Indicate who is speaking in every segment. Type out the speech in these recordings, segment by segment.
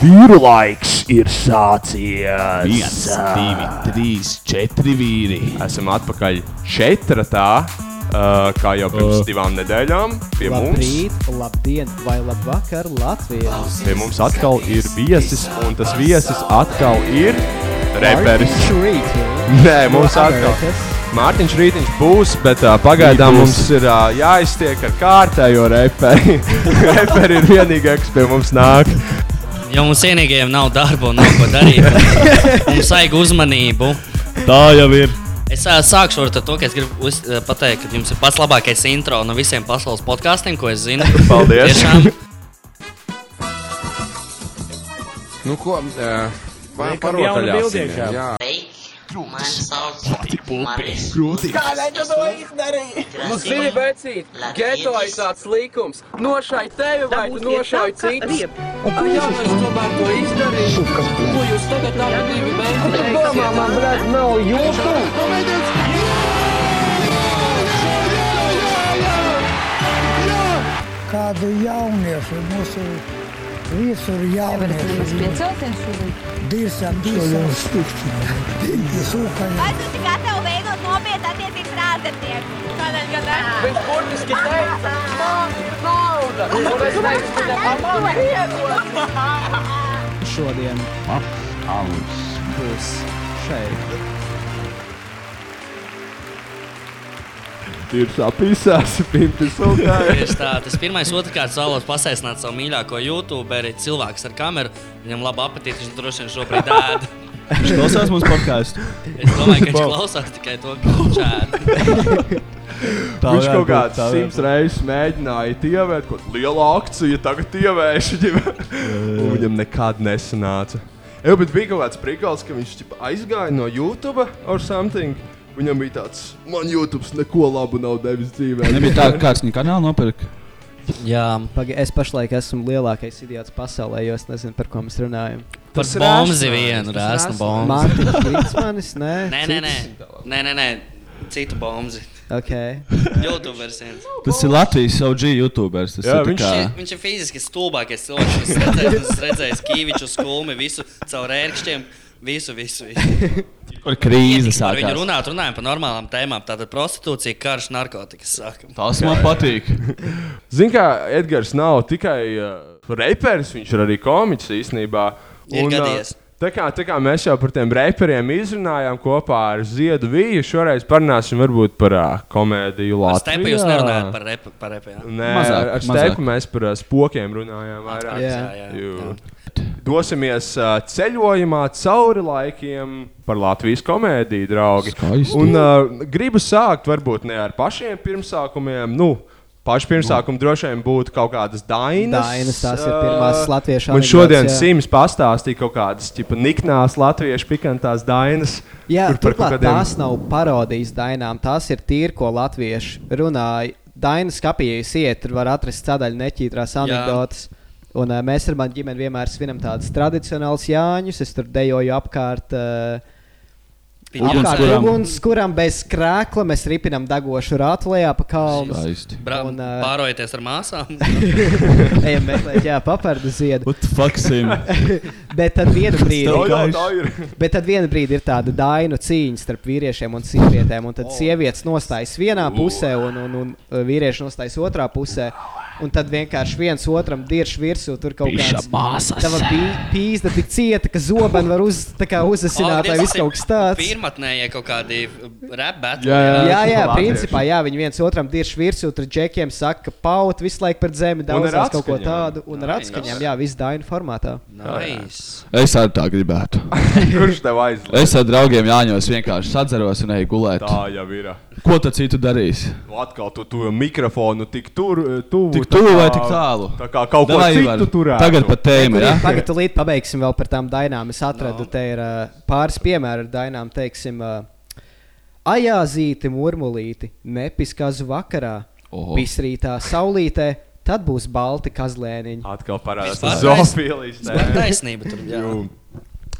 Speaker 1: Vīru laiks ir sācies.
Speaker 2: Viens, divi, trīs, četri vīri.
Speaker 3: Esam atpakaļ četratā, uh, kā jau pirms uh. divām nedēļām. Pie mums,
Speaker 4: Labrīt, labdien, vai labvakar, Latvija!
Speaker 3: pie mums atkal ir viesis, un tas viesis atkal ir reperis.
Speaker 4: Šurīt!
Speaker 3: Nē, mums atkal. Mārtiņš Rītiņš būs, bet uh, pagaidām
Speaker 2: Rīt būs.
Speaker 3: mums ir uh, jāiztiek ar kārtējo reperi. reperi ir vienīgais, kas pie mums nāk.
Speaker 5: Jo mums vienīgajiem nav darba, un nav ko darīt. mums vajag uzmanību.
Speaker 2: Tā jau ir.
Speaker 5: Es ā, sākšu ar to, ka es gribu uz, ā, pateikt, ka jums ir pats labākais intro no visiem pasaules podkāstiem, ko es zinu.
Speaker 3: Paldies.
Speaker 5: Tiešām,
Speaker 6: Nu, ko? Parotaļāsim. Jā,
Speaker 7: Man sauc Marijas. Kādēļ tu to izdarīji? Nu,
Speaker 8: Zini, vecīt, geto ir
Speaker 7: Latvijas.
Speaker 8: tāds likums. Nošai tevi vai tu nošai citu. Ai, jā, es tomēr to izdarīju. Ko jūs tagad darat divi bērni?
Speaker 9: kādu jauniešu, mūsu visur jauniešu,
Speaker 10: Piecelties šodien.
Speaker 9: dirsam, dirsam, sūkaņu.
Speaker 10: Es esmu gatava veidot nopietnu attiecības ar ārzemnieku. Kādēļ gan ne?
Speaker 8: Viņš burtiski teica, man ir nauda. Un es teicu, ka man ir iedod.
Speaker 4: Šodien būs šeit.
Speaker 3: Ir sapīsās, pimpi sūkā.
Speaker 5: tieši tā. Tas pirmais, otrkārt, vēlos pasaicināt savu mīļāko YouTuberi, cilvēks ar kameru. Viņam laba apetīte, viņš droši vien šobrīd ēd.
Speaker 2: Viņš klausās mūsu podkāstu.
Speaker 5: Es domāju, ka viņš klausās tikai to, ka viņš ēd.
Speaker 2: Tā
Speaker 3: Viņš
Speaker 2: varētu
Speaker 3: kaut
Speaker 2: būt,
Speaker 3: kāds
Speaker 2: tā varētu
Speaker 3: simts
Speaker 2: būt.
Speaker 3: reizes mēģināja ievērst kaut kādu lielu akciju, tagad ievērš viņam. Un viņam nekad nesanāca. Jā, bet bija kaut kāds prigals, ka viņš ķipa, aizgāja no YouTube or something. Viņam bija tāds, man YouTube neko labu nav devis dzīvē.
Speaker 2: Nebija tā, ka kāds viņa kanālu nopirka.
Speaker 5: Jā,
Speaker 4: Pagi, es pašlaik esmu lielākais idiots pasaulē, jo es nezinu, par ko mēs runājam.
Speaker 5: par
Speaker 3: Tas ir
Speaker 5: bombu
Speaker 3: ēšanās, tas
Speaker 5: vienu,
Speaker 3: ir
Speaker 5: rēsnu
Speaker 3: ēšanās.
Speaker 5: bombu.
Speaker 4: Mārtiņš Kritsmanis, nē?
Speaker 5: Nē, nē, nē, nē, nē, nē. citu bombu.
Speaker 4: Ok.
Speaker 5: YouTubers viens.
Speaker 2: Tas ir Latvijas OG YouTuberis. Tas
Speaker 3: Jā,
Speaker 2: ir
Speaker 3: viņš
Speaker 2: viņš... kā...
Speaker 5: Nu, Viņš, viņš ir fiziski stulbākais cilvēks. kas redzējis- Es redzēju, kā viņš skulmi visu caur ērkšķiem. Visu, visu, visu.
Speaker 2: kur krīze
Speaker 5: Par viņu
Speaker 2: sākās.
Speaker 5: runāt, runājam par normālām tēmām. Tātad prostitūcija, karš, narkotikas. Sākam.
Speaker 2: Tas man patīk.
Speaker 3: Zini, kā Edgars nav tikai uh, reperis, viņš ir arī komiķis īstenībā.
Speaker 5: Ir
Speaker 3: ā,
Speaker 5: gadījies.
Speaker 3: Tā kā, tā kā mēs jau par tiem reperiem izrunājām kopā ar Ziedu Vīju, šoreiz parunāsim varbūt par uh, komēdiju
Speaker 5: Ar
Speaker 3: Latvijā.
Speaker 5: stepu jūs nerunājat par repu. Par repu jā.
Speaker 3: Nē,
Speaker 2: Mazāk,
Speaker 3: mazāk, ar
Speaker 2: mazāk.
Speaker 3: steigtu mēs par ā, spokiem runājām. Vairāk.
Speaker 4: Jā.
Speaker 5: Jā, jā, jā.
Speaker 3: Jū. Dosimies ā, ceļojumā cauri laikiem par Latvijas komēdiju, draugi.
Speaker 2: Skaisti.
Speaker 3: Un, uh, gribu sākt varbūt ne ar pašiem pirmsākumiem. Nu, Paši pirmsākumi droši vien būtu kaut kādas dainas.
Speaker 4: Dainas, tās ir pirmās
Speaker 3: ā,
Speaker 4: latviešu
Speaker 3: Man šodien
Speaker 4: anekdotes, jā.
Speaker 3: Sims pastāstīja kaut kādas ķipa, niknās latviešu pikantās dainas.
Speaker 4: Jā,
Speaker 3: kur par kaut
Speaker 4: turklāt
Speaker 3: kādiem-
Speaker 4: tās nav parodijas dainām, tās ir tīri, ko latvieši runāja. Dainas kapijās iet, tur var atrast sadaļu neķītrās anekdotas. Un, uh, mēs ar mani ģimeni vienmēr svinam tādus tradicionālus jāņus. Es tur dejoju apkārt, uh,
Speaker 5: Viņa
Speaker 4: apkārt
Speaker 5: jāsaka,
Speaker 2: kuram.
Speaker 4: uguns, kuram bez krēkla mēs ripinam dagošu ratu lejā pa kalnu.
Speaker 2: Skaisti.
Speaker 5: bra-
Speaker 4: un, ā,
Speaker 5: Pārojieties ar māsām.
Speaker 4: Ejam meklēt, jā, papardu ziedu.
Speaker 2: What the fuck, Sim?
Speaker 4: Bet tad vienu
Speaker 3: Jā,
Speaker 4: brīdi.
Speaker 3: jā, tā ir.
Speaker 4: Bet tad vienā brīdī ir tāda dainu cīņa starp vīriešiem un sievietēm. Un tad sievietes nostājas vienā pusē, un, un, un uh, vīrieši nostājas otrā pusē. Un tad vienkārši viens otram dirž virsū. Tur kaut kāda māsas. Tā var bija pīzda tik cieta, ka zobeni var uz, tā kā uzasināt vai viss kaut kas tāds.
Speaker 5: Pirmatnēji kaut kādi rap
Speaker 3: Jā,
Speaker 4: Jā, jā,
Speaker 3: Latvieši.
Speaker 4: principā jā, viņi viens otram dirž virsū, tur džekiem saka, ka paut visu laiku par zemi,
Speaker 3: ar
Speaker 4: daudz kaut ko
Speaker 3: atskaņām.
Speaker 4: tādu, un ar
Speaker 5: Nice.
Speaker 4: atskaņām, jā, viss dainu formātā.
Speaker 5: Nice.
Speaker 2: Es arī tā gribētu.
Speaker 3: Kurš tev aizliedz?
Speaker 2: Es ar draugiem Jāņos vienkārši sadzeros un eju gulēt.
Speaker 3: Tā jau ir.
Speaker 2: Ko tad citu darīs?
Speaker 3: Nu, Atkal tu to mikrofonu tik tur, eh, tuvu.
Speaker 2: Tik
Speaker 3: tā
Speaker 2: tuvu
Speaker 3: kā-
Speaker 2: vai tik tālu?
Speaker 3: Tā kā kaut ko
Speaker 2: Davai,
Speaker 3: citu
Speaker 2: Ivar,
Speaker 3: turētu.
Speaker 2: Tagad par tēmu.
Speaker 4: Kuriem
Speaker 2: Ja?
Speaker 4: pagaidu līdz pabeigsim vēl par tām dainām. Es atradu no. te ir ā, pāris piemēru ar dainām, teiksim, ā, ajāzīti, murmulīti, nepiskāzu vakarā,
Speaker 2: Oho.
Speaker 4: pisrītā saulītē, tad būs balti kazlēniņi.
Speaker 3: atkal parādās
Speaker 5: Vispār
Speaker 3: zoofilijas
Speaker 5: Tā ir
Speaker 3: tēma.
Speaker 5: taisnība tur. Jā.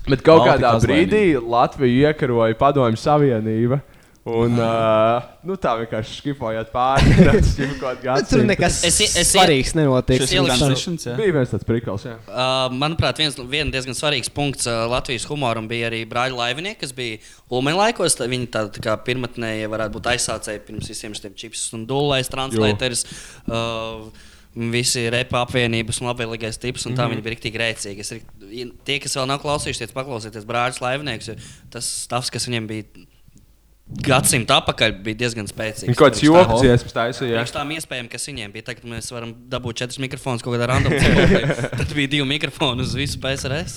Speaker 3: Bet kaut
Speaker 2: Balti
Speaker 3: kādā
Speaker 2: kazlēni.
Speaker 3: brīdī Latviju iekaroja Padomju Savienība. Un uh, nu, tā vienkārši skipojot pāri. Tas bija kaut kāds
Speaker 4: Tur nekas
Speaker 5: Es i- es i-
Speaker 4: svarīgs nenotiek.
Speaker 5: Šis ielikšu-
Speaker 3: Bija viens tāds prikals, jā.
Speaker 5: Uh, manuprāt, viens, viens diezgan svarīgs punkts uh, Latvijas humoram bija arī brāļa laivinieki, kas bija Ulmēnlaikos. Viņi tā, tā kā pirmotnēji varētu būt aizsācēji pirms visiem šiem čipsiem un dūlēs, translētājs. Uh, Visi repa apvienības un labvēlīgais tips, un tā
Speaker 3: Mhm.
Speaker 5: mm -hmm. viņi bija rīktīgi rēcīgi. Es, rik- tie, kas vēl nav klausījušies, paklausieties brāļus laivniekus, jo tas stāvs, kas viņiem bija gadsimta apakaļ, bija diezgan spēcīgs.
Speaker 3: Viņa kaut kāds
Speaker 5: Priekš tā-
Speaker 3: joks dziesmas taisīja.
Speaker 5: Ar tām iespējām, kas viņiem bija, tagad mēs varam dabūt četrus mikrofonus kaut kādā randomā formā. Tad bija divi mikrofoni uz visu PSRS.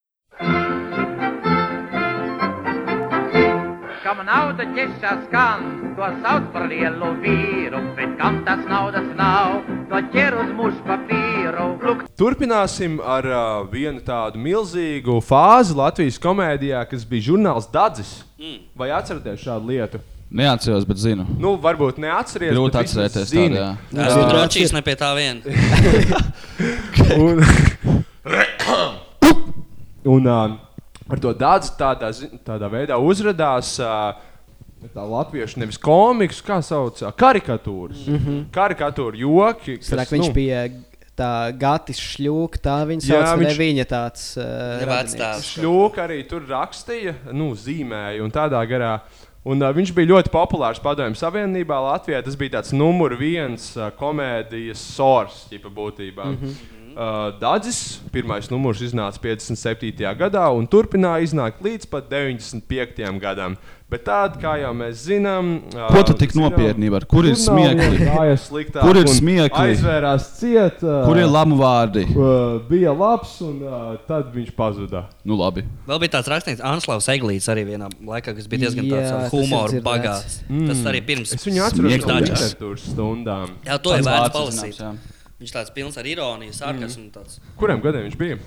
Speaker 11: Kam nauda ķešā skan, to sauc par lielu vīru, bet kam tas naudas nav, to ķer uz mūža papīru. Lūk,
Speaker 3: Turpināsim ar uh, vienu tādu milzīgu fāzi Latvijas komēdijā, kas bija žurnāls Dadzis. Mm. Vai atceraties šādu lietu?
Speaker 2: Neatceros, bet zinu.
Speaker 3: Nu, varbūt neatcerieties.
Speaker 2: Grūti
Speaker 3: bet vismaz
Speaker 2: atcerēties
Speaker 3: zini.
Speaker 2: tādu, jā.
Speaker 5: Es
Speaker 3: Jā.
Speaker 5: tur drāčīs ne pie tā viena.
Speaker 3: un, un uh, ar to daudz tādā, zi- tādā veidā uzrādās. Uh, Tā latviešu nevis komiks, kā sauc, ā, karikatūras. Mm -hmm. Karikatūra joki. kas,
Speaker 4: Sarāk, viņš bija tā Gatis Šļūka, tā viņa
Speaker 3: Nu. Jā,
Speaker 4: sauc, ne
Speaker 3: viņš-
Speaker 4: viņa tāds. Uh, radinieks.
Speaker 3: Šļūka arī tur rakstīja, nu, zīmēja un tādā garā. Un, uh, viņš bija ļoti populārs Padomju Savienībā, Latvijā. Tas bija tāds numur viens uh, komēdijas sors, tipa būtībā. Mm -hmm. uh, Dadzis, pirmais numurs iznāca 57. gadā un turpināja iznākt līdz pat 95. gadam. Bet tāda, kā jau mēs zinām, uh,
Speaker 2: Ko tu tik nopietni vari? Kur ir smiekli? Kur ir smiekli?
Speaker 3: Aizvērās ciet. Uh,
Speaker 2: Kur ir lamu vārdi?
Speaker 3: Uh, bija labs, un uh, tad viņš pazuda.
Speaker 2: Nu, labi.
Speaker 5: Vēl bija tāds rakstnieks Anslavs Eglīts arī vienā laikā, kas bija diezgan
Speaker 4: Jā,
Speaker 5: tāds ar
Speaker 4: tas ir
Speaker 5: humoru
Speaker 4: dzirdēts.
Speaker 5: bagāts. Tas arī pirms.
Speaker 3: Mm. Es viņu atceros no
Speaker 5: Dačas.
Speaker 3: literatūras stundām.
Speaker 5: Jā, to ir
Speaker 2: Tāds
Speaker 5: vērts
Speaker 2: vārds
Speaker 5: palasīt.
Speaker 2: zināms,
Speaker 5: Viņš tāds pilns ar ironiju,
Speaker 3: Mm.
Speaker 5: sarkasmu un tāds.
Speaker 3: Kuriem gadiem viņš bija?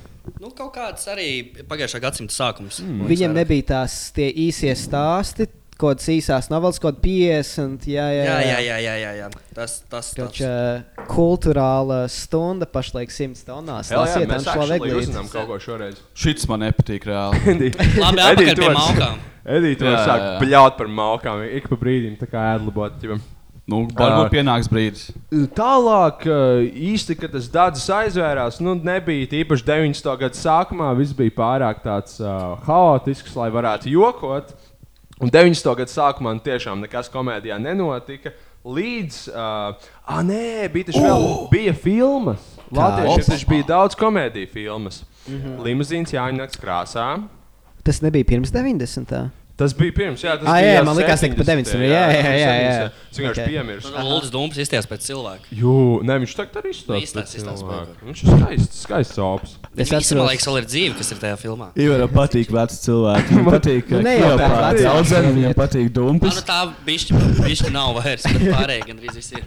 Speaker 5: Nu, kaut kāds arī pagājušā gadsimta sākums. Mm.
Speaker 4: Viņam nebija tās tie īsie stāsti, kaut kādas īsās novalas, kaut kāda 50. Jā, jā,
Speaker 5: Jā, jā, jā, jā, jā, jā. Tas, tas, tas.
Speaker 4: Taču eh, kultūrāla stunda pašlaik simts tonnās. Tas ir tāds šlaveglīts.
Speaker 3: uzzinām kaut ko šoreiz.
Speaker 2: Šits man nepatīk reāli.
Speaker 3: Edita
Speaker 5: Labi, apakaļ pie
Speaker 3: var-
Speaker 5: malkām.
Speaker 3: Edita
Speaker 2: Jā,
Speaker 3: jau
Speaker 2: jā,
Speaker 3: sāk
Speaker 2: jā.
Speaker 3: bļaut par malkām, ik pa brīdim tā kā ēdlabot. ķipa.
Speaker 2: Nu, varbūt pienāks brīdis.
Speaker 3: Tālāk uh, īsti, kad tas dārsts aizvērās, nu, nebija īpaši 90. gada sākumā. Viss bija pārāk tāds uh, haotisks, lai varētu jokot. Un 90. gada sākumā nu, tiešām nekas komēdijā nenotika. Līdz, uh, ah, nē, bija tas vēl,
Speaker 4: Oh!
Speaker 3: bija filmas. Latvijas
Speaker 2: Opa.
Speaker 3: taču bija daudz komēdiju filmas. Mhm. Limuzīns jāņemts krāsā.
Speaker 4: Tas nebija pirms 90.
Speaker 3: Tas bija pirms, jā, tas
Speaker 4: Ah,
Speaker 3: bija
Speaker 4: jā,
Speaker 3: jau
Speaker 4: man likās, ka pa
Speaker 3: 70.,
Speaker 4: 90., jā, jā, jā, jā.
Speaker 3: Es vienkārši
Speaker 4: Ok.
Speaker 3: piemirstu.
Speaker 5: Lūdzu, dūms Nu, izties pēc cilvēka.
Speaker 3: Jū, ne, viņš tagad arī
Speaker 5: Viņš tāds
Speaker 3: izstāsta.
Speaker 5: Nu, izstāsta
Speaker 3: cilvēku. Viņš ir skaists, skaists ops.
Speaker 4: Es
Speaker 5: Es
Speaker 4: atceros-
Speaker 5: domāju, ka vēl ir dzīve, kas ir tajā filmā.
Speaker 2: Ivaram patīk veci cilvēki. Viņam patīk,
Speaker 4: Nu, ne jau tā
Speaker 2: Kleopātra
Speaker 4: vecā
Speaker 2: audzene,
Speaker 4: sieviete.
Speaker 2: viņam patīk
Speaker 5: Nu,
Speaker 2: dumpis.
Speaker 5: nu tā višķi nav vairs, bet pārējie gandrīz visi ir.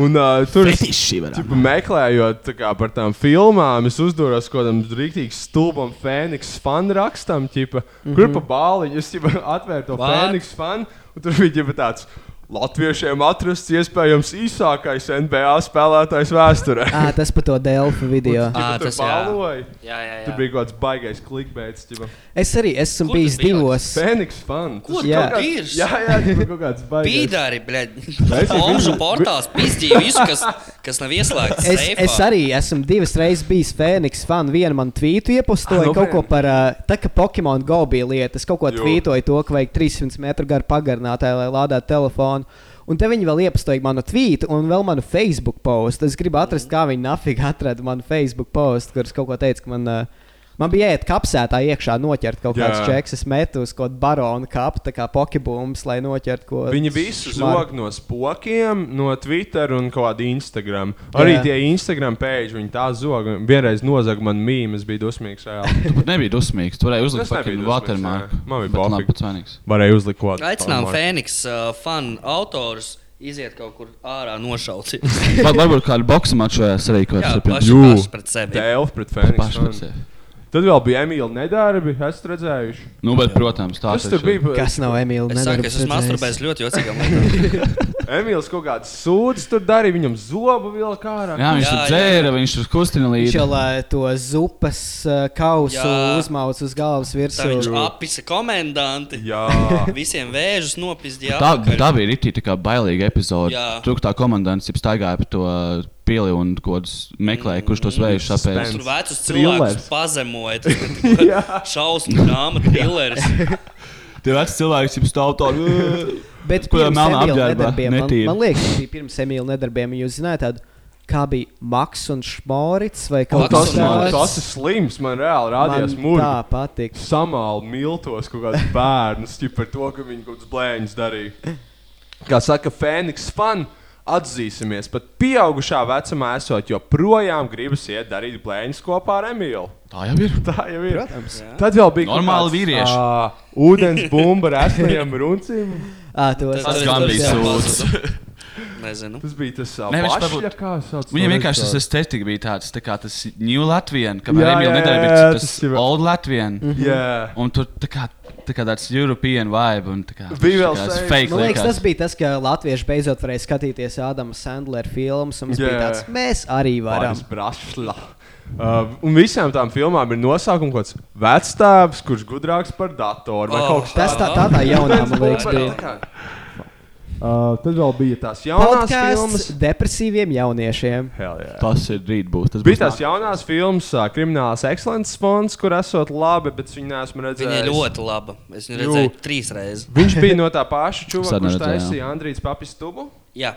Speaker 3: Un uh, tur es
Speaker 2: Fetiši varam.
Speaker 3: tipu, meklējot tā kā, par tām filmām, es uzdoros kaut kādam rīktīgi stulbam Fēniks fanu rakstam, ķipa, mm -hmm. kur pa bāliņu es ķipa, atvēru to
Speaker 5: What?
Speaker 3: Fēniks fanu, un tur bija ģipa, tāds. Latviešiem atrasts iespējams īsākais NBA spēlētājs vēsturē.
Speaker 4: Ā, tas par to Delfu video.
Speaker 5: Ā,
Speaker 3: Ā,
Speaker 5: tas
Speaker 3: tas
Speaker 5: jā.
Speaker 3: baloja.
Speaker 5: Jā, jā, jā.
Speaker 3: Tur bija kaut kāds baisais klikbēts. ķipa,
Speaker 4: Es arī esmu
Speaker 5: Kur
Speaker 4: bijis
Speaker 5: tas bija?
Speaker 4: divos.
Speaker 3: Fēniks fans.
Speaker 5: Ko
Speaker 3: Tas
Speaker 5: tu
Speaker 3: kaut kāds-
Speaker 5: dirs?
Speaker 3: Jā, jā, ķipa, kaut kāds baisais.
Speaker 5: Pīdāri, bļaļ. Omžu portāls pizdīja visu, kas, kas nav ieslēgts.
Speaker 4: Es, es arī esmu divas reizes bijis Fēniks fans. Vienu man tvītu
Speaker 3: Ah,
Speaker 4: iepostoju
Speaker 3: nu,
Speaker 4: kaut ko
Speaker 3: vien.
Speaker 4: par ā, tā, ka Pokemon Go bija lieta. Es kaut ko
Speaker 3: Jū.
Speaker 4: tvītoju to, ka vajag 300 metru garu pagarinātāju, lai lādētu telefonu. Un te viņi vēl iepazīstināja manu tvītu un vēl manu Facebook postu. Es gribu atrast, kā viņi nafīgi atrada manu Facebook postu, kurš kaut ko teica, ka man, ā, man bija jāiet kapsētā iekšā, noķert kaut
Speaker 3: Jā.
Speaker 4: kāds čeks, es metu uz kaut baronu kapu, tā kā pokebums, lai noķertu ko.
Speaker 3: Viņi visu
Speaker 4: šmaru.
Speaker 3: zog no spokiem, no Twitter un kaut kāda Instagram. Arī
Speaker 4: Jā.
Speaker 3: tie Instagram pēļi, viņi tā zog. Vienreiz nozaga man mīmīmas, bija dusmīgs. reāli.
Speaker 2: Tu pat nebija dusmīgs. Tu varēji uzlikt
Speaker 3: Es nebiju
Speaker 2: fucking
Speaker 3: dusmīgs,
Speaker 2: watermark.
Speaker 3: jā. Man bija
Speaker 2: Bet
Speaker 3: pofīgi.
Speaker 2: labi, pats vainīgs.
Speaker 3: Varēja uzlikt kaut ko
Speaker 5: Aicinām Fēniks uh, fanu autors iziet kaut kur ārā nošauci.
Speaker 2: Var- Varbūt kādu boksu maču varēs arī kaut
Speaker 5: Jā,
Speaker 2: kāds
Speaker 5: paši
Speaker 3: Jū.
Speaker 5: paši pret sevi.
Speaker 3: Dēlf pret
Speaker 2: Paši par
Speaker 3: Fēniksu.
Speaker 2: sevi.
Speaker 3: Tad vēl bija Emīļa nedarbi, esmu redzējuši.
Speaker 2: Nu, bet, protams, tā
Speaker 3: Kas tur bija?
Speaker 4: Kas nav Emīļa?
Speaker 5: Es saku, es esmu masturbējis ļoti jocīgām lietām.
Speaker 3: Emīls kaut kādas sūdzes tur darīja, viņam zobu vilka ārā.
Speaker 2: Jā, viņš tur dzēra, viņš tur kustina
Speaker 4: Viņš
Speaker 2: līdzi.
Speaker 4: jau ā, to zupas ā, kausu
Speaker 5: Jā.
Speaker 4: uzmauc uz galvas
Speaker 5: Tā viņš
Speaker 4: virsmu.
Speaker 5: apisa komendanti.
Speaker 3: Jā.
Speaker 5: Visiem vēžus nopizdīja.
Speaker 2: Nu, Tā, tā bija rītī, tā kā bailīga epizode.
Speaker 5: Jā.
Speaker 2: Tur tā komandants jau staigāja pa to pili un kaut kādus meklēja, kurš tos vējus sapēs.
Speaker 5: Tur vecus
Speaker 2: Thrillers.
Speaker 5: cilvēkus pazemoja. Šausmu grāmatu trilleris.
Speaker 2: Tie veci cilvēki jau stāv tādā.
Speaker 4: Bet
Speaker 2: Ko jau
Speaker 4: pirms
Speaker 2: melnā
Speaker 4: Emīļa
Speaker 2: apģērbā,
Speaker 4: nedarbiem, man,
Speaker 2: netīri.
Speaker 4: man liekas, tas bija pirms Emīļa nedarbiem. Jūs zināt, tādu, kā bija Maks un Šmorits vai kaut
Speaker 3: Tas,
Speaker 4: kas
Speaker 3: man,
Speaker 4: tāds.
Speaker 3: tas ir slims. Man reāli rādījās
Speaker 4: Man
Speaker 3: mūžs.
Speaker 4: tā patīk.
Speaker 3: Samāli miltos kaut kāds bērns ķip, par to, ka viņi kaut kādas blēņas darīja. Kā saka Fēniks, fan. Atzīsimies, pat pieaugušā vecumā esot, joprojām gribas iet darīt blēņas kopā ar Emīlu.
Speaker 2: Tā jau ir.
Speaker 3: Tā jau ir.
Speaker 4: Protams.
Speaker 3: Tad vēl bija
Speaker 2: Normāli
Speaker 3: kaut kāds,
Speaker 2: vīrieši.
Speaker 3: ā, Ūdens bumba ar esmajiem runcīm.
Speaker 4: Ā, to es-
Speaker 2: Tas gan bija sūds.
Speaker 5: Nezinu.
Speaker 3: Tas bija tas
Speaker 2: Nē, viņš
Speaker 3: pats,
Speaker 2: varbūt-
Speaker 3: kā sauc. to
Speaker 2: Viņam vienkārši tas
Speaker 3: režisoru?
Speaker 2: estetika bija tāds, tā kā tas New Latvian, kamēr
Speaker 3: Jā,
Speaker 2: Emīlija
Speaker 3: jā,
Speaker 2: nedēļa
Speaker 3: jā,
Speaker 2: bija tas
Speaker 3: tas jau- Mhm.
Speaker 2: Old Latvian.
Speaker 3: Jā.
Speaker 2: Un tur tā kā, tā kā tāds European vibe un tā kā.
Speaker 3: Bija vēl
Speaker 2: tā kā tas
Speaker 3: sejas.
Speaker 2: fake
Speaker 4: Man liekas, tas
Speaker 2: liekas.
Speaker 4: bija tas, ka latvieši beidzot varēja skatīties Ādama Sandlera filmas. un Mums yeah. bija
Speaker 3: Jā.
Speaker 4: tāds, mēs arī varam.
Speaker 3: Pāris brašla. Uh, un visām tām filmām ir nosaukums, kāds vecāks, kurš gudrāks par datoru vai
Speaker 5: Oh.
Speaker 3: kaut kas
Speaker 4: Tas tā, tā, tā jaunā, man liekas, bija.
Speaker 3: Uh, tad vēl bija tās jaunās filmas.
Speaker 4: Podcasts depresīviem jauniešiem.
Speaker 3: Hell, yeah.
Speaker 2: Tas ir rīt būs. Tas
Speaker 3: Bija tās
Speaker 2: nāk-
Speaker 3: jaunās filmas, uh, Krimināls ekscelences fonds, kur esot labi, bet viņi nesmu
Speaker 5: Viņa
Speaker 3: redzējuši.
Speaker 5: ir ļoti laba. Es viņu
Speaker 3: Jū.
Speaker 5: redzēju trīs reizes.
Speaker 3: Viņš bija no tā paša čūva,
Speaker 2: Sen
Speaker 3: kurš
Speaker 2: redzēju,
Speaker 3: taisīja Andrijas papistubu.
Speaker 5: Jā.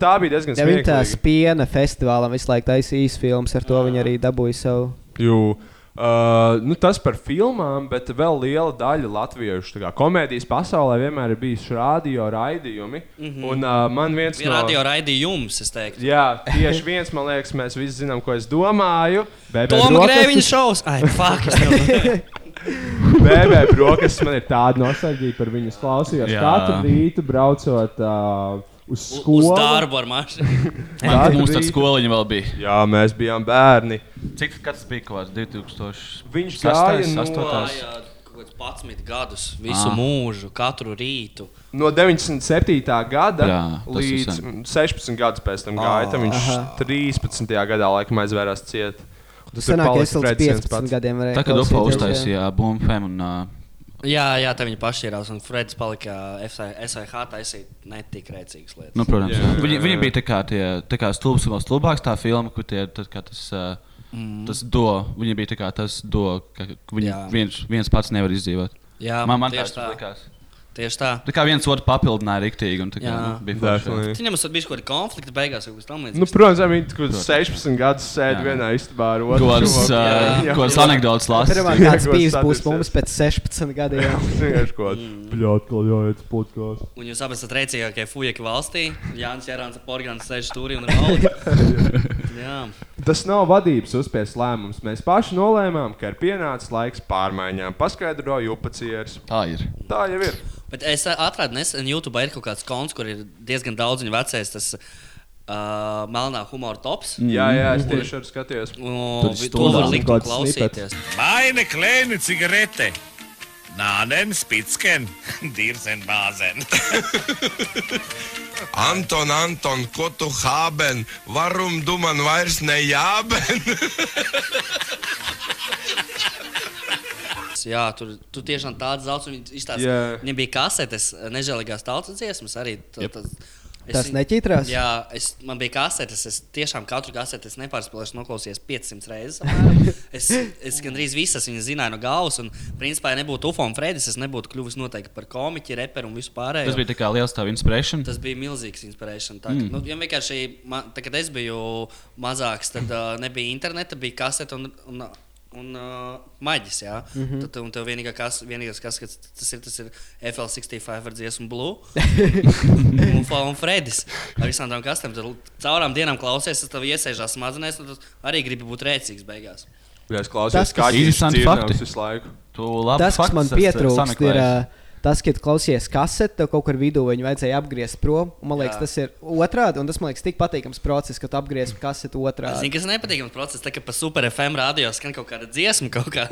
Speaker 3: Tā bija diezgan
Speaker 4: Ja viņi tās
Speaker 3: smieklīga.
Speaker 4: piena festivālam visu laiku taisīja īsu filmas, ar to viņi arī dabūja savu.
Speaker 3: Jū. Uh, nu, tas par filmām, bet vēl liela daļa latviešu tā kā komēdijas pasaulē vienmēr ir bijusi radio raidījumi. Mm -hmm. Un uh, man viens
Speaker 5: Viņa
Speaker 3: no
Speaker 5: radio raidīja jums, es teiktu.
Speaker 3: Jā, tieši viens, man liekas, mēs visi zinām, ko es domāju.
Speaker 5: Toma Grēviņa
Speaker 3: Brokastis-
Speaker 5: šovs! Ai, fuck! es nevaru.
Speaker 3: BB brokastis man ir tāda nosardzība par viņas klausījos.
Speaker 2: Jā.
Speaker 3: Katru rītu braucot uh, uz skolu.
Speaker 5: Uz darbu ar mašīnu.
Speaker 2: Man-
Speaker 3: Tāda
Speaker 2: Mums tāda
Speaker 3: bija.
Speaker 2: skoliņa vēl bija.
Speaker 3: Jā, mēs bijām bērni.
Speaker 2: Cik tas bija kaut kāds 2000?
Speaker 3: Viņš
Speaker 2: Sastais,
Speaker 3: gāja no-
Speaker 2: astotās?
Speaker 3: Jā,
Speaker 5: Gājāt kaut kāds 11 gadus,
Speaker 3: Ah.
Speaker 5: visu mūžu, katru rītu.
Speaker 3: No 97. gada
Speaker 2: Jā, tas ir
Speaker 3: līdz
Speaker 2: sen.
Speaker 3: mm, 16 gadus pēc
Speaker 4: Ah.
Speaker 3: tam gāja. Tad viņš 13. gadā laikam aizvērās ciet. Un
Speaker 4: Tas
Speaker 3: tur
Speaker 4: senāk,
Speaker 3: palika
Speaker 4: es līdz
Speaker 3: Freds viens
Speaker 4: 15
Speaker 3: pats.
Speaker 4: gadiem varēju.
Speaker 2: Tā kā Dupa
Speaker 4: klausīties, jā.
Speaker 2: uztaisīja Bumfem un uh,
Speaker 5: Jā, jā, tā viņi pašķīrās, un Freds palika eh, SAH taisīt netik rēcīgas lietas.
Speaker 2: Nu, protams,
Speaker 3: Jā, jā, jā.
Speaker 2: yeah. viņi, viņi bija tā kā, tie, tā kā stulbs un vēl stulbāks tā filma, kur tie, tad, kā tas, mm. tas do. Viņi bija tā kā tas do, ka viņi
Speaker 5: Jā.
Speaker 2: viens, viens pats nevar izdzīvot.
Speaker 5: Jā,
Speaker 2: man, man
Speaker 5: tieši
Speaker 2: tas
Speaker 5: tā.
Speaker 2: likās.
Speaker 5: Tieši tā.
Speaker 2: Tā kā viens otru papildināja rīktīgi. un tā kā,
Speaker 5: Jā.
Speaker 2: nu, bija forši.
Speaker 3: Definitely.
Speaker 5: Viņam tas bija kaut kāda konflikta beigās, kaut kas tamlīdzīgs.
Speaker 3: Nu, protams, viņi tur
Speaker 2: Protams.
Speaker 3: 16 gadus sēž
Speaker 2: Jā. uh,
Speaker 3: vienā istabā ar
Speaker 2: Kaut
Speaker 3: otru.
Speaker 2: kādas,
Speaker 3: čomoku.
Speaker 2: ā,
Speaker 5: Jā.
Speaker 2: kaut kādas anekdotas
Speaker 4: Pirmā
Speaker 2: lasīt.
Speaker 3: Jā,
Speaker 4: kāds
Speaker 3: ko
Speaker 4: bijis būs
Speaker 3: satiksies.
Speaker 4: mums pēc 16 gadiem.
Speaker 3: Vienkārši kaut
Speaker 4: Mm.
Speaker 3: kā ļaujot podkāstu.
Speaker 5: Un jūs abi esat rēcīgākie fujaki valstī. Jānis Jērāns ap orgānu sēž stūrī un raud. Jā.
Speaker 3: Tas nav vadības uzspiests lēmums. Mēs paši nolēmām, ka ir pienācis laiks pārmaiņām. Paskaidroju, upacieris.
Speaker 2: Tā ir.
Speaker 3: Tā jau ir.
Speaker 5: Bet es ā, atradu nesen YouTube ir kaut kāds konts, kur ir diezgan daudz viņa vecais, tas uh, melnā humora tops.
Speaker 3: Jā, jā,
Speaker 2: Mm.
Speaker 3: es tieši arī skatījos.
Speaker 5: Nu, vi- To
Speaker 2: stundā
Speaker 5: var likt un
Speaker 3: kaut kāds
Speaker 5: klausīties.
Speaker 12: Meine kleine Zigarette. Nanen, Spitzken, Dirsen, Basen.
Speaker 6: Anton, Anton, ko tu haben? Varum du man vairs nejāben?
Speaker 5: Jā, tur, tur tiešām tāds daudz, un viņi izstāsta,
Speaker 3: Jā.
Speaker 5: viņiem bija kasetes, eh, nežēlīgās tautas dziesmas arī. t- Tas, es
Speaker 4: Tas
Speaker 5: viņu-
Speaker 4: neķitrās?
Speaker 5: Jā, es, man bija kasetes, es tiešām katru kasetes nepārspēlēšu, noklausījos 500 reizes. apmēram. Es, es gandrīz visas viņas zināju no galvas, un principā, ja nebūtu UFO un Fredis, es nebūtu kļuvis noteikti par komiķi, reperu un vispārējo.
Speaker 2: Tas bija tā kā liels tā inspiration.
Speaker 5: Tas bija milzīgs inspirācijas. Mm. Nu, ja vienkārši, man, tā, kad es biju mazāks, tad uh, nebija interneta, bija kasete un, un, un uh, maģis. Mm -hmm. Tad un tev vienīgā kas, vienīgais, kas tas ir, tas ir FL65 ar dziesmu Blue un, Fa- un Fredis. Ar visām tām kastēm. Tad caurām dienām klausies, tas tev iesēžās smadzenēs, un tu arī gribi būt rēcīgs beigās.
Speaker 3: Jā, es
Speaker 4: Tas,
Speaker 3: klausījos,
Speaker 4: kas-
Speaker 3: kā viņš
Speaker 2: Interesanti
Speaker 3: dzirdams
Speaker 2: fakti.
Speaker 3: visu laiku.
Speaker 2: Tu labi
Speaker 4: Tas, kas
Speaker 2: faktus
Speaker 4: man
Speaker 2: esi, eh,
Speaker 4: pietrūkst, ir
Speaker 2: sameklējis.
Speaker 4: ā, Tas, kad klausies kaseti, tev kaut kur vidū viņa vajadzēja apgriezt prom. un Man liekas, Jā.
Speaker 5: Jā.
Speaker 4: tas ir otrādi, un tas man liekas tik patīkams process, ka tu apgriezt kaseti
Speaker 5: Es
Speaker 4: otrādi.
Speaker 5: zinu, kas ir nepatīkams process, tā kā pa super FM rādio skan kaut kāda dziesma, kaut kā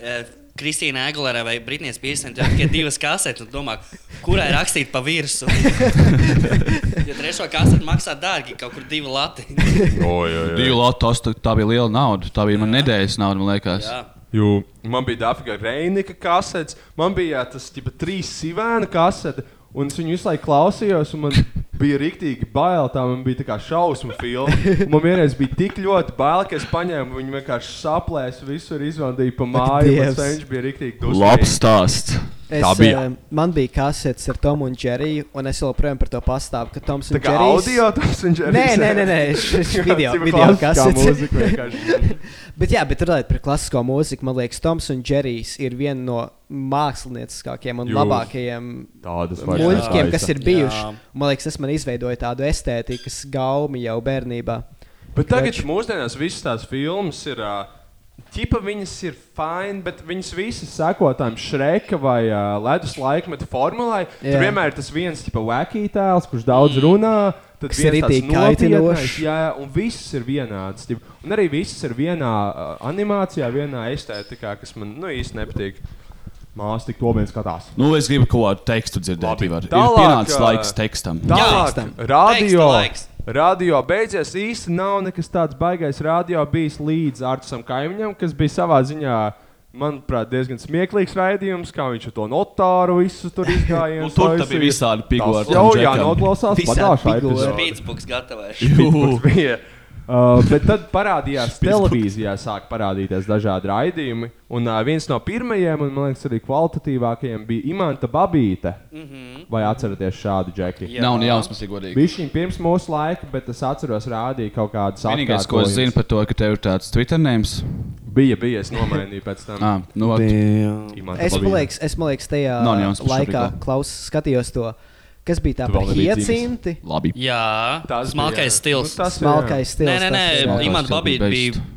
Speaker 5: eh, Kristīna Aguilera vai Britnijas Pīrsena, tad tikai divas kasetes, un domā, kurai rakstīt pa virsmu. jo trešo kaseti maksā dārgi, kaut kur divi lati.
Speaker 2: Divu latu, tas tā- tā bija liela nauda. Tā bija mana nedēļas nauda, man liekas.
Speaker 5: Jā.
Speaker 3: Jū. Man bija Dafriga Reinika kasete, man bija tas tipa, trīs sivēna kasete. Un es viņu visu laiku klausījos, un man bija rīktīgi bail. Tā man bija tā kā šausmu filma. Man vienreiz bija tik ļoti bail, ka es paņēmu viņu vienkārši saplēsu, visur izvandīju pa māju.
Speaker 4: Dievs.
Speaker 3: Tas viņš bija rīktīgi
Speaker 2: Labs stāsts.
Speaker 4: Es,
Speaker 2: Tā bija.
Speaker 4: eh, Man bija kasetes ar Tomu un Džeriju, un es joprojām par to pastāvu, ka Toms un
Speaker 3: Tā kā
Speaker 4: Džerijs-
Speaker 3: audio Toms un Džerijs?
Speaker 4: Nē, nē, nē, nē šis
Speaker 3: Jā,
Speaker 4: video,
Speaker 3: cipa
Speaker 4: video
Speaker 3: klasiskā
Speaker 4: kasetes.
Speaker 3: mūzika vienkārši.
Speaker 4: bet jā, bet runājot par klasisko mūziku, man liekas, Toms un Džerijs ir viena no mākslinieckākajiem un
Speaker 3: Jūs.
Speaker 4: labākajiem
Speaker 3: Tādas vairs
Speaker 4: mūziķiem,
Speaker 3: netaisa.
Speaker 4: kas ir
Speaker 3: Jā.
Speaker 4: bijuši. Man liekas, tas man izveidoja tādu estētikas gaumi jau bērnībā.
Speaker 3: Bet tagad mūsdienās visas tās filmas ir. ā, Ķipa viņas ir fine, bet viņas visas seko tam šreka vai uh, ledus laikmeta formulai. Yeah.
Speaker 4: Jā. Mm.
Speaker 3: Tur vienmēr ir tas viens, tipa, vekītēls, kurš daudz runā. Tad
Speaker 4: Kas ir
Speaker 3: viens tāds
Speaker 4: ritīgi kaitinošs.
Speaker 3: nopietnais, Jā, jā, un visas ir vienādas. Tipa. Un arī visas ir vienā uh, animācijā, vienā estētikā, kas man nu, īsti nepatīk. Mākslinieks tik to viens skatās.
Speaker 2: Nu, es gribu kaut kādu tekstu dzirdēt. Ivar. ir
Speaker 3: Tālāk,
Speaker 2: pienācis
Speaker 3: ā,
Speaker 2: laiks tekstam.
Speaker 3: Tālāk,
Speaker 2: Teksta
Speaker 3: radio,
Speaker 2: laiks.
Speaker 3: radio beidzies. Īsti nav nekas tāds baisais. Radio bijis līdz Artiņam Kaimiņam, kas bija savā ziņā. Manuprāt, diezgan smieklīgs raidījums, kā viņš ar to notāru visu tur izgāja.
Speaker 2: Nu, tur tā bija visādi pigori
Speaker 3: Tas Jau
Speaker 2: tam
Speaker 3: jā,
Speaker 2: džekam.
Speaker 3: noklausās
Speaker 2: Visādi
Speaker 3: pagājušā
Speaker 2: pigori.
Speaker 3: epizodē.
Speaker 5: Spīdzbuks gatavojuši.
Speaker 3: Spīdzbuks bija. Uh, bet tad parādījās televīzijā, sāk parādīties dažādi raidījumi. Un uh, viens no pirmajiem, un man liekas, arī kvalitatīvākajiem, bija Imants Babīte. Mm -hmm. Vai atceraties šādu džekli?
Speaker 2: Jā. Nav ne jausmas, ja godīgi.
Speaker 3: Viņš bija pirms mūsu laika, bet es atceros, rādīja kaut kādas
Speaker 2: Vienīgais, ko es zinu par to, ka tev ir tāds Twitter names.
Speaker 3: Bija, bija, es nomainīju pēc tam.
Speaker 2: Ah, nu, vat.
Speaker 3: Imants
Speaker 4: Es liekas, es man liekas, tajā
Speaker 2: Nav ne jauns par šo
Speaker 4: laikā
Speaker 2: tikko.
Speaker 4: klaus, skatījos to, kas bija tā
Speaker 2: Tu
Speaker 4: par
Speaker 2: vēl nebija dzīves.
Speaker 4: hiecinti.
Speaker 2: Labi.
Speaker 5: Jā,
Speaker 4: bija,
Speaker 5: tas ir smalkais
Speaker 4: jā.
Speaker 5: stils.
Speaker 4: Nu, tas ir, jā. Smalkais stils,
Speaker 5: Nē, nē,
Speaker 4: tas ir,
Speaker 5: nē
Speaker 4: jā.
Speaker 5: Imants
Speaker 4: Smalkais
Speaker 5: Babīts
Speaker 4: stils bija
Speaker 5: bija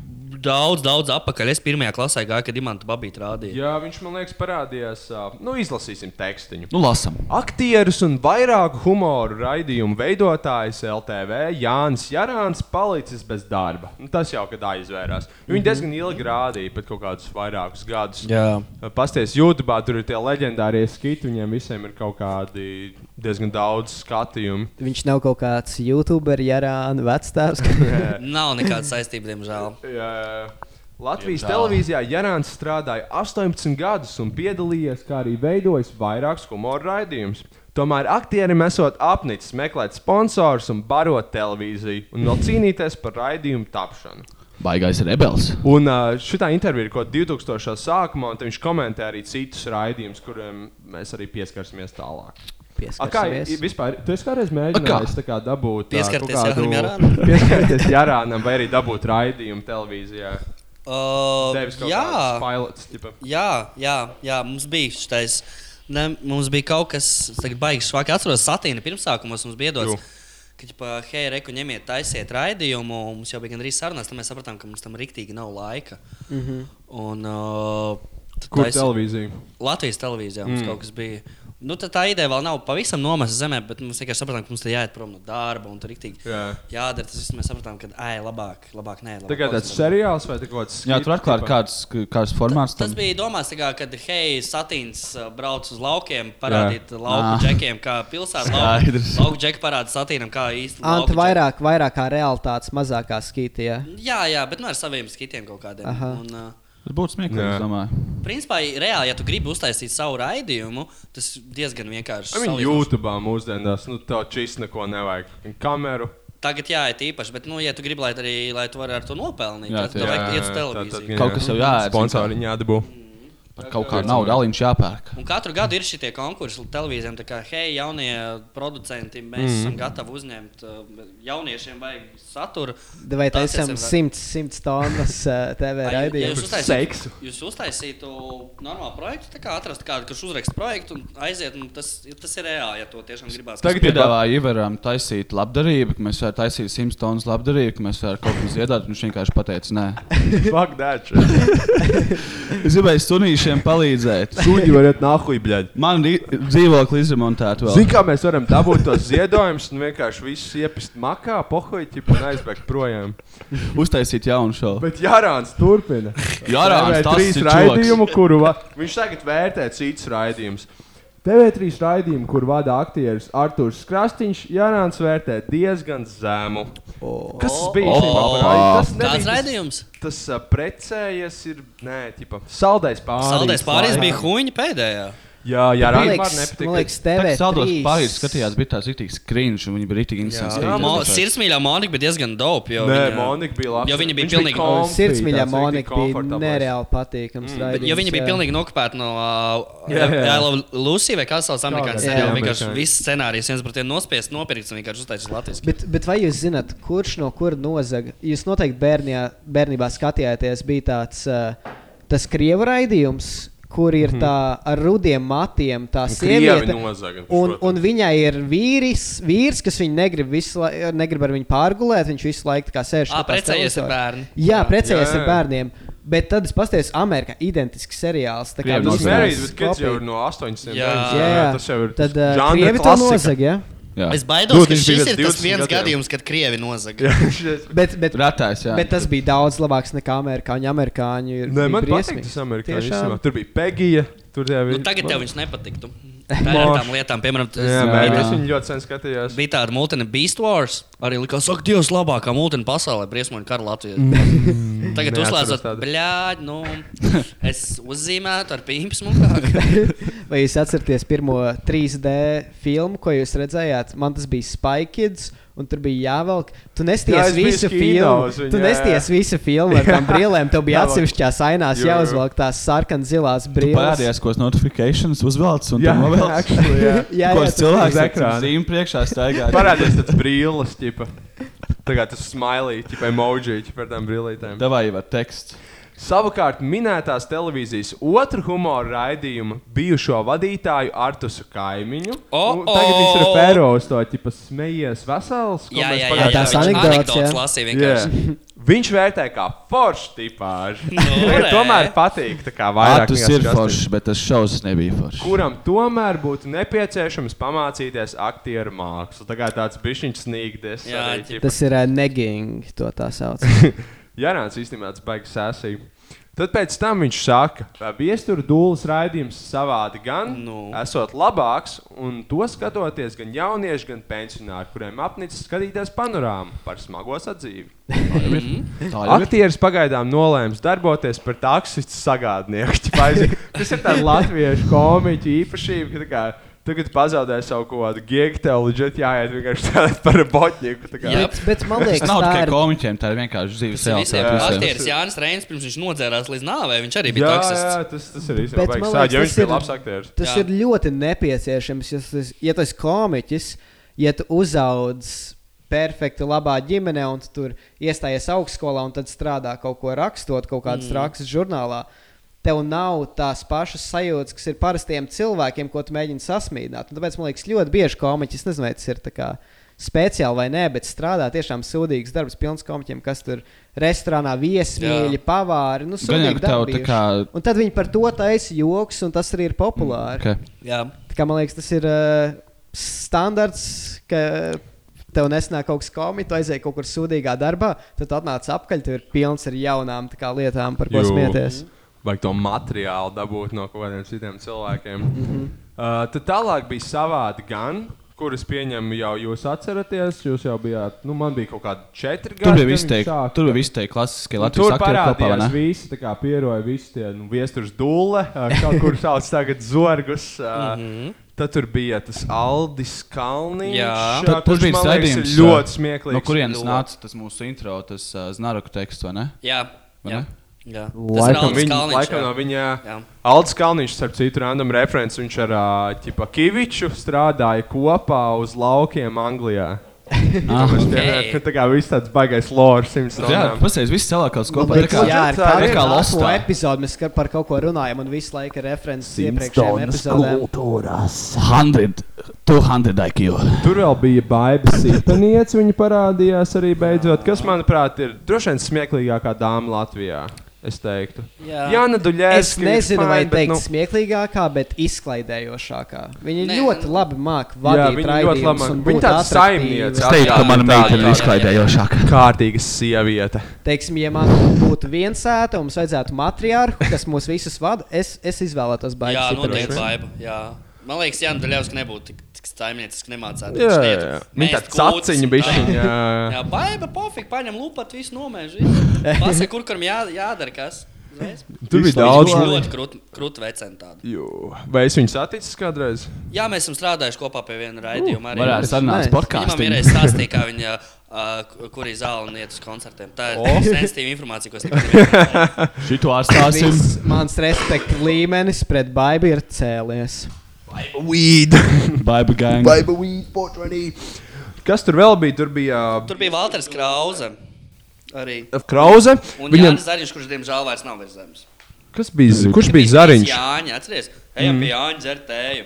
Speaker 5: daudz, daudz apakaļ. Es pirmajā klasē gāju, kad Imants Babīts rādīja.
Speaker 3: Jā, viņš man liekas parādījās. ā, Nu, izlasīsim tekstiņu.
Speaker 2: Nu, lasam.
Speaker 3: Aktieris un vairāku humoru raidījumu veidotājs LTV Jānis Jārāns palicis bez darba. Nu, tas jau kad aizvērās. Viņi
Speaker 13: Mhm.
Speaker 3: diezgan ilgi rādīja, pat kaut kādus vairākus gadus.
Speaker 13: Jā.
Speaker 3: Pasties YouTube, tur ir tie leģendārie skiti, viņiem visiem ir kaut kādi diezgan daudz skatījumu.
Speaker 4: Viņš nav kaut kāds youtuber, Jārāna vecstāvs.
Speaker 5: Nav nekāda saistība, diemžēl.
Speaker 3: Jā. Latvijas
Speaker 5: Diemžēl.
Speaker 3: televīzijā Jārāns strādāja 18 gadus un piedalījies, kā arī veidojis vairākus humora raidījumus. Tomēr aktierim esot apnicis meklēt sponsorus un barot televīziju, un vēl cīnīties par raidījumu tapšanu.
Speaker 2: Baigais rebels.
Speaker 3: Un uh, šitā intervija ir kaut kāda 2000. sākumā, un te viņš komentē arī citus raidījumus, kuriem mēs arī pieskarsimies tālāk. A, Kā,
Speaker 13: Pieskarsimies.
Speaker 3: i- vispār, tu esi kādreiz mēģinājis tā kā dabūt ā, kaut
Speaker 5: Pieskarties Jānim Jārānam?
Speaker 3: pieskarties Jārānam, vai arī dabūt raidījumu televīzijā?
Speaker 5: Uh,
Speaker 3: Tevis kaut
Speaker 5: jā.
Speaker 3: kāds pilots, tipa.
Speaker 5: jā, jā, jā, mums bija šis. Ne, mums bija kaut kas tāds, baigs švaki. Atceros, satīna pirmsākumos mums bija
Speaker 3: Jū.
Speaker 5: dots. Kad jau bija hei, reku ņemiet, taisiet raidījumu, un mums jau bija gandrīz sarunās, tad mēs sapratām, ka mums tam rīktīgi nav laika.
Speaker 3: Mhm.
Speaker 5: Un, uh, tad
Speaker 3: Kur
Speaker 5: taisi-
Speaker 3: televīzija?
Speaker 5: Latvijas televīzijā mums
Speaker 3: Mm.
Speaker 5: mm. kaut kas bija. Nu, tad tā ideja vēl nav pavisam nomesta zemē, bet mēs vienkārši sapratām, ka mums te jāiet prom no darba un tur rīktīgi
Speaker 3: Jā.
Speaker 5: jādara. Tas viss mēs sapratām, ka ai, labāk, labāk nē, labāk.
Speaker 3: Tagad tāds
Speaker 5: pauzē.
Speaker 3: seriāls vai tā kaut kāds.
Speaker 2: Jā, tur atklāja kāds, kāds formāts.
Speaker 5: Tas
Speaker 2: tam.
Speaker 5: bija domāts, tā kā, kad hei, Satīns uh, brauc uz laukiem, parādīt Jā. lauku
Speaker 2: Ā.
Speaker 5: džekiem, kā pilsētā.
Speaker 2: Skaidrs.
Speaker 5: Lauku, lauku džeki parāda Satīnam, kā īsti.
Speaker 4: Anta
Speaker 5: lauku
Speaker 4: vairāk, vairāk kā realitātes, mazākā skītijā.
Speaker 5: džeki- Jā, jā, bet nu ar saviem skitiem kaut kādiem.
Speaker 4: Aha.
Speaker 5: Un, uh,
Speaker 2: Tas būtu smieklīgi,
Speaker 3: Jā.
Speaker 2: es domāju.
Speaker 5: principā, reāli, ja tu gribi uztaisīt savu raidījumu, tas diezgan vienkārši.
Speaker 3: Viņa
Speaker 5: salīdzinoši.
Speaker 3: YouTube mūsdienās, nu tā čīs neko nevajag. Kameru.
Speaker 5: Tagad jā, ir īpaši, bet, nu, ja tu gribi, lai, arī, lai tu varētu ar to nopelnīt,
Speaker 2: Jā,
Speaker 5: tad tev vajag iet uz televīziju.
Speaker 2: Kaut kas jau jāēd.
Speaker 3: Sponsori jādabū.
Speaker 2: Par kaut kādu naudu aliņš jāpērk.
Speaker 5: Un katru gadu ir šie konkursi televīzijām, tā kā, hei, jaunie producenti, mēs
Speaker 2: Mhm.
Speaker 5: mm. esam gatavi uzņemt uh, jauniešiem vajag saturu.
Speaker 4: Vai tas
Speaker 5: Taisiet
Speaker 4: esam 100,
Speaker 5: sev-
Speaker 4: 100 tonnas eh, TV
Speaker 5: Vai ju- ja jūs
Speaker 4: raidījumu?
Speaker 5: uztaisītu- Jūs uztaisītu normālu projektu, tā kā atrast kādu, kurš uzraksta projektu un aiziet, un tas, tas ir reāli, ja to tiešām gribās.
Speaker 2: Tagad piedāvāja Ivaram taisīt labdarību, ka mēs varam taisīt simts tonnas labdarību, ka mēs varam kaut ko ziedāt. un Viņš vienkārši pateica, nē,
Speaker 3: Fuck that.
Speaker 2: es gribēju stunīšu vīriešiem palīdzēt.
Speaker 3: Suņi varat nākuj, bļaļ.
Speaker 2: Man ri- dzīvokli izremontēt vēl.
Speaker 3: Zini, kā mēs varam dabūt tos ziedojumus un vienkārši visus iepist makā, pohoiķi un aizbēgt projām.
Speaker 2: Uztaisīt jaunu šovu.
Speaker 3: Bet Jārāns turpina.
Speaker 2: Jārāns,
Speaker 3: TV3
Speaker 2: tas ir
Speaker 3: raidījumu,
Speaker 2: čoks.
Speaker 3: kuru va... viņš tagad vērtē citas raidījumus. TV3 raidījumu, kur vada aktieris Arthurs Krastīņš, Jārāns vērtē diezgan zemu. Oh. Kas tas bija?
Speaker 5: O.
Speaker 3: īstenībā par raidījumu? Tas nebija
Speaker 5: Kāds
Speaker 3: tas-
Speaker 5: raidījums?
Speaker 3: Tas uh, precējies ir, nē, tipa, saldais pāris.
Speaker 5: Saldais pāris bija huņa pēdējā.
Speaker 3: Jā, jā,
Speaker 5: Man
Speaker 3: Rāns
Speaker 5: liekas-
Speaker 3: man nepatīk.
Speaker 5: man liekas, TV3.
Speaker 2: Es saldos pāri, skatījās, bija tāds rītīgs cringe, un viņi bija rītīgi
Speaker 5: Jā,
Speaker 2: insensitīvi.
Speaker 5: Mo- Sirdsmīļā Monika bija diezgan dope. jo
Speaker 3: Nē,
Speaker 5: viņa-
Speaker 3: Monika bija laba.
Speaker 5: Jo viņa bija
Speaker 3: Viņš bija
Speaker 5: pilnīgi
Speaker 3: komfī,
Speaker 4: Sirdsmīļā
Speaker 3: tāds
Speaker 4: Monika
Speaker 3: rikti
Speaker 4: bija
Speaker 3: komfortablais.
Speaker 4: nereāli patīkams. Mm,
Speaker 5: Bet, jo viņa bija pilnīgi nokopēta no uh,
Speaker 4: Jā, jā.
Speaker 5: I Love Lucy vai kā sauc amerikāņu
Speaker 4: Jā,
Speaker 5: seriāla.
Speaker 4: jā.
Speaker 5: Vienkārši
Speaker 4: amerikāņu.
Speaker 5: viss scenārijs viens pret vienu nospiests, nopirkts un vienkārši uztaisīts Latvijas.
Speaker 4: Bet, bet vai jūs zināt, kurš no kura nozaga? Jūs noteikti bērnijā, bērnībā skatījāties, bija tāds uh, tas krievu raidījums, kur ir tā ar rudiem matiem, tā
Speaker 3: krievi
Speaker 4: sieviete.
Speaker 3: nozaga,
Speaker 4: Un,
Speaker 3: protams.
Speaker 4: un viņai ir vīris, vīrs, kas viņu negrib, visu, lai- negrib ar viņu pārgulēt. Viņš visu laiku tā kā sēž
Speaker 5: Ā,
Speaker 4: skatās
Speaker 5: precējies ar
Speaker 4: televizoru.
Speaker 5: bērnu.
Speaker 4: Jā,
Speaker 5: Jā.
Speaker 4: precējies
Speaker 5: Jā,
Speaker 4: ar
Speaker 5: jā.
Speaker 4: bērniem. Bet tad es paskatījos, Amerikā ir identisks seriāls. Tā kā
Speaker 3: Jā, tas
Speaker 4: viss
Speaker 3: Married
Speaker 4: tās
Speaker 3: with Kids jau
Speaker 4: kopija.
Speaker 3: ir no 800.
Speaker 4: Jā.
Speaker 3: gadiem.
Speaker 4: Jā, jā.
Speaker 3: tas jau ir.
Speaker 4: Tad,
Speaker 5: uh,
Speaker 3: tas
Speaker 4: ā,
Speaker 3: žanra
Speaker 4: krievi to
Speaker 3: klasika.
Speaker 4: nozaga, jā?
Speaker 2: Jā.
Speaker 5: Es baidos, ka šis ir tas viens gadījums, kad krievi nozaga.
Speaker 4: Bet, bet,
Speaker 2: Ratais, jā.
Speaker 4: bet tas bija daudz labāks nekā amerikāņu. Amerikāņu ir
Speaker 3: Nē,
Speaker 4: bija
Speaker 3: man patīk
Speaker 4: briesmīgi.
Speaker 3: tas amerikāņu.
Speaker 4: Tiešām.
Speaker 3: īstenībā. Tur bija Pegija. Tur jau bija.
Speaker 5: Nu, tagad tev viņš nepatiktu. Tā ir ar tām lietām, piemēram, tas-
Speaker 3: Jā,
Speaker 5: bija
Speaker 3: mēs
Speaker 5: tā-
Speaker 3: viņu ļoti sen skatījāmies.
Speaker 5: Bija tāda mūtene Beast Wars, arī likās, ka Dievs labākā mūtene pasaulē, briesmoņa kara Latvijā. Tagad
Speaker 4: Neatceros
Speaker 5: uzlāzot,
Speaker 4: tādu.
Speaker 5: bļāģ, nu, es uzzīmētu ar pīņu smukāk.
Speaker 4: Vai jūs atceraties pirmo 3D filmu, ko jūs redzējāt? Man tas bija Spike's, un tur bija jāvelk. Tu
Speaker 3: Jā,
Speaker 4: nesties
Speaker 3: es biju
Speaker 4: visu filmu.
Speaker 3: skinos viņu,
Speaker 4: Tu
Speaker 3: jā,
Speaker 4: nesties
Speaker 3: jā.
Speaker 4: visu filmu ar tām
Speaker 3: Jā.
Speaker 4: brīlēm. Tev bija
Speaker 3: Jāvelk.
Speaker 4: atsevišķās ainās
Speaker 3: Jo, jo.
Speaker 4: jāuzvelk tās sarkanzilās brīlēs.
Speaker 2: Parādījās, ko tas notifikācijas uzvelc, un
Speaker 3: Jā,
Speaker 2: tam vēl
Speaker 3: actually, jā. Jā, jā,
Speaker 2: Ko tas
Speaker 3: tas uz
Speaker 2: cilvēks
Speaker 3: ekrāna.
Speaker 2: zīmē priekšā staigā.
Speaker 3: Parādījās tāds brīlis, tipa. Tagad tas smiley, tipa emoji, tipa ar tām brīlītēm.
Speaker 2: Davai jau ar tekstu.
Speaker 3: Savukārt minētās televīzijas otru humora raidījumu bijušo vadītāju Artusu Kaimiņu.
Speaker 5: O,
Speaker 3: Un Tagad viņš
Speaker 5: o.
Speaker 3: ir Fēros, to tipa smejies vesels. ko
Speaker 5: Jā,
Speaker 3: mēs
Speaker 5: jā, jā,
Speaker 3: pagājušajā
Speaker 5: jā,
Speaker 3: gadā-
Speaker 5: viņš anekdotes, anekdotes jā. lasīja vienkārši. Nu,
Speaker 3: Jā. Viņš vērtē kā foršs tipāžs.
Speaker 5: Nē.
Speaker 3: tomēr patīk, tā kā vairāk.
Speaker 2: Vārtus
Speaker 3: nekā
Speaker 2: ir
Speaker 3: Justin.
Speaker 2: foršs, bet tas šausmas nebija foršs.
Speaker 3: kuram tomēr būtu nepieciešams pamācīties aktieru mākslu. Tā kā tāds bišķiņš snīgdes.
Speaker 5: Jā,
Speaker 4: Tas ir uh, neging, to tā sauc.
Speaker 3: Jārāns īstenībā tas baigs sasīt. Tad pēc tam viņš saka, ka viestura dūles raidījums savādi gan nu. esot labāks, un to skatoties gan jaunieši, gan pensionāri, kuriem apnicis skatīties panorāmu par smago sadzīvi. Aktieris pagaidām nolēma darboties par taksistu sagādnieku. Ķipa, aiziet- Tas ir tāds latviešu komiķu īpašība. ka tā kā Tu, kad pazaudēji savu kaut kādu gigu, tev leģitāri jāiet vienkārši strādāt par botņiku. tā kā.
Speaker 2: tas nav tikai komiķiem, tā ir vienkārši dzīves
Speaker 5: Tas ir
Speaker 2: realitāte visiem.
Speaker 5: aktieris Jānis Reins, pirms viņš nodzērās līdz nāvei, viņš arī bija
Speaker 3: Jā,
Speaker 5: taksists.
Speaker 3: jā, tas- tas ir īstenībā
Speaker 4: Bet,
Speaker 3: baigs
Speaker 4: man
Speaker 3: sāģi, jo
Speaker 4: liekas,
Speaker 3: viņš bija labs aktieris.
Speaker 4: Tas
Speaker 3: Jā.
Speaker 4: ir ļoti nepieciešams. Ja tas, ja tas komiķis, ja tu uzaudz perfekti labā ģimenē, un tu tur iestājies augstskolā, un tad strādā kaut ko rakstot, kaut kādas
Speaker 5: Mm.
Speaker 4: mm. rakstus žurnālā, tev nav tās pašas sajūtas, kas ir parastiem cilvēkiem, ko tu mēģini sasmīdināt. Un tāpēc man liekas, ļoti bieži komiķis, nezinu, vai tas ir tā kā speciāli vai nē, bet strādā tiešām sūdīgs darbs, pilns komiķiem, kas tur restorānā viesmīļi, pavāri. Nu,
Speaker 2: Gan jau
Speaker 4: sūdīgi
Speaker 2: tev
Speaker 4: darbi
Speaker 2: tā
Speaker 4: bijuši.
Speaker 2: kā-
Speaker 4: Un tad viņi par to taisa joks, un tas arī ir populāri.
Speaker 2: Mm, Ok.
Speaker 5: Jā.
Speaker 4: Tā kā man liekas, tas ir uh, standarts, ka tev nesanāk kaut kas komiķis, tu aizēji kaut kur sūdīgā darbā, tad tu atnāc apkaļ, tev ir pilns ar jaunām tā kā, lietām, par ko
Speaker 3: Jū.
Speaker 4: smieties.
Speaker 3: Vajag to materiālu dabūt no kaut kādiem citiem cilvēkiem. Mm
Speaker 4: Mhm.
Speaker 3: -hmm. uh, tad tālāk bija savādi gan. Kurus pieņemu jau jūs atceraties? Jūs jau bijāt, nu, man bija kaut kāda četri gadi.
Speaker 2: Tur bija
Speaker 3: kad viņš
Speaker 2: visteikti,
Speaker 3: sāka.
Speaker 2: tur bija visteikti klasiskie
Speaker 3: Un Nu,
Speaker 2: Latvijas
Speaker 3: tur
Speaker 2: aktieri kopā, vai
Speaker 3: parādījās
Speaker 2: ne?
Speaker 3: visi, tā kā pieroja visi tie nu, viestures dūle, ā, kaut kur sauc tagad zorgus. ā,
Speaker 5: Mhm.
Speaker 3: Tad tur bija tas Aldis Kalniņš. ā,
Speaker 2: Tad
Speaker 3: kurš,
Speaker 2: kurš bija
Speaker 3: man liekas, ir
Speaker 2: raidījums?
Speaker 3: ļoti smieklīgs.
Speaker 2: No kurienes
Speaker 3: Ļoti.
Speaker 2: nāca tas mūsu intro, tas uh, Znaroku teksts, vai ne?
Speaker 5: Jā,
Speaker 2: Vai
Speaker 5: jā,
Speaker 2: ne?
Speaker 5: jā. Tas ir
Speaker 3: Laikam,
Speaker 5: Aldis
Speaker 3: viņa,
Speaker 5: Kalniņš,
Speaker 3: laikam
Speaker 5: jā.
Speaker 3: no viņa
Speaker 5: Jā.
Speaker 3: Aldis Kalniņš, starp citu, random referents, viņš ar uh, Kaviču strādāja kopā uz laukiem Anglijā.
Speaker 2: Ah,
Speaker 3: Tāpēc
Speaker 2: ok.
Speaker 3: pieminēt, ka tā kā viss tāds baigais lors, simts
Speaker 2: Jā, pasēdz, viss
Speaker 4: Man
Speaker 2: celākās kopā. tā
Speaker 4: liekas,
Speaker 2: Nu, kā-
Speaker 4: Nu, Jā, ar
Speaker 2: tā kā
Speaker 4: katru
Speaker 2: Lostā.
Speaker 4: nākamo epizodu mēs ka- par kaut ko runājam, un visu laiku ir references iepriekšējām
Speaker 2: Simpsons
Speaker 4: epizodēm.
Speaker 2: kultūras. 100, 200 IQ.
Speaker 3: Tur vēl bija baila sīkaniece, viņa parādījās arī beidzot, kas, manuprāt, ir droši vien smieklīgākā dāma Latvijā. es teiktu.
Speaker 5: Jā.
Speaker 3: Jāna Duļevska
Speaker 4: Es nezinu,
Speaker 3: ir
Speaker 4: vai
Speaker 3: fine, bet,
Speaker 4: teikt
Speaker 3: nu,
Speaker 4: nu... smieklīgākā, bet izklaidējošākā. Viņa
Speaker 5: Nē,
Speaker 4: Nē, ļoti labi māca
Speaker 3: viņa ļoti
Speaker 4: vadīt
Speaker 3: labi
Speaker 4: raidījumus.
Speaker 3: māca.
Speaker 4: un
Speaker 3: Viņa
Speaker 4: būt
Speaker 3: tāda
Speaker 4: atraktīva.
Speaker 3: saimniece.
Speaker 2: Es teiktu, ka mana meitene ir izklaidējošāka.
Speaker 3: Kārtīga sieviete.
Speaker 4: Teiksim, ja man būtu viens sēta un mums vajadzētu matriārhu, kas mūs visus vada, es, es izvēlētos baigti.
Speaker 5: Jā, nu, noteikti baiba. Jā. Man liekas, Jānis Daļevs nebūtu tik, tik staimnieks, ka nemācās
Speaker 3: Jā, jā, jā. Viņa tāda caciņa bišķiņa, jā, jā.
Speaker 5: jā, baiba, pofik, paņem lupat, visu nomēž. visu. Pasaka, kur kam jā, jādara kas. Uzreiz.
Speaker 3: Tur bija daudz
Speaker 5: Viņš
Speaker 3: labi.
Speaker 5: ļoti krūti krūt veceni tādu.
Speaker 3: Jū. Vai es viņu saticis kādreiz?
Speaker 5: Jā, mēs esam strādājuši kopā pie viena raidījuma. arī.
Speaker 2: varētu sarunāt Nē.
Speaker 5: Viņa
Speaker 2: podcastu.
Speaker 5: man vienreiz stāstīja, kā viņa, uh, kur ir zāle un iet uz koncertiem. Tā ir oh. sensitīva informācija, ko es tev
Speaker 2: Šito
Speaker 4: Viss Mans respekta līmenis pret baibi ir cēlies.
Speaker 3: Baiba weed.
Speaker 2: Baiba gang.
Speaker 3: Baiba weed, potranī. Kas tur vēl bija? Tur bija ā,
Speaker 5: Tur bija Walters Krause. Arī.
Speaker 3: Krause.
Speaker 5: Un
Speaker 3: Viņam-
Speaker 5: Viņam... Jānis Zariņš, kurš diemžēl vairs nav virs zemes.
Speaker 3: Kas bija? Z- Kurš bija Zariņš?
Speaker 5: Jāņa, atceries,
Speaker 3: Mm.
Speaker 5: ejam mm. pie Jāņa dzertēju.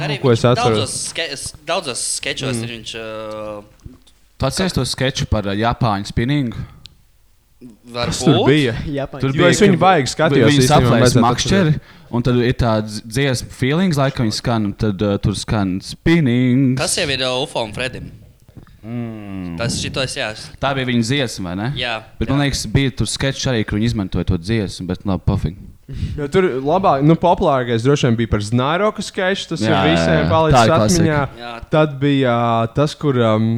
Speaker 5: Un
Speaker 3: ko
Speaker 5: viņš
Speaker 3: es atceros.
Speaker 5: Daudzos, ske s- daudzos skečos mm. ir viņš. Uh,
Speaker 2: Tu atceries to sketču par ā, Japāņu spinningu?
Speaker 5: Varbūt.
Speaker 2: Kas tur bija?
Speaker 5: Japāņu.
Speaker 2: Tur
Speaker 3: Jo es viņu
Speaker 2: ka
Speaker 3: baigi skatījos,
Speaker 2: Viņi
Speaker 3: īstenībā,
Speaker 2: saplēs
Speaker 3: vajadzētu
Speaker 2: makšķeri, un tad ir tāds dziesmu feelings, laikam viņi skan, un tad uh, tur skan spinning.
Speaker 5: tas jau ir uh, UFO un Fredim. Mm. Tas šitos jās.
Speaker 2: Tā bija viņa dziesma, vai ne?
Speaker 5: Jā,
Speaker 2: Bet man liekas, bija tur sketčs arī, kur viņi izmantoja to dziesmu, bet labi, pofīgi.
Speaker 3: Jo tur labāk, nu, populārākais droši vien bija par Znairāku sketču. Tas
Speaker 2: Jā,
Speaker 3: jā,
Speaker 2: jā,
Speaker 3: ir visiem
Speaker 2: jā. Tā ir
Speaker 3: palicis
Speaker 2: klasika.
Speaker 3: atmiņā.
Speaker 5: Jā.
Speaker 3: Tad bija ā, tas, kur um,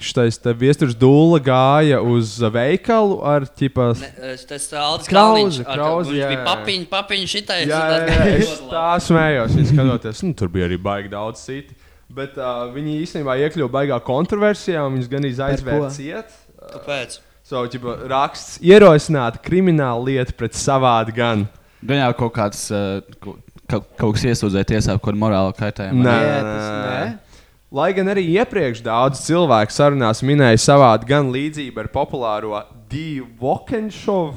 Speaker 3: šis viesturs dūla gāja uz ā, veikalu ar ķipā.
Speaker 5: Es- uh, Tas ir Aldis Kalniņš.
Speaker 3: Krauze,
Speaker 5: ar-
Speaker 3: krauze,
Speaker 5: kurš
Speaker 3: jā,
Speaker 5: bija
Speaker 3: jā.
Speaker 5: papiņš, papiņš šitai.
Speaker 3: Jā, jā, jā, es tā smējos, viņa skatoties. Nu, tur bija arī baigi daudz citu. Bet uh, viņi īstenībā iekļuva baigā kontroversijā, un viņas gan
Speaker 5: ko?
Speaker 3: aizvērts ciet.
Speaker 5: Kāpēc?
Speaker 3: Savu ģipa raksts ierosināt kriminālu lietu pret savādu gan.
Speaker 2: Gan jau kaut kāds, uh, ko- kaut, kaut kas iesūdzēja tiesā, kur morāli kaitējumi.
Speaker 3: Nē, nē. Lai gan arī iepriekš daudz cilvēku sarunās minēja savādu gan līdzību ar populāro Dievu Vokenšovu,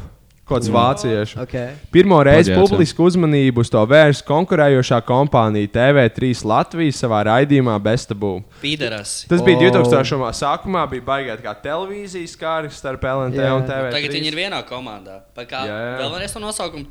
Speaker 3: kāds vāciešu.
Speaker 4: Okay.
Speaker 3: Pirmo reizi
Speaker 2: Plaģiāts, jā.
Speaker 3: publisku uzmanību uz to vērsa konkurējošā kompānija TV3 Latvijas savā raidījumā Bestabū.
Speaker 5: Pīderas.
Speaker 3: Tas bija
Speaker 5: O.
Speaker 3: 2000. gada sākumā, bija baigta kā televīzijas kārtas starp LNT
Speaker 5: Jā.
Speaker 3: un TV.
Speaker 5: Tagad viņi ir vienā komandā. Pa Kā,
Speaker 3: Jā.
Speaker 5: vēl vienreiz to nosaukumu.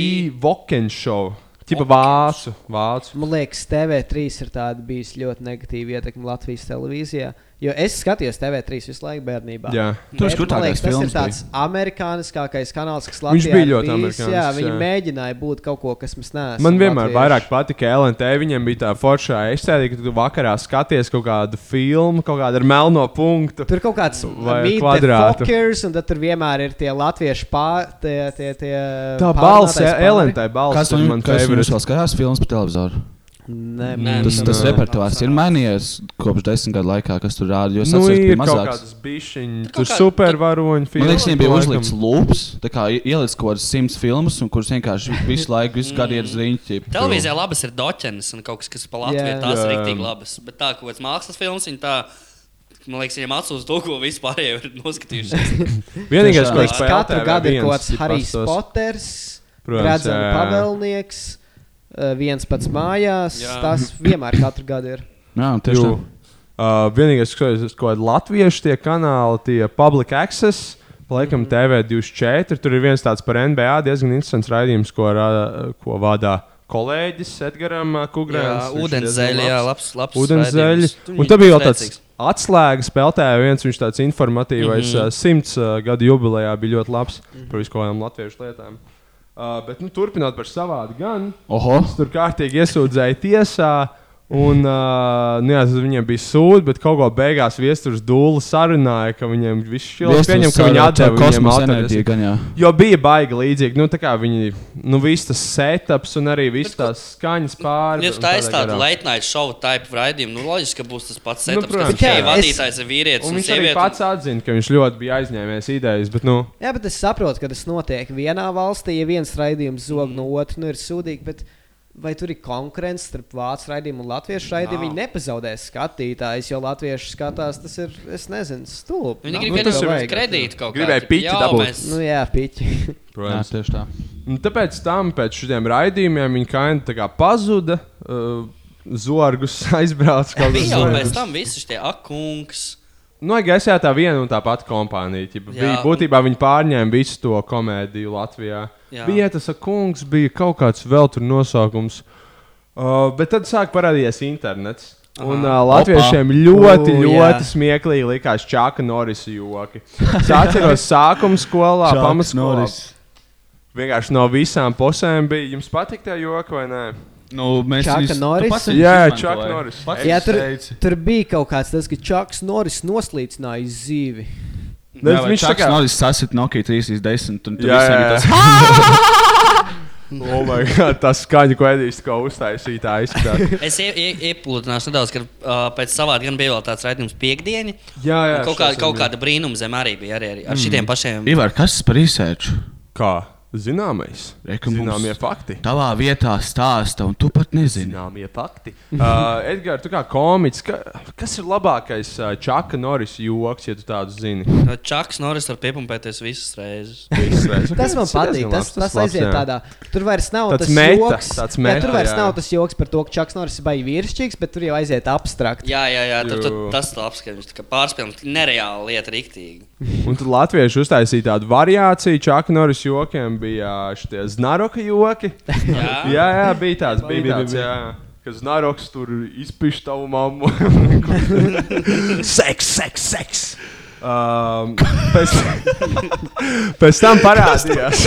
Speaker 3: Dīvokenšovs, Uh, tipa vācu. vācu.
Speaker 4: Man liekas, TV3 ir tāda bijusi ļoti negatīva ietekme Latvijas televīzijā. Jo es skatījos TV3 visu laiku bērnībā.
Speaker 3: Jā.
Speaker 4: Bet,
Speaker 2: Tur
Speaker 4: man
Speaker 2: skatāmies
Speaker 4: liekas, tas ir
Speaker 2: filmas
Speaker 4: tāds amerikāniskākais kanāls, kas
Speaker 3: Viņš
Speaker 4: Latvijā
Speaker 3: bija
Speaker 4: ir
Speaker 3: ļoti
Speaker 4: bijis. Jā,
Speaker 3: amerikānisks,
Speaker 4: viņi
Speaker 3: jā.
Speaker 4: mēģināja būt kaut ko, kas mums nē.
Speaker 3: Man vienmēr vairāk patika LNT. Viņam bija tā forša aizsēde, ka tu vakarā skaties kaut kādu filmu, kaut kādu ar melno punktu.
Speaker 4: Tur kaut kāds Fokers, un tad tur vienmēr ir tie latviešu pārstāvji.
Speaker 3: Tā balss, LNT balss.
Speaker 2: Kas
Speaker 3: ir
Speaker 2: man
Speaker 3: man
Speaker 2: kas jums
Speaker 3: favorite.
Speaker 2: vēl skatās filmas pa televizoru?
Speaker 4: Nē,
Speaker 2: Nē, tas, tas repertuārs ir mainījies kopš desmit gadu laikā, kas tur rāda. Jo es
Speaker 3: Nu,
Speaker 2: atceros, ka
Speaker 3: ir
Speaker 2: bija
Speaker 3: kaut
Speaker 2: mazāks.
Speaker 3: kādas bišķiņas, tur
Speaker 5: kā-
Speaker 3: supervaroņu
Speaker 2: Man liekas,
Speaker 3: filmas.
Speaker 2: viņiem bija uzlikts lūps, tā kā i- ielicis kaut kādas simts filmas, un kuras vienkārši visu laiku, visu gadu ir zriņķi.
Speaker 5: Televīzijā labas ir doķenes un kaut kas, kas pa Latviju
Speaker 2: Jā.
Speaker 5: yeah. tās ir
Speaker 2: Jā.
Speaker 5: rīktīgi labas. Bet tā, ko pēc mākslas filmas viņi tā, man liekas, viņiem atsūs to, ko vispār jau ir noskatījušies.
Speaker 3: Vienīgais, ko es
Speaker 4: Liekas, katru gadu ir kaut kāds Harijs Poters,
Speaker 3: Protams,
Speaker 4: redzams,
Speaker 3: jā.
Speaker 4: pavēlnieks, eh, viens pats mājās.
Speaker 5: Jā.
Speaker 4: Tas vienmēr katru gadu ir.
Speaker 2: Jā,
Speaker 4: tieši
Speaker 3: Jū. Uh, vienīgais, ko es ko latviešu tie kanāli, tie public access. Laikam
Speaker 5: Mhm.
Speaker 3: TV24. Tur ir viens tāds par NBA diezgan interesants raidījums, ko, rā- ko vada kolēģis Edgars Kungrēns.
Speaker 5: Jā, ūdenszeļi, jā, labs- labs
Speaker 3: Ūdenszeļi.
Speaker 5: raidījums.
Speaker 3: Un tad bija vēl
Speaker 5: Priecīgs.
Speaker 3: tāds atslēgas spēlētāja, viens viņš tāds informatīvais,
Speaker 5: Mhm.
Speaker 3: mm -hmm. simts uh, gadu jubilejā bija ļoti labs mm -hmm. par visu kaut kādām latviešu lietām. Uh, bet, nu, turpinot par savādu gan.
Speaker 2: Oho.
Speaker 3: Viņus Tur kārtīgi iesūdzēja tiesā. Un, uh, nu, jā, tad viņiem bija sūdi, bet kaut kā beigās viesturs dūle sarunāja, ka viņiem viss šis
Speaker 2: Viesturs
Speaker 3: pieņem, ka viņi
Speaker 2: sarunāja, tā
Speaker 3: atdeva viņiem
Speaker 2: kosmosa
Speaker 3: autoriesību.
Speaker 2: enerģija gan, jā.
Speaker 3: Jo bija baigi līdzīgi, nu, tā kā viņi, nu, viss tas setups un arī viss tās skaņas pāri.
Speaker 5: Ja tu taisīsi tādu late night show type raidījumu, nu, loģiski, ka būs tas pats setups, nu,
Speaker 3: protams.
Speaker 5: kas tikai
Speaker 3: Jā,
Speaker 5: vadītājs ir vīrietis
Speaker 3: Un
Speaker 5: un, un
Speaker 3: viņš arī
Speaker 5: sieviete.
Speaker 3: pats atzina, ka viņš ļoti bija aizņēmies idejas, bet, nu,
Speaker 4: Jā, bet es saprotu, ka tas notiek vienā valstī, ja viens raidījums
Speaker 5: Mm.
Speaker 4: zog no otras, nu ir sūdīgi. Bet... Vai tur ir konkurence starp vācu raidījumu un latviešu raidījumu? Viņi nepazaudēs skatītājus, jo latvieši skatās, tas ir, es nezinu, stulbi.
Speaker 5: Viņi
Speaker 4: Nav
Speaker 5: grib
Speaker 4: tā
Speaker 5: iedot
Speaker 4: vajag.
Speaker 5: kredītu kaut kā.
Speaker 3: Gribēja
Speaker 5: tipa,
Speaker 3: piķi
Speaker 5: jā,
Speaker 3: dabūt.
Speaker 5: mēs-
Speaker 4: Nu, jā, piķi.
Speaker 3: Protams.
Speaker 2: Jā, tieši tā.
Speaker 3: Un tāpēc tam pēc šiem raidījumiem viņa kaina tā kā pazuda. Uh, Zorgus aizbraucis kaut
Speaker 5: Bija Nu, jau
Speaker 3: kur.
Speaker 5: pēc tam visi šie akungs.
Speaker 3: Nu, gaisā tā viena un tā pati kompānija. Ķipa,
Speaker 5: Jā,
Speaker 3: bija,
Speaker 5: un-
Speaker 3: būtībā viņi pārņēma visu to komēdiju Latvijā.
Speaker 5: Jā.
Speaker 3: Bija tas kungs, bija kaut kāds vēl tur nosaukums. Uh, bet tad sāk parādīties internets. Un uh,
Speaker 5: Aha.
Speaker 3: latviešiem
Speaker 5: Opa.
Speaker 3: ļoti, ļoti,
Speaker 5: Ū, jā.
Speaker 3: ļoti smieklīgi likās Čaka Norisa joki. Es atceros, sākuma skolā,
Speaker 13: Čaks
Speaker 3: pamatskolā.
Speaker 13: Norris.
Speaker 3: Vienkārši no visām pusēm bija. Jums patīk tie joki vai nē?
Speaker 2: Nu, mēs
Speaker 4: Čaka Norris.
Speaker 3: Jā, Čaka Norris.
Speaker 4: Jā, tur, tur bija kaut kāds tas, ka Čaks Norris noslīcināja zīvi.
Speaker 2: Nē, viņš tā kā Norris sasit Nokia 310 un tur
Speaker 3: Jā,
Speaker 2: visiem
Speaker 3: jā,
Speaker 2: ir "Ah!"
Speaker 3: jā.
Speaker 2: tas.
Speaker 3: Oh my God, tā skaņa, ko Edijs kaut kā uztaisīja, tā izskatās.
Speaker 5: Es ie- ie- ieplūdināšu nedaudz, ka uh, pēc savām dienām bija vēl tāds raidījums piekdiena.
Speaker 3: Jā, jā,
Speaker 5: Kaut, kā,
Speaker 3: šodien
Speaker 5: kaut
Speaker 3: bija.
Speaker 5: kāda brīnuma zem arī bija arī, arī ar mm. šitiem pašiem.
Speaker 2: Ivar, kas tas par izsēču?
Speaker 3: Kā? Zināmais. Zināmie fakti.
Speaker 2: Tavā vietā stāsta, un tu pat nezini.
Speaker 3: Zināmie fakti. Uh, Edgars, tu kā komiķis, ka, kas ir labākais uh, Čaka Norris joks, ja tu tādu zini?
Speaker 5: No Čaks Norris var piepumpēties visas reizes.
Speaker 3: Visas reizes.
Speaker 4: Tas man patīk.
Speaker 3: diezgan Nu,
Speaker 4: Tas,
Speaker 3: labs,
Speaker 4: tas, tas
Speaker 3: labs,
Speaker 4: aiziet
Speaker 3: jā.
Speaker 4: tādā. Tur vairs nav
Speaker 3: Tāds
Speaker 4: tas
Speaker 3: meta,
Speaker 4: joks.
Speaker 3: tāds
Speaker 4: jā,
Speaker 3: meta,
Speaker 4: tur vairs
Speaker 3: jā.
Speaker 4: nav tas joks par to, ka Čaks Norris ir baigi vīrišķīgs, bet tur jau aiziet abstrakt.
Speaker 5: Jā, jā, jā tur, tur,
Speaker 3: Jū.
Speaker 5: tas ir labs, ka viņš pārspēlēja nereāli lietu, rīktīgi.
Speaker 3: Un tad latvieši uztaisīja tādu variāciju. Čaka Norris jokiem bija šie znaroka joki.
Speaker 5: Jā.
Speaker 3: jā, jā, bija tāds. Bija, bija,
Speaker 13: Bija, bija,
Speaker 3: tāds
Speaker 13: bija.
Speaker 3: jā. Kas naroks tur izpēš tavu mammu? seks, seks, seks! Um, pēc, pēc tam parādījās.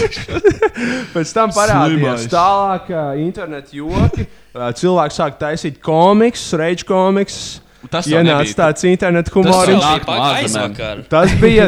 Speaker 3: pēc tam parādījās
Speaker 13: Slimais.
Speaker 3: tālāk, kā interneta joki. Ā, Cilvēki sāk taisīt komiksus, reģis komiksus.
Speaker 2: Tas vēl
Speaker 3: ienāca
Speaker 2: nebija.
Speaker 3: tāds interneta humors.
Speaker 2: Tas vēl bija pa- aizvakar.
Speaker 3: Tas bija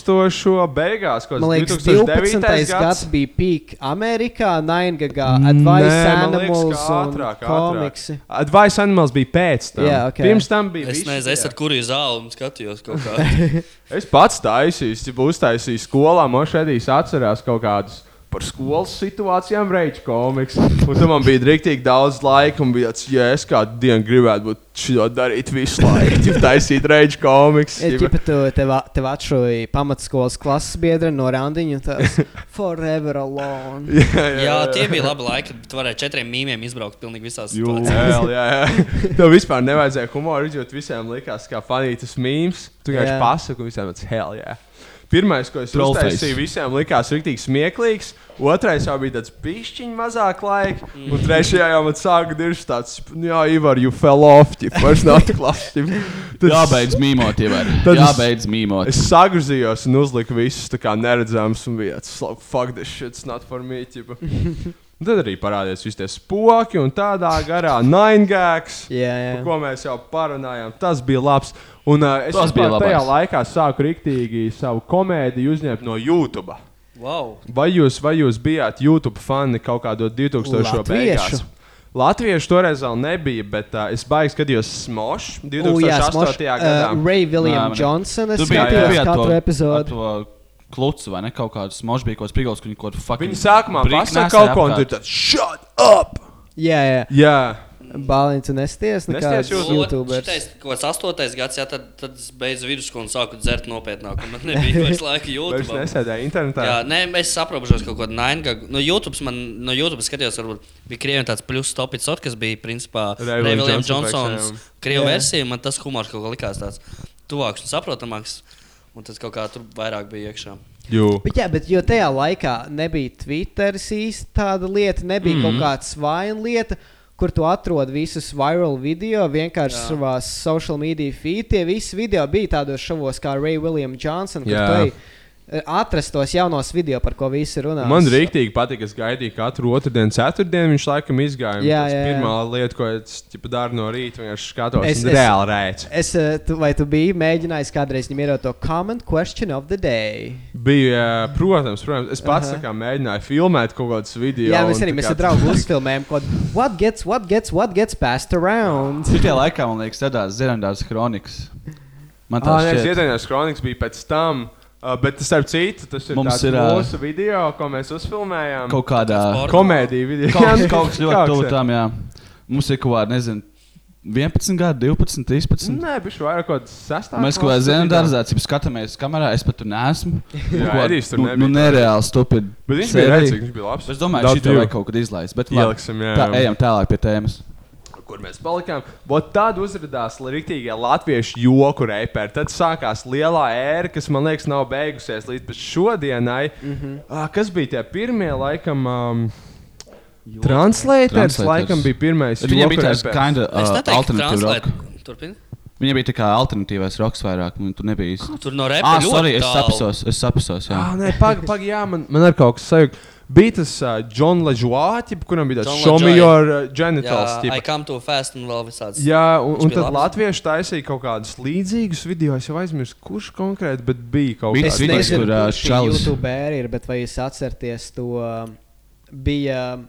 Speaker 3: 2000 beigās, kaut
Speaker 4: Man liekas,
Speaker 3: kas
Speaker 4: 12. gads
Speaker 3: gads.
Speaker 4: bija peak Amerikā, Naingaga, Advice
Speaker 3: Nē, man liekas,
Speaker 4: Animals
Speaker 3: ka
Speaker 4: un
Speaker 3: ātrāk, ātrāk.
Speaker 4: komiksi.
Speaker 3: Advice Animals bija pēc tam.
Speaker 4: Jā, ok.
Speaker 3: Pirms tam bija.
Speaker 5: Es
Speaker 3: visi
Speaker 5: nezinu,
Speaker 3: tie.
Speaker 5: es ar kuru zāli skatījos kaut kā.
Speaker 3: Es pats taisīju, ja būs taisījis skolā, Mošēdijas atcerās kaut kādus. Par skolas situācijām reiķis komiks. Un tam man bija rīktīgi daudz laika, un bija tāds, ja es kādu dienu gribētu būt šo darīt visu laiku, tad taisīt reiķis komiks.
Speaker 4: Ja ķipa tu tev, tev atšoja pamatskolas klases biedra no randiņu, tas forever alone.
Speaker 5: jā, tie bija labi laiki, kad tu varēji četriem mīmiem izbraukt pilnīgi visās
Speaker 3: Jū,
Speaker 5: situācijās.
Speaker 3: Hell, jā, jā. Tev vispār nevajadzēja humoru izjūt. Visiem likās, ka fanītas mīmīms. Tu vienkārši
Speaker 13: Jā.
Speaker 3: pasaki, un visiem tas hell. Jā. Pirmais, ko es
Speaker 13: Troll face.
Speaker 3: uztaisīju, visiem likās rīktīgi smieklīgs. Otrais jau bija tāds pišķiņš mazāk laika. Un trešajā jau man sāka dirzt tāds, nu jā, Ivar, you fell off, you vairs nav tik labi.
Speaker 2: Jābeidz mīmot, Ivar.
Speaker 3: Tad es-
Speaker 2: Jābeidz mīmot.
Speaker 3: Es sagrizījos un uzliku visus tā kā neredzams un bija tāds, "Fuck, fuck, this shit's not for me. ķipa." Un Tad arī parādījās visi tie spoki un tādā garā naingāks,
Speaker 4: yeah,
Speaker 3: ko mēs jau parunājām. Tas bija labs. Un, uh, es
Speaker 2: Tas
Speaker 3: vispār
Speaker 2: bija
Speaker 3: tajā
Speaker 2: labais.
Speaker 3: laikā sāku riktīgi savu komēdiju uzņemt no YouTube.
Speaker 5: Wow.
Speaker 3: Vai jūs, vai jūs bijāt YouTube fani kaut kādā 2000.
Speaker 4: Latviešu?
Speaker 3: beigās? Latviešu toreiz vēl nebija, bet uh, es baigi skatījos Smosh
Speaker 4: U, jā,
Speaker 3: 2008.
Speaker 4: Smosh,
Speaker 3: gadā.
Speaker 4: uh, Ray William
Speaker 2: Nē,
Speaker 4: Johnson, es
Speaker 2: Tu biji-
Speaker 4: skatījos
Speaker 2: tu biji ar
Speaker 4: katru
Speaker 2: to-
Speaker 4: epizodi.
Speaker 2: ar to Kluts vai ne kaut kāds smožs bija kaut kāds prigals, kurš kaut kādu
Speaker 3: Viņi sākumā pasaka kaut ko, un tur ir tāds shut up!
Speaker 4: Jā, jā.
Speaker 3: jā.
Speaker 4: Balīns un Esties, nekāds
Speaker 5: Tas
Speaker 4: YouTubers.
Speaker 5: bija kaut kāds astotais gads, jā, tad, tad es beidzu vidusskolu un sāku dzert nopietnāk. un Man nebija vairs laika YouTube.
Speaker 3: Vairs nesēdēju internetā.
Speaker 5: Jā, nē, es saprotu, kaut kāda nainīga. No YouTube man no YouTube skatījos, varbūt bija krievi tāds plus topits, kas bija principā
Speaker 3: Ray
Speaker 5: Reveliam
Speaker 3: Williams
Speaker 5: Johnsons
Speaker 3: infekcijām.
Speaker 5: krievu
Speaker 3: Jā.
Speaker 5: versija. Man tas humors kaut kā likās tāds tuvāks un saprotamāks. Un tas kaut kā tur vairāk bija iekšā.
Speaker 3: Jū.
Speaker 4: Bet, jā, bet jo tajā laikā nebija Twitter īsti tāda lieta, nebija mm.
Speaker 5: Mhm.
Speaker 4: kaut kāda svaina lieta, kur tu atrod visus viral video, vienkārši
Speaker 5: Jā.
Speaker 4: savā social media feed. Tie visi video bija tādos šovos kā Ray William Johnson, kur
Speaker 3: Jā.
Speaker 4: tu ej, e, atrast tos jaunos video, par ko visi runā.
Speaker 3: Man rīktīgi patīk, es gaidīju katru otrdienu, ceturtdienu. Viņš laikam izgāja. Jā,
Speaker 4: Jā,
Speaker 3: jā,
Speaker 4: jā,
Speaker 3: jā.
Speaker 4: jā.
Speaker 3: Pirmā lieta, ko es ķipa, daru no rīta, ir skatos, kas ir reāli rēķis.
Speaker 4: Es, e, tu, vai tu biji mēģinājis kādreiz viņam ierot to comment question of the day?
Speaker 3: Bija, ā, protams, protams, es pats
Speaker 4: Aha.
Speaker 3: uh -huh. mēģināju filmēt kaut kādus video.
Speaker 4: Jā, mēs
Speaker 3: un
Speaker 4: arī
Speaker 3: tā
Speaker 4: mēs
Speaker 3: kā
Speaker 4: ar draugu uzfilmējām, ko what gets, what gets, what gets passed around.
Speaker 2: Citajā laikā man liekas, tas ir Ziedonis Kronikas. Man
Speaker 3: Ah,
Speaker 2: tas
Speaker 3: nē,
Speaker 2: šķiet.
Speaker 3: Ziedonis Kronikas bija pēc tam. Uh, bet tas, starp citu, tas ir
Speaker 2: Mums
Speaker 3: tāds
Speaker 2: ir, ā,
Speaker 3: mūsu video, ko mēs uzfilmējām.
Speaker 2: Kaut kādā
Speaker 3: komēdijā video.
Speaker 2: Kaut kas, kaut kas
Speaker 3: Kaut
Speaker 2: ļoti
Speaker 3: kas,
Speaker 2: tuvu
Speaker 3: jā. nu,
Speaker 2: tam, jā. Mums ir kaut kāda, nezinu, 11 gadi, 12, 13.
Speaker 3: Nē, bija vairāk kaut kāds sastāvs.
Speaker 2: Mēs kaut kādā zemē dārzā skatāmies, kamerā es pat tur neesmu.
Speaker 3: Jā,
Speaker 2: Kaut kā-
Speaker 3: Edijs tur
Speaker 2: nu,
Speaker 3: nebija.
Speaker 2: nu, nereāli stupid.
Speaker 3: Bet viņš bija
Speaker 2: sērija.
Speaker 3: redzīgs, viņš bija labs.
Speaker 2: Es domāju,
Speaker 3: Daudz
Speaker 2: ka šī
Speaker 3: view.
Speaker 2: vajag kaut kad izlaist. Bet labi.
Speaker 3: Ieliksim, jā,
Speaker 2: Tā,
Speaker 3: jā.
Speaker 2: ejam tālāk pie tēmas.
Speaker 3: kur mēs palikām. Vot tad uzrādījās rīktīgie latviešu joku reiperi. Tad sākās lielā ēra, kas man liekas nav beigusies līdz pat šodienai. Mm -hmm. uh, kas bija tie pirmie, laikam? Um, Translators
Speaker 2: Translators.
Speaker 3: laikam bija pirmais.
Speaker 2: Viņiem bija
Speaker 3: joku
Speaker 2: tāds
Speaker 3: reperis.
Speaker 2: kinda, uh, Es neteiktu alternative rock.
Speaker 5: translēt. Turpini.
Speaker 2: Viņam bija tā kā alternatīvais roks vairāk, un tur nebija īsti.
Speaker 5: Nu, Tur no repa
Speaker 2: Ah,
Speaker 5: ļoti
Speaker 2: sorry, es
Speaker 5: tālu.
Speaker 2: saprotu, es saprotu. Jā,
Speaker 3: Ah, nē, pagaidi, pag, jā, man, man ir kaut kas sajūta. Bija tas Džons uh, Ležuāts, kuram bija tāds show me your uh, genitals.
Speaker 5: Jā, I
Speaker 3: tipa.
Speaker 5: come to fast un vēl visāds.
Speaker 3: Jā, un,
Speaker 5: Tas
Speaker 3: un
Speaker 5: bija
Speaker 3: tad
Speaker 5: labs.
Speaker 3: Latvieši taisīja kaut kādus līdzīgus video. Es jau aizmirsu, kurš konkrēti, bet bija kaut
Speaker 2: Bija
Speaker 3: kas
Speaker 2: tas videos, kur, ā, čalis-
Speaker 4: YouTuberi ir, bet vai jūs atceraties to? um, Bija um,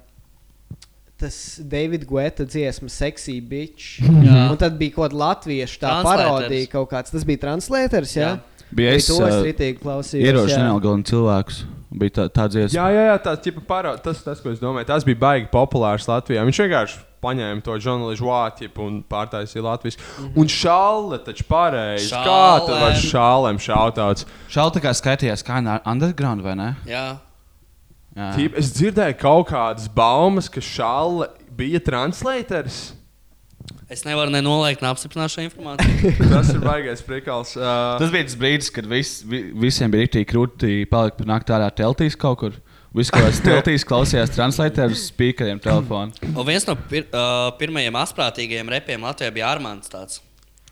Speaker 4: tas Davida Guetta dziesma, Sexy Bitch.
Speaker 2: Jā.
Speaker 4: Un tad bija kaut kāda latviešu tā
Speaker 5: Translators.
Speaker 4: parodija kaut kāds. Tas bija translators, jā?
Speaker 2: Bija es,
Speaker 4: nu, to es
Speaker 2: ā,
Speaker 4: ritīgi klausījos.
Speaker 2: Ieroči
Speaker 4: jā.
Speaker 2: nealgalina cilvēkus. Bija tā, tā dziesma.
Speaker 3: Jā, jā, jā tā, tipa, parā, tas, tas, ko es domāju, tas bija baigi populārs Latvijā. Viņš vienkārši paņēma to Džonu Ležuāti un pārtaisīja Latvijas. Mm
Speaker 5: Mhm.
Speaker 3: -hmm. Un šāle taču pareizi. Kā tu vari šālēm
Speaker 2: Šallem.
Speaker 3: šautauts?
Speaker 2: Šādi tā kā skaitījās kā un- underground, vai ne?
Speaker 5: Jā. Ah.
Speaker 2: Jā.
Speaker 3: Tīp, es dzirdēju kaut kādas baumas, ka šāle bija translators.
Speaker 5: Es nevaru nenoliegt, neapstiprināt šo informāciju.
Speaker 3: Tas ir baigais prikals. Uh,
Speaker 2: Tas bija tas brīdis, kad vis, vi, visiem bija rīktīgi krūti palikt par nakti ārā teltīs kaut kur. Viss, ko es teltīs klausījās translatorus, spīkeriem telefonu.
Speaker 5: Un viens no pir, uh, pirmajiem astprātīgajiem repiem Latvijā bija Armāns. tāds.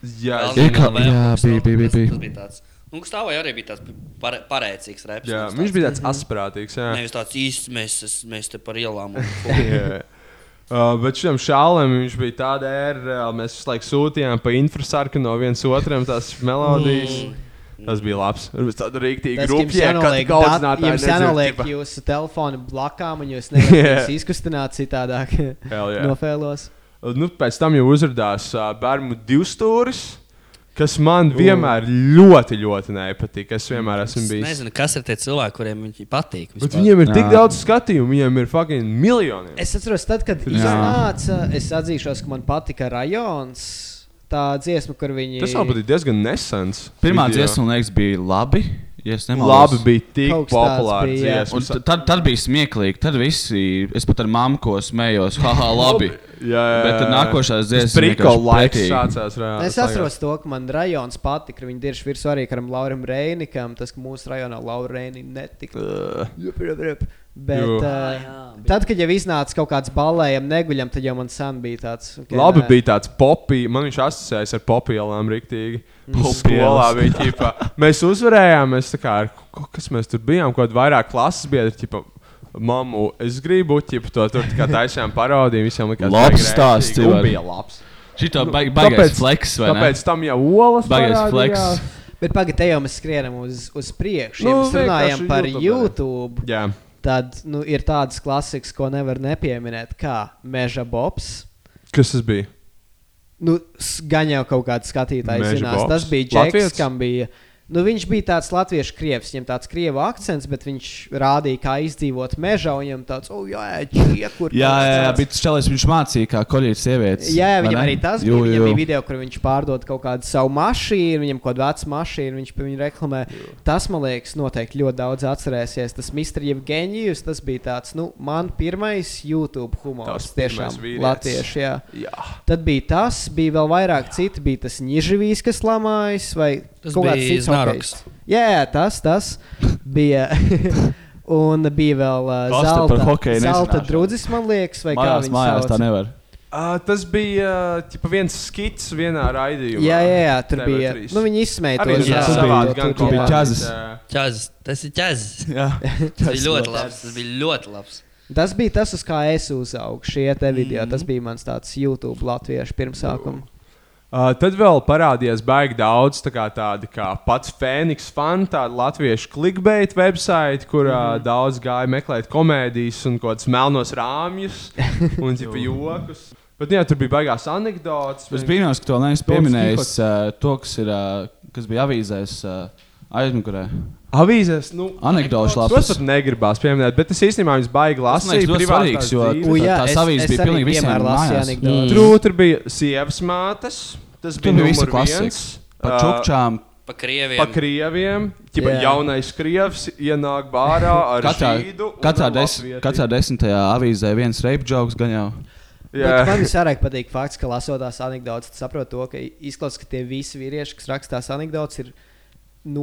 Speaker 3: Jā,
Speaker 5: Vēl
Speaker 2: jā,
Speaker 5: vienā
Speaker 2: kā-
Speaker 5: vēl,
Speaker 2: jā,
Speaker 5: kas vēl,
Speaker 2: bija, bija,
Speaker 5: tas-
Speaker 2: bija.
Speaker 5: tas bija tāds. Nu, Gustavai arī bija tāds pare, pareicīgs reps.
Speaker 3: Jā,
Speaker 5: mums
Speaker 3: viņš
Speaker 5: tāds-
Speaker 3: bija tāds asprātīgs. Jā.
Speaker 5: Nevis tāds īsts, mēs, es- mēs te par ielām.
Speaker 3: Jā. Uh, bet šim šālam viņš bija tāda ēra, reāli, mēs visu laiku sūtījām pa infrasarku no viens otram tās melodijas.
Speaker 4: Mm.
Speaker 3: Tas bija labs. Tur bija tāda rīktīva
Speaker 4: Tas, ka jums
Speaker 3: grupja, kad
Speaker 4: jānoliek dat-
Speaker 3: gaudzinātāji
Speaker 4: Jums jānoliek
Speaker 3: nedzird, tipa,
Speaker 4: jūsu telefonu blakām, un jūs
Speaker 3: Jā.
Speaker 4: nevarat viņus izkustināt citādāk.
Speaker 3: hell yeah.
Speaker 4: Nofēlos.
Speaker 3: Uh, Nu, pēc tam jau uzrādījās uh, bērnu divstūris, kas man vienmēr ļoti, ļoti nepatika. Es vienmēr esmu
Speaker 5: Es
Speaker 3: bijis.
Speaker 5: nezinu, kas ir tie cilvēki, kuriem viņi patīk.
Speaker 3: Bet viņiem ir tik daudz skatījumu, viņiem ir fucking miljoniem.
Speaker 4: Es atceros, tad, kad
Speaker 3: Jā.
Speaker 4: iznāca, es atzīšos, ka man patika rajons. Tā dziesma, kur viņi.
Speaker 3: Tas jau bija diezgan nesens.
Speaker 2: Pirmā
Speaker 3: video.
Speaker 2: dziesma, man liekas, bija labi. Ja es nemaldos.
Speaker 3: Labi bija tik
Speaker 4: Kaut kas tāds
Speaker 3: populāra
Speaker 4: bija, jā.
Speaker 3: dziesma.
Speaker 2: Un t- tad, tad bija smieklīgi. Tad visi, es pat ar mammu ko smējos, haha, labi.
Speaker 3: Jā, jā,
Speaker 2: Bet tad
Speaker 3: jā.
Speaker 2: nākošās
Speaker 3: Tas
Speaker 2: dziesmas
Speaker 3: prikola
Speaker 2: vienkārši
Speaker 3: laiks
Speaker 2: pretīgi.
Speaker 3: sācās. reāli,
Speaker 4: Es
Speaker 3: tas
Speaker 4: atceros to, ka man rajonā patika, ka viņi dirž virsū arī karam Lauram Reinikam. Tas, ka mūsu rajonā Laura Reinika netika. Jup, jup, jup. Bet,
Speaker 3: Jū.
Speaker 4: uh, tad, kad jau iznāca kaut kāds balējums, neguļam, tad jau man sen bija tāds. Okay,
Speaker 3: Labi
Speaker 4: nē.
Speaker 3: bija tāds popī, man viņš asociējas ar popielām rīktīgi.
Speaker 4: Mm.
Speaker 3: Skolā
Speaker 2: Popielas.
Speaker 3: bija ķipa. Mēs uzvarējām, mēs tā kā, ar ko- kas mēs tur bijām, kaut kādi vairāk klases biedri, ķipa. Mamu, es gribu, ķipa, to tur tā kā taisījām parodiju, visiem likās.
Speaker 2: Labs
Speaker 3: baigi
Speaker 2: stāsts,
Speaker 3: rēcīgi, un
Speaker 2: Ivar.
Speaker 3: bija labs.
Speaker 2: Šito
Speaker 3: Nu,
Speaker 2: baig- baigais
Speaker 3: tāpēc-
Speaker 2: flex, vai ne?
Speaker 3: Tāpēc tam jau olas.
Speaker 2: Baigais
Speaker 3: parādījās.
Speaker 2: flex.
Speaker 4: Bet pagaidām, jau mēs skrienam uz, uz priekšu.
Speaker 3: Nu,
Speaker 4: Nu, ja mēs runājam
Speaker 3: vienkārši
Speaker 4: par
Speaker 3: YouTube arī.
Speaker 4: YouTube.
Speaker 3: Jā.
Speaker 4: Tad nu, ir tādas klasikas, ko nevar nepieminēt, kā Meža Bobs.
Speaker 3: Kas tas bija?
Speaker 4: Nu, s- gan jau kaut kāds skatītājs
Speaker 3: Meža
Speaker 4: zinās,
Speaker 3: Bobs?
Speaker 4: tas bija
Speaker 3: Latvijas?
Speaker 4: Džeks, kam bija. Nu, viņš bija tāds latviešu krievs, viņam tāds krievu akcents, bet viņš rādīja, kā izdzīvot mežā. un Viņam tāds, oh, jā, ķie, kur
Speaker 2: Jā, jā, jā, bet Čelis viņš mācīja, kā koļīt sievietes.
Speaker 4: Jā, jā,
Speaker 2: vai
Speaker 4: viņam
Speaker 2: ne?
Speaker 4: arī tas bija.
Speaker 2: Jū,
Speaker 4: Viņam
Speaker 2: jū.
Speaker 4: bija video, kur viņš pārdod kaut kādu savu mašīnu, viņam kaut kādu vecu mašīnu, viņš pie viņa reklamē. Tas, man liekas, noteikti ļoti daudz atcerēsies. Tas Mr. Jevgenijus, tas bija tāds, nu, man pirmais YouTube humors.
Speaker 3: Tavs pirmais
Speaker 4: Tiešām
Speaker 3: vīrietis.
Speaker 4: latvieši, jā.
Speaker 3: Jā.
Speaker 4: Tad bija tas, bija vēl vairāk citi, bija tas Nižvīs, kas lamājas, vai
Speaker 5: Tas
Speaker 4: kaut kāds
Speaker 5: bija
Speaker 4: cits
Speaker 5: Znaroks.
Speaker 4: hokejists. Jā, jā, tas, tas bija. Un bija vēl uh,
Speaker 2: Pasta par
Speaker 4: zelta,
Speaker 2: hokeju
Speaker 4: zelta
Speaker 2: nezināšanu.
Speaker 4: drudzis, man liekas, vai kā
Speaker 2: Mājās,
Speaker 4: viņš
Speaker 2: mājās tā nevar.
Speaker 3: Uh, tas bija ķipa, viens skits vienā raidījumā.
Speaker 4: Jā, jā, jā, tur bija-
Speaker 3: trīs.
Speaker 4: nu, viņi izsmēja
Speaker 3: Arī tur
Speaker 4: tos, jā.
Speaker 3: bija
Speaker 4: Tur
Speaker 3: savādi
Speaker 4: bija-
Speaker 3: gan
Speaker 4: tur bija
Speaker 3: komandas, eh.
Speaker 4: ķazas.
Speaker 3: jā.
Speaker 5: Čazis, tas ir ķazis.
Speaker 2: Jā,
Speaker 5: tas bija ļoti labs. Tas bija ļoti labs.
Speaker 4: Tas bija tas, uz kā es uzaugu šie te video. Mm -hmm. Tas bija mans tāds YouTube latviešu pirmsākums.
Speaker 3: Uh, tad vēl parādījās baigi daudz tā kā tādu kā pats Fēniks fanu, tādu latviešu clickbait website, kur mm
Speaker 4: Mhm.
Speaker 3: -hmm. daudz gāja meklēt komēdijas un kaut kādas melnos rāmjus un tipa jokus. Bet jā, tur bija baigās anekdotas.
Speaker 2: Es
Speaker 3: vienkārši-
Speaker 2: brīnos, ka to
Speaker 3: Daudz
Speaker 2: neesmu pieminējis.
Speaker 3: tīpats.
Speaker 2: ā, To, kas, ir, ā, kas bija avīzēs ā, aizmugurē.
Speaker 3: Avīzēs, nu, Tos
Speaker 2: anekdošu lapas.
Speaker 3: pat negribās pieminēt, bet es īstenībā viņus baigi lasīju.
Speaker 2: ļoti
Speaker 3: privātās
Speaker 2: svarīgs, jo
Speaker 3: dzīves.
Speaker 2: U, jā, tā- tās es- avīzes es bija arī pilnīgi visiem piemēru lasīju mājās.
Speaker 4: Mm.
Speaker 2: Mm. anekdotes.
Speaker 3: Tur tur bija sievas mātes, tas
Speaker 2: Tur
Speaker 3: bija
Speaker 2: bija visi
Speaker 3: numur
Speaker 2: klasika.
Speaker 3: viens.
Speaker 2: Par
Speaker 3: Ā,
Speaker 2: čukčām.
Speaker 5: Pa krieviem.
Speaker 3: Pa krieviem. Ķipa,
Speaker 2: Jā.
Speaker 3: jaunais krievs ienāk bārā ar
Speaker 2: Katrā,
Speaker 3: žīdu un
Speaker 2: katrā,
Speaker 3: ar
Speaker 2: des,
Speaker 3: latvieti.
Speaker 2: katrā desmitajā avīzē viens rape joks gan jau.
Speaker 3: Jā.
Speaker 4: Bet Man visvairāk patīk fakts, ka lasot tās anekdotas, tu saproti to, ka izklausās, ka tie visi vīrieši, kas raksta tās anekdotas, ir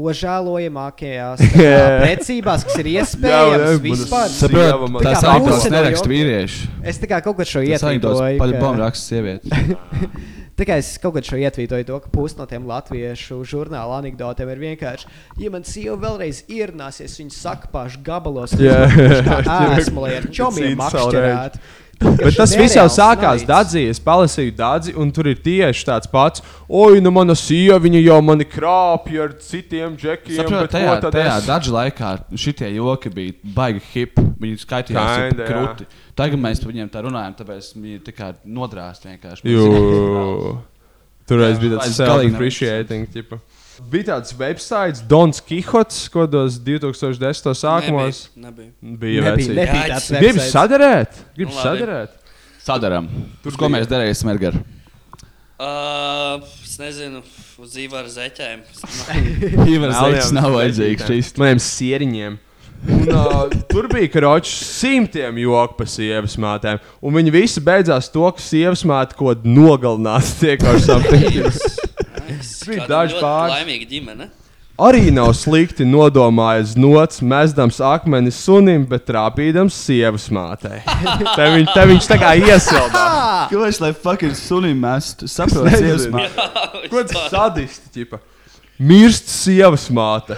Speaker 4: nožēlojamākajās tā kā,
Speaker 3: Jā.
Speaker 4: precībās, kas ir
Speaker 3: Jā, jā,
Speaker 4: iespējamas
Speaker 3: man
Speaker 4: vispār.
Speaker 3: tas Saprot, sieva man-
Speaker 4: Tā kā
Speaker 3: tās
Speaker 4: puse
Speaker 3: anekdotas
Speaker 4: no
Speaker 2: neraksta
Speaker 4: jokiem.
Speaker 2: vīrieši.
Speaker 4: Es tā kā kaut kad šo
Speaker 2: Tas anekdotes
Speaker 4: ietvītoju.
Speaker 2: par
Speaker 4: ka-
Speaker 2: bombu raksta sievietes.
Speaker 4: Tā kā es kaut kad šo ietvītoju, to, ka pusi no tiem latviešu žurnāla anekdotiem ir vienkārši, ja man sieva vēlreiz ierunāsies, viņa sakpāšu gabalos,
Speaker 3: Jā.
Speaker 4: esmu, lai ar čomiem
Speaker 3: Cīns savu
Speaker 4: makšķerētu.
Speaker 3: Bet tas viss jau
Speaker 4: Nereāls
Speaker 3: sākās
Speaker 4: naids.
Speaker 3: Dārzī. Es palasīju Dārzī, un tur ir tieši tāds pats. Oi, nu mana sieva, viņa jau mani krāpja ar citiem džekiem.
Speaker 2: Saprotu,
Speaker 3: bet
Speaker 2: tajā,
Speaker 3: ko tad
Speaker 2: tajā
Speaker 3: es-
Speaker 2: dažu laikā šitie joki bija baigi hip. Viņi skaitījās
Speaker 3: Kinda,
Speaker 2: Kinda,
Speaker 3: jā.
Speaker 2: krūti. Tagad mēs par viņiem tā runājam, tāpēc viņi tā kā nodrāst vienkārši.
Speaker 3: Jū. Tur es biju tāds
Speaker 2: Vairs
Speaker 3: selling
Speaker 2: galīgi
Speaker 3: appreciating. Tipa. Bija tāds websites, Dons Kihots, ko dos 2010. sākumos.
Speaker 5: Nebija, nebija.
Speaker 3: Bija
Speaker 2: Nebija,
Speaker 3: vecīti.
Speaker 2: nebija tāds
Speaker 3: Gribu
Speaker 2: websites.
Speaker 3: sadarēt, gribu
Speaker 5: Nu, labi.
Speaker 3: sadarēt.
Speaker 2: Sadaram.
Speaker 3: Tur
Speaker 2: Tur ko
Speaker 3: bija.
Speaker 2: mēs darīsim, Edgar?
Speaker 5: Uh, es nezinu, uz dzīvē ar zeķēm.
Speaker 2: Ivar Zeks nav vajadzīgs šis.
Speaker 3: Maniem sieriņiem. Un, uh, tur bija karoči simtiem joku par sievas mātēm. Un viņi visi beidzās to, ka sievas māte kaut ko nogalinās. Tiek ar something.
Speaker 5: Bija
Speaker 3: daži pāris.
Speaker 5: Laimīga ģimene.
Speaker 3: Arī nav slikti nodomājis nots, mēsdams akmeni sunim, bet trāpīdams sievas mātei. Te, viņ, te viņš tā kā iesilda.
Speaker 2: Kāpēc lai fucking sunim mest? Saprotu,
Speaker 3: Es nezinu.
Speaker 2: iesmā.
Speaker 3: Ko tas sadisti? Ķipa? Mirst sievas māte.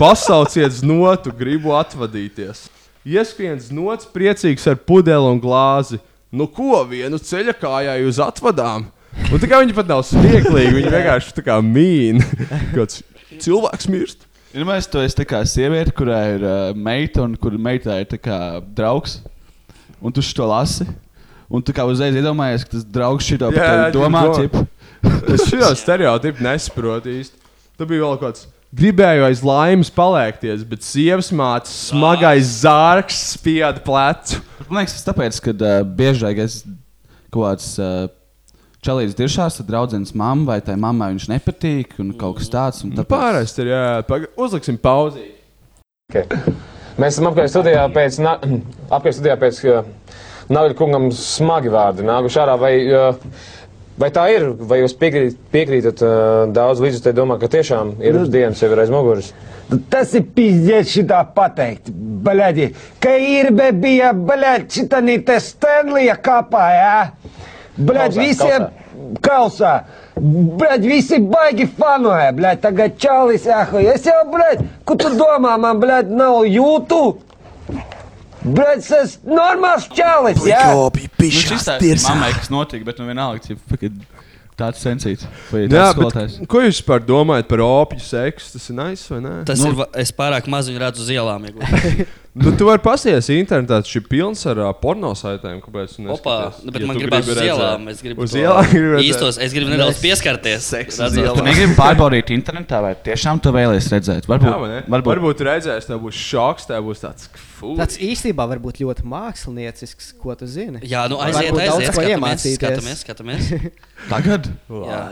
Speaker 3: Pasauciet znotu, gribu atvadīties. Ieskrien znots, priecīgs ar pudeli un glāzi. Nu ko, vienu ceļa kājā jūs atvadām? Un tā kā viņi pat nav smieklīgi, viņi vienkārši tā kā mīn. Kāds cilvēks mirst.
Speaker 2: Ir Nu, mēs to es tā kā sieviete, kurai ir uh, meita un kur meitā ir tā kā draugs, un tu šo lasi. Un tu kā uzreiz iedomājies, ka tas draugs šito par
Speaker 3: Jā,
Speaker 2: tevi domā,
Speaker 3: jā,
Speaker 2: tip.
Speaker 3: Es šo stereotipu nesaprotu īsti. Tur bija vēl kaut kas. Gribēju aiz laimes paliekties, bet sievas mātes smagais zārks spieda plecu.
Speaker 2: Man liekas, tas tāpēc, ka uh, biežāk es kaut kāds uh, čalīts diršās, tad draudzenes mamma vai tai mammai viņš nepatīk un kaut kas tāds.
Speaker 3: Nu,
Speaker 2: Un tāpēc...
Speaker 3: Pārējais ir, jā, paga... uzliksim pauzi.
Speaker 13: Okay. Mēs esam apgājuši studijā pēc, na... apgājus studijā pēc uh, Nāviļa kungam smagi vārdi nākuši ārā. Vai, uh, vai tā ir? Vai jūs piekrīt, piekrītat uh, daudz līdzi, te domā, ka tiešām ir
Speaker 14: Nu,
Speaker 13: dienas jau ir aiz muguras?
Speaker 14: Tas ir pizdiet šitā pateikt, bļaļi. Ka īrbe bija, bļaļ, šitanī te Stenlija kapā, jā? Bļaļ,
Speaker 13: Kausā,
Speaker 14: visiem kausā. Bļaļ, visi baigi fanoja, bļaļ, tagad čalis, ahoj. Es jau, bļaļ, ko tu domā, man, bļaļ, nav jūtu? Bļaļ, es normāls čalis, jā?
Speaker 2: Viņš ir tas Nu, mammai, kas notika, bet nu vienalga, tip, fucking tāds sensīts. Vai
Speaker 3: Jā,
Speaker 2: tāds skolotājs.
Speaker 3: bet, ko jūs par domājat par opiju seksu? Tas ir nice vai nē?
Speaker 5: Tas nu, ir, va- es pārāk maz viņu redzu uz ielām. ja godīgi.
Speaker 3: Nu, tu vari pasties internetā, tas ir pilns ar uh, porno saitēm, kāpēc tu
Speaker 5: Opa,
Speaker 3: neskaties?
Speaker 5: nu, bet
Speaker 3: Ja
Speaker 5: man
Speaker 3: tu
Speaker 5: gribas
Speaker 3: gribi
Speaker 5: uz
Speaker 3: redzēt.
Speaker 5: ielām. Es gribu
Speaker 3: uz
Speaker 5: to
Speaker 3: ielām. gribi redzēt.
Speaker 5: īstos, es gribu nedaudz pieskarties.
Speaker 3: Seksu uz
Speaker 5: Redzot.
Speaker 3: ielām.
Speaker 2: Tu negribi pārbaudīt internetā, vai tiešām tu vēlies redzēt? Varbūt,
Speaker 3: Jā, vai ne?
Speaker 2: varbūt. varbūt.
Speaker 3: varbūt redzēs, tev būs šoks, tev būs tāds fūks.
Speaker 4: Tas īstenībā var būt ļoti māksliniecisks, ko tu zini.
Speaker 5: Jā, nu aiziet,
Speaker 4: Varbūt daudz
Speaker 5: aiziet,
Speaker 4: ko
Speaker 5: skatāmies, skatāmies,
Speaker 4: iemācīties.
Speaker 5: skatāmies.
Speaker 2: Tagad?
Speaker 5: Jā.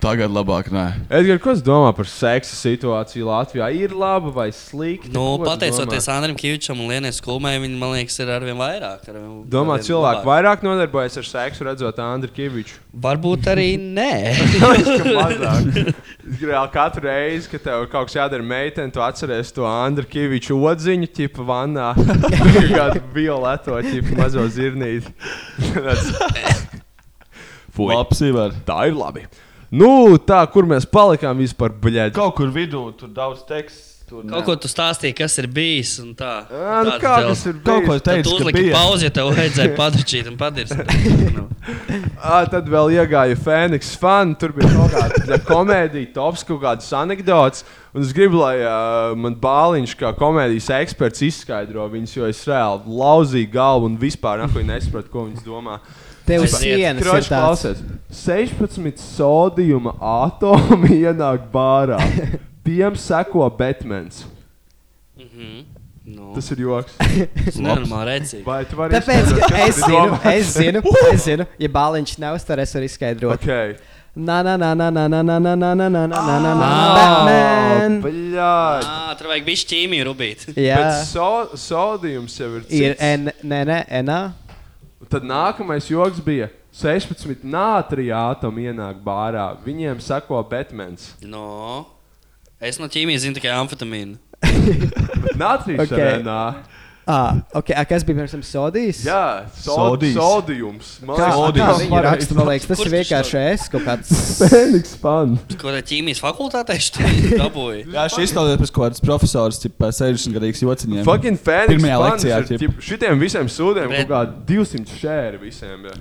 Speaker 2: Tagad labāk nē.
Speaker 3: Edgars, ko tu domā par seksa situāciju Latvijā? Ir laba vai slikta?
Speaker 5: Nu,
Speaker 3: Ko tu
Speaker 5: pateicoties
Speaker 3: domā?
Speaker 5: Andriem Kavčam un Lienai Skulmai, viņi man liekas, ir arvien vairāk. Arvien,
Speaker 3: Domā,
Speaker 5: arvien
Speaker 3: cilvēki
Speaker 5: labāk.
Speaker 3: vairāk nodarbojas ar seksu, redzot Andriu Kaviču.
Speaker 5: Varbūt arī nē.
Speaker 3: Reāli katru reizi, kad tev kaut kas jādara meitene, tu atceries to Andriu Kaviču odziņu, tipa vannā. Kādu violeto, tipa mazo zirnīti. Fui.
Speaker 2: Labs ir.
Speaker 3: Tā ir labi. Nu, tā, kur mēs palikām vispār, bļaigi.
Speaker 2: Kaut kur vidū tur daudz teksts. Tur
Speaker 5: Kaut ko tu stāstīji, kas ir bijis. un Tā
Speaker 3: Ā, nu kā tas ir Kaut bijis? ko es teicu,
Speaker 5: Tu
Speaker 3: ka
Speaker 5: uzliki
Speaker 3: bija.
Speaker 5: pauzi, ja tev vajadzēja padarīt un padarīt.
Speaker 3: À, tad vēl iegāja Fēniks fani. Tur bija kaut kāda komēdija, tops, kaut kādas anekdotas. Un es gribu, lai uh, man bāliņš, kā komēdijas eksperts, izskaidro viņas, jo es reāli lauzīju galvu un vispār nahuj nesaprotu, ko viņas domā.
Speaker 4: Tev uz
Speaker 3: Tipā,
Speaker 4: sienas ir
Speaker 3: kroķis
Speaker 4: tāds.
Speaker 3: klausies. 16 sodījuma atomi ienāk bārā. Tiem seko Batmans.
Speaker 5: Nu.
Speaker 3: Tas ir joks.
Speaker 5: Tas ir nenormāli rēcīgi.
Speaker 3: Vai tu vari
Speaker 4: Tāpēc
Speaker 3: izskaidrot, kas
Speaker 4: ka es
Speaker 3: tu
Speaker 4: zinu,
Speaker 3: domā?
Speaker 4: es zinu,
Speaker 3: Uh!
Speaker 4: es zinu, ja bāliņš nav stāvs, es varu izskaidrot.
Speaker 3: Okay.
Speaker 4: Nā, nā, nā, nā, nā, nā, nā, nā, nā, nā, nā, nā, nā, nā,
Speaker 5: Ā,
Speaker 4: Batman.
Speaker 3: Bļaigi.
Speaker 5: Ā, Tur vajag bišķi ķīmiju rubīt.
Speaker 4: Jā.
Speaker 3: Bet so, sodījums jau ir.
Speaker 4: Ir
Speaker 3: cits.
Speaker 4: N, nē, nē, N.
Speaker 3: Tad nākamais joks bija 16 nātrija atomi ienāk bārā. Viņiem sako Batmans.
Speaker 5: No. Es no ķīmijas zinu tikai amfetamīnu.
Speaker 3: Nātrija
Speaker 4: Ok.
Speaker 3: sērēnā.
Speaker 4: Ah, okay. A, kas bija pirms tam sodījis?
Speaker 3: Jā, sod- Sodijs. sodijums. Man
Speaker 4: Kā,
Speaker 3: liekas,
Speaker 4: kā
Speaker 3: sodijums.
Speaker 4: viņi raksta, man liekas, tas
Speaker 5: Kurš
Speaker 4: ir
Speaker 5: tas
Speaker 4: vienkārši es kaut kāds.
Speaker 3: Fēniks pan.
Speaker 5: Ko tā ķīmijas fakultātē šķiet dabūja?
Speaker 2: Jā, šis izklausās pēc kaut kādas profesors, tipā 60 gadīgs jociņiem.
Speaker 3: Fucking fēniks.
Speaker 2: Pirmajā lekcijā.
Speaker 3: ir,
Speaker 2: ķip.
Speaker 3: ķip, šitiem visiem sūdiem
Speaker 5: Bet-
Speaker 3: kaut kā 200 šēri visiem. Jā.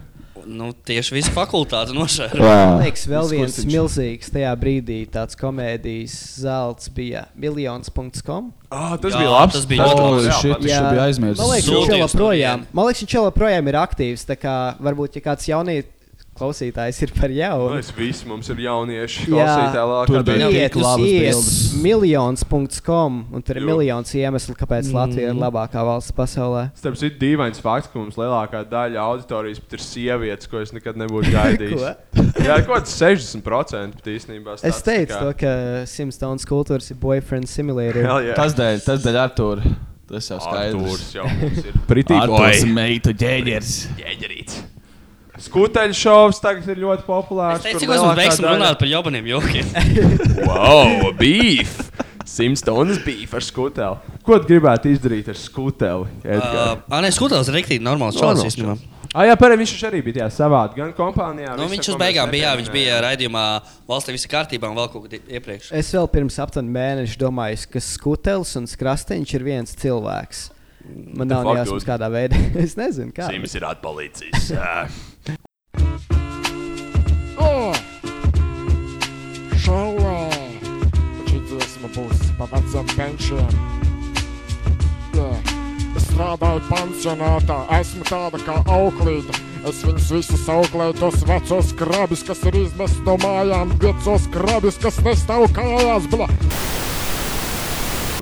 Speaker 5: Nu, tieši visu fakultāti nošēra.
Speaker 4: Man liekas, vēl viens
Speaker 5: Skursiņš.
Speaker 4: milzīgs tajā brīdī tāds komēdijas zelts bija miljons.com.
Speaker 3: Ah, tas Jā, bija labs. tas bija ļoti labs. Holy shit, es
Speaker 4: Jā.
Speaker 2: to biju aizmirsis.
Speaker 4: Man liekas, viņš
Speaker 2: Sūties
Speaker 4: vēl
Speaker 2: no
Speaker 4: joprojām- man liekas, viņš vēl joprojām ir aktīvs. tā kā Varbūt, ja kāds jaunie klausītājs ir par
Speaker 3: Nu,
Speaker 4: jaunu.
Speaker 3: es visu mums ir jaunieši.
Speaker 4: tur bija
Speaker 3: Klausītāji,
Speaker 4: iet uz ies miljons.com un tur ir miljons iemeslu, kāpēc
Speaker 3: Mm.
Speaker 4: Latvija ir labākā valsts pasaulē.
Speaker 3: Starp citu, dīvains fakts, ka mums lielākā daļa auditorijas pat ir sievietes, ko es nekad nebūtu gaidījis. Jā, kaut kāds 60% pat īstenībā.
Speaker 4: Es
Speaker 3: tāds
Speaker 4: teicu,
Speaker 3: tā
Speaker 4: to,
Speaker 3: kā-
Speaker 4: ka Simstonas kultūras ir boyfriend simulator.
Speaker 3: Hell yeah.
Speaker 2: Tas dēļ, tas dēļ Artūra. Tas jau skaidrs.
Speaker 3: Artūrs jau mums ir. Pretty
Speaker 2: Artūrs
Speaker 3: boy.
Speaker 2: meitu ģēģers.
Speaker 3: Ģēģerīts. Skuteļšovs tagad ir ļoti populārs.
Speaker 5: Es
Speaker 3: kur
Speaker 5: teicu, ka mēs
Speaker 3: lielākā
Speaker 5: beigsim
Speaker 3: daļa-
Speaker 5: runāt par jobaniem jokiem.
Speaker 3: Wow, beef! Simstonas beef ar skuteli. Ko tu gribētu izdarīt ar skuteli? Edgars?
Speaker 5: Ah, nē, skūtās ir rīktīgi normāls
Speaker 3: Normāls
Speaker 5: šāds īstenībā.
Speaker 3: Ah, jā, pareizi. Viņš taču arī bija tajā savā gan kompānijā.
Speaker 5: Nu,
Speaker 3: visa,
Speaker 5: viņš
Speaker 3: ko
Speaker 5: uz
Speaker 3: mēs
Speaker 5: beigām bija, jā, viņš
Speaker 3: nepieminējām.
Speaker 5: bija raidījumā valstī visi kārtībā un vēl kaut kur iepriekš.
Speaker 4: Es vēl pirms aptuveni mēneša domāju, ka skutelis un skrasteņš ir viens cilvēks. Man
Speaker 3: The
Speaker 4: nav
Speaker 3: fuck,
Speaker 4: jāsaka,
Speaker 3: dude?
Speaker 4: kādā veidā. es nezinu, kā.
Speaker 3: Sims ir atpalīdzis. ā.
Speaker 15: O! Šaulē! Šitās man būs pa vecam benčiem. Jā. Es strādāju pansionātā, esmu tāda kā auklīte. Es viņus visus auklēju, tos vecos krabus, kas ir izmesti no mājām, vecos krabus, kas nestāv kājās, bla!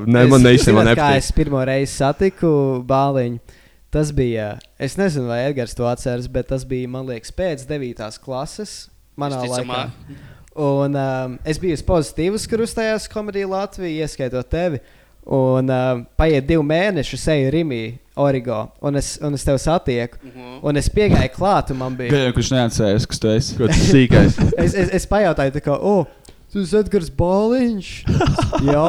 Speaker 3: Ne, man
Speaker 4: Es-
Speaker 3: īstenībā
Speaker 4: zināt, Kā
Speaker 3: nepatīk.
Speaker 4: es pirmo reizi satiku bāliņu, tas bija. Es nezinu, vai Edgars to atceras, bet tas bija, man liekas, pēc 9. klases. Manā laikā.
Speaker 5: Visticamāk.
Speaker 4: Un, um, es biju pozitīvs, kurus tajās komēdijā Latvijā, ieskaitot tevi. Un um, paiet divi mēneši, es eju Rimī, Origo, un es, un es tevi satieku. Un es piegāju klāt, un man bija.
Speaker 2: Pieņemu, kurš neatcerējas, kas tu esi.
Speaker 3: Kaut kas sīkais.
Speaker 4: es, es, es pajautāju, tā kā, o, tu esi Edgars Bāliņš. Jā,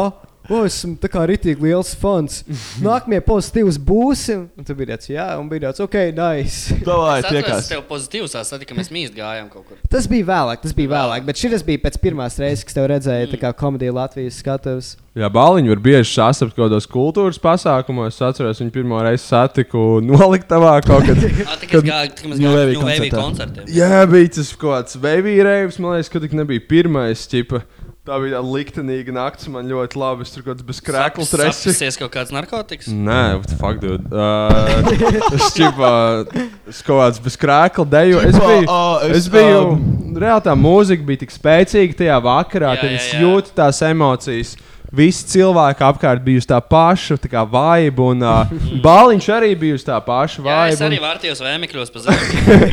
Speaker 4: o, esmu tā kā rītīgi liels fans. Nākamie pozitīvs būsim. Un tu biji tāds, jā, un bija tāds, ok, nice.
Speaker 5: Es atceros, Es tev pozitīvs, es saprotu, ka mēs mīst gājām kaut kur.
Speaker 4: Tas bija vēlāk, tas bija vēlāk, bet šis bija pēc pirmās reizes, kad tev redzēju, tā kā komēdija Latvijas skatuves.
Speaker 3: Jā, bāliņu var bieži sastapt kaut kādos kultūras pasākumos. Es atceros, viņu pirmo reizi satiku noliktavā kaut kad.
Speaker 5: Tā kā gājām, tā kā mēs
Speaker 3: New Wave
Speaker 5: gājām Vēvī
Speaker 3: koncertā.
Speaker 5: koncertiem.
Speaker 3: Jā, bija tas kaut kāds veids, man liekas, ka tik nebija pirmais. Ķipa. Tā bija tā liktenīga naktis, man ļoti labi. Es tur kaut kāds bez krēkla stresa.
Speaker 5: Sāksies kaut kāds narkotikas.
Speaker 3: Nē, what the fuck, dude. Uh, es čipā, es kaut kāds bez krēkla deju. Es
Speaker 2: Čipā,
Speaker 3: biju,
Speaker 2: ā,
Speaker 3: uh,
Speaker 2: es,
Speaker 3: es, es biju
Speaker 2: ā,
Speaker 3: um, reāli tā mūzika bija tik spēcīga tajā vakarā,
Speaker 5: Jā,
Speaker 3: ka
Speaker 5: jā,
Speaker 3: es
Speaker 5: jā.
Speaker 3: jūtu tās emocijas. Visi cilvēki apkārt bija uz tā paša, tā kā vibe, un uh, Bāliņš arī bija uz tā paša
Speaker 5: Mm. Jā, es arī
Speaker 3: vibe.
Speaker 5: vārtījos vēmekļos pa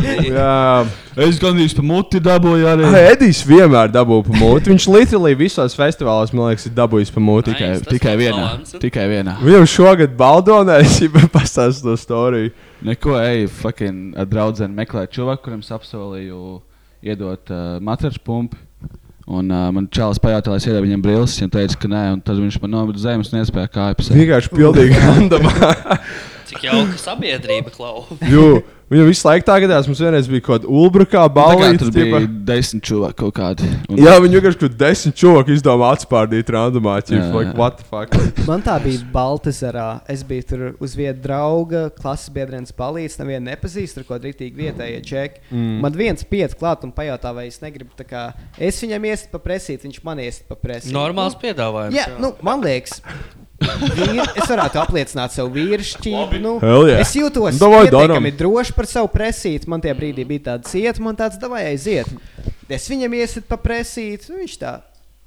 Speaker 5: zemi.
Speaker 3: Jā,
Speaker 2: es gandrīz pa muti dabūju arī.
Speaker 3: un... Edijs vienmēr dabūja pamūti. Viņš literāli visos festivālos, man liekas, ir dabūjis pamūti.
Speaker 2: Tikai, tikai vienā. Tikai vienā.
Speaker 3: Viņam šogad Baldonē es jau pastāstīju to storiju.
Speaker 2: Neko eju, fucking ar draugu meklēju cilvēku, kuram es apsolīju iedot uh, matraču pumpu. Un uh, man čalis pajautāja, lai es iedodu viņam brīvības. Viņš teica, ka nē, un tad viņš man nomira uz zemes un iespēja kāpnes.
Speaker 3: Vienkārši pilnīgi randomā.
Speaker 5: Cik jauka sabiedrība klau.
Speaker 3: Jū, viņam visu laiku tā gadās, mums vienreiz bija kaut kāda ulbrukā balva.
Speaker 2: Nu, Tur bija desmit cilvēki kaut kādi. Un-
Speaker 3: Jā, viņi vienkārši kaut desmit čūsku izdomā atspārdīt randomā.
Speaker 2: Jā,
Speaker 3: Ķipa, like,
Speaker 2: jā.
Speaker 3: what the fuck?
Speaker 4: Man tā bija Baltasarā. Es biju tur uz vietas drauga, klases biedrienes palīdzes. Nevienu nepazīstu, tur ko drīzāk vietējie čeki. Mm.
Speaker 16: Mm.
Speaker 4: Man viens pietiek klāt un pajautā, vai es negribu tā kā. Es viņam iestu paprasīt, viņš man iestu paprasīt.
Speaker 5: Normāls piedāvājums,
Speaker 4: Jā,
Speaker 5: jā.
Speaker 4: nu, man liekas. Vīri, es varētu apliecināt savu vīrišķību. Nu,
Speaker 3: Hell yeah.
Speaker 4: Es jūtos
Speaker 3: Davai,
Speaker 4: pietiekami
Speaker 3: daram.
Speaker 4: droši par savu presīti. Man tie brīdī bija tāds ciet, man tāds davai aiziet. Es viņam iesit pa presīti, nu, viņš tā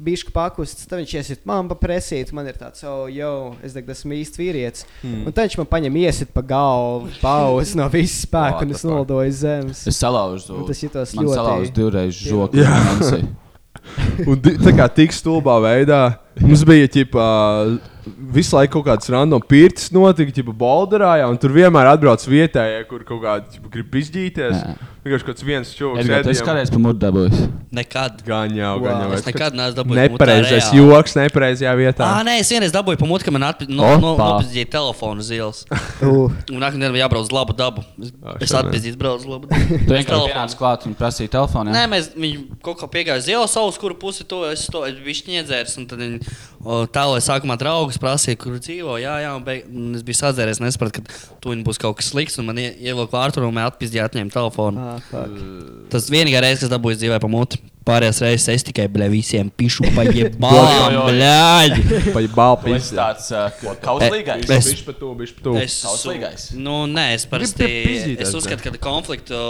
Speaker 4: bija pakusts, tad viņš iesit man pa presīti. Man ir tāds, oh, jo, es domāju, esmu īsts vīrietis.
Speaker 2: Mm.
Speaker 3: Hmm.
Speaker 4: Mm. Un tad viņš man paņem iesit pa galvu, pauz no visas spēka, un es nolidoju zemes.
Speaker 2: Es salauzu to.
Speaker 4: Un tas jutos
Speaker 2: Man
Speaker 4: ļoti.
Speaker 2: salauzu divreiz žoku.
Speaker 3: Jā. Un di- tā kā tik stulbā veidā. Mums bija ģipā, visu laiku kaut kāds random pirts, notika ģipā, Bolderājā, un tur vienmēr atbrauc vietējie, kur kaut kādi ģipā, grib izdzīties. Vienkārši kaut kāds viens čūlis.
Speaker 2: Edgars, tu esi kādreiz pa murdu dabūjis?
Speaker 5: Nekad.
Speaker 3: Gan jau, gan jau.
Speaker 5: Es nekad neesmu dabūjis.
Speaker 3: Nepareizais joks, nepareizajā vietā.
Speaker 5: Ah, nē, es vienreiz dabūju pamatu, ka man
Speaker 3: Opa.
Speaker 5: atpildīja telefonu zīles. Un nākamajā dienā jābrauc uz labu dabu. Es, es
Speaker 2: šodien.
Speaker 5: atpildīju, braucu uz labu
Speaker 2: Tu
Speaker 5: dabu.
Speaker 2: vienkārši
Speaker 5: Telefonu.
Speaker 2: pienāci klāt un prasīji telefonu.
Speaker 5: Nē,
Speaker 2: jā?
Speaker 5: mēs viņu kaut kā piegājām uz ielas, savus, kuru pusi to es to višķi iedzēru. Un tad viņi o, tālāk sākumā draugus prasīja, kur dzīvo. Jā, jā, un, beig... un es biju sadzēries, nesapratu, ka tur būs kaut kas slikts. Un man ie- ievilka vārtu, un man atpildīja, atņēma telefonu.
Speaker 4: Ah,
Speaker 5: Tas vienīgais reizes, kas dabūjis dzīvē pamūti. Pārējās reizes es tikai bļē, visiem pišu
Speaker 3: Blāj,
Speaker 5: paģebālu.
Speaker 3: blāj. Paģebālu, Tu esi pizda. tāds, ā, ka kauslīgais?
Speaker 5: Es
Speaker 3: Bišķi pa to, bišķi pa to.
Speaker 5: Es
Speaker 3: Kauslīgais.
Speaker 5: Nu, nē, es
Speaker 3: Gribu pie
Speaker 5: parasti.
Speaker 3: pizītēs,
Speaker 5: Es
Speaker 3: ne?
Speaker 5: uzskatu, ka konfliktu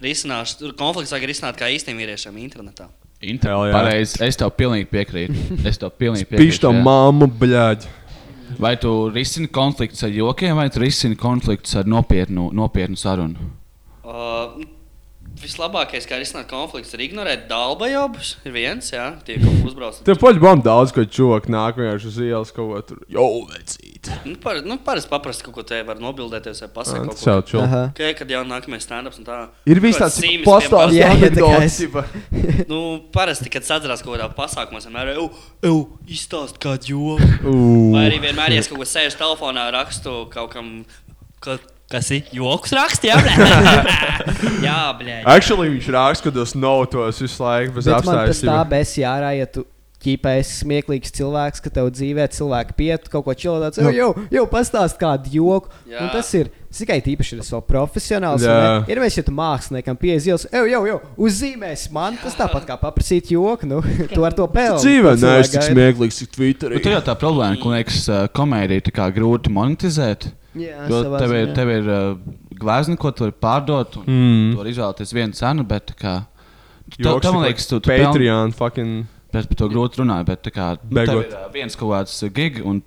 Speaker 5: risināšanu, konflikts vajag risināt kā īstiem vīriešiem internetā.
Speaker 3: Hell,
Speaker 2: Intel,
Speaker 3: jā.
Speaker 2: pareiz, es tev pilnīgi piekrītu. Es tev pilnīgi piekrītu.
Speaker 3: Pišķi to
Speaker 2: jā.
Speaker 3: māmu, bļaģi.
Speaker 2: Vai tu risini konflikts ar jokiem, vai tu risini konflikts ar nopietnu, nopietnu sarunu?
Speaker 5: Uh, Vislabākais, kā risināt konflikts, ir ignorēt dalībniekus. Ir viens, jā, tie, kas uzbrauc.
Speaker 3: Tev paģi bam daudz, ko čūlis nāk vienkārši uz ielas kaut ko tur. Jo, vecīt.
Speaker 5: Nu, par, nu, Parasti paprasti kaut ko te var nobildēties vai
Speaker 3: Ah,
Speaker 5: pasakot.
Speaker 3: tas jau chill. Aha.
Speaker 5: Okay, kad jau nākamais stand-ups un tā.
Speaker 3: Ir viss
Speaker 5: Kaut kāds
Speaker 3: tāds,
Speaker 5: zīmes
Speaker 3: pastāsti
Speaker 5: tiem
Speaker 3: Jā, jā, tā kā
Speaker 5: pastāsti. nu, parasti, kad sadarās kaut kādā pasākumā, vienmēr ir, eju, izstāst kādu joku.
Speaker 3: Ū.
Speaker 5: Vai arī vienmēr, ja es kaut ko sēžu telefonā, rakstu kaut kam, ka, kas ir joks raksts, jā, blē. jā, blē.
Speaker 3: Actually, viņš raksta, ka tas nav tos visu laiku bez
Speaker 4: Bet man tas tā
Speaker 3: apstākļiem.
Speaker 4: besi jārā, ja tu ķīpē esi smieklīgs cilvēks, ka tev dzīvē cilvēki piet kaut ko čilādāts.
Speaker 3: Nu.
Speaker 4: Nu. Jau, jau pastāst kādu joku.
Speaker 5: Jā.
Speaker 4: Un tas ir es tikai tīpaši, ja tas vēl profesionāls.
Speaker 3: Jā.
Speaker 4: vai ne? Ir mēs, ja tu māksliniekam piezīmes, jau, jau, jau, uzzīmēs man tas tāpat kā paprasīt joku. Nu, tu ar to pelni.
Speaker 3: Dzīvē
Speaker 4: Cilvēki
Speaker 3: neesmu tik
Speaker 4: gaida.
Speaker 3: smieklīgs, cik Twitterī.
Speaker 2: Bet tur Nu, jau tā problēma, ka man liekas, ā, komēdija tā kā grūti monetizēt.
Speaker 4: Jā,
Speaker 2: jo
Speaker 4: savā
Speaker 2: tev ir,
Speaker 4: ziņā.
Speaker 2: tev ir ā, glēzni, ko tu vari pārdot, un
Speaker 3: Mm.
Speaker 2: mm. tu vari izvēlēties vienu cenu, bet tā kā. Tu,
Speaker 3: Joks
Speaker 2: tev,
Speaker 3: ir
Speaker 2: man
Speaker 3: kā
Speaker 2: liekas, tu, tu
Speaker 3: Patreon fucking-
Speaker 2: Bet par to grūti runāt, bet tā kā. nu, Tev
Speaker 3: Begot.
Speaker 2: ir ā, viens kaut kāds ā, gig, un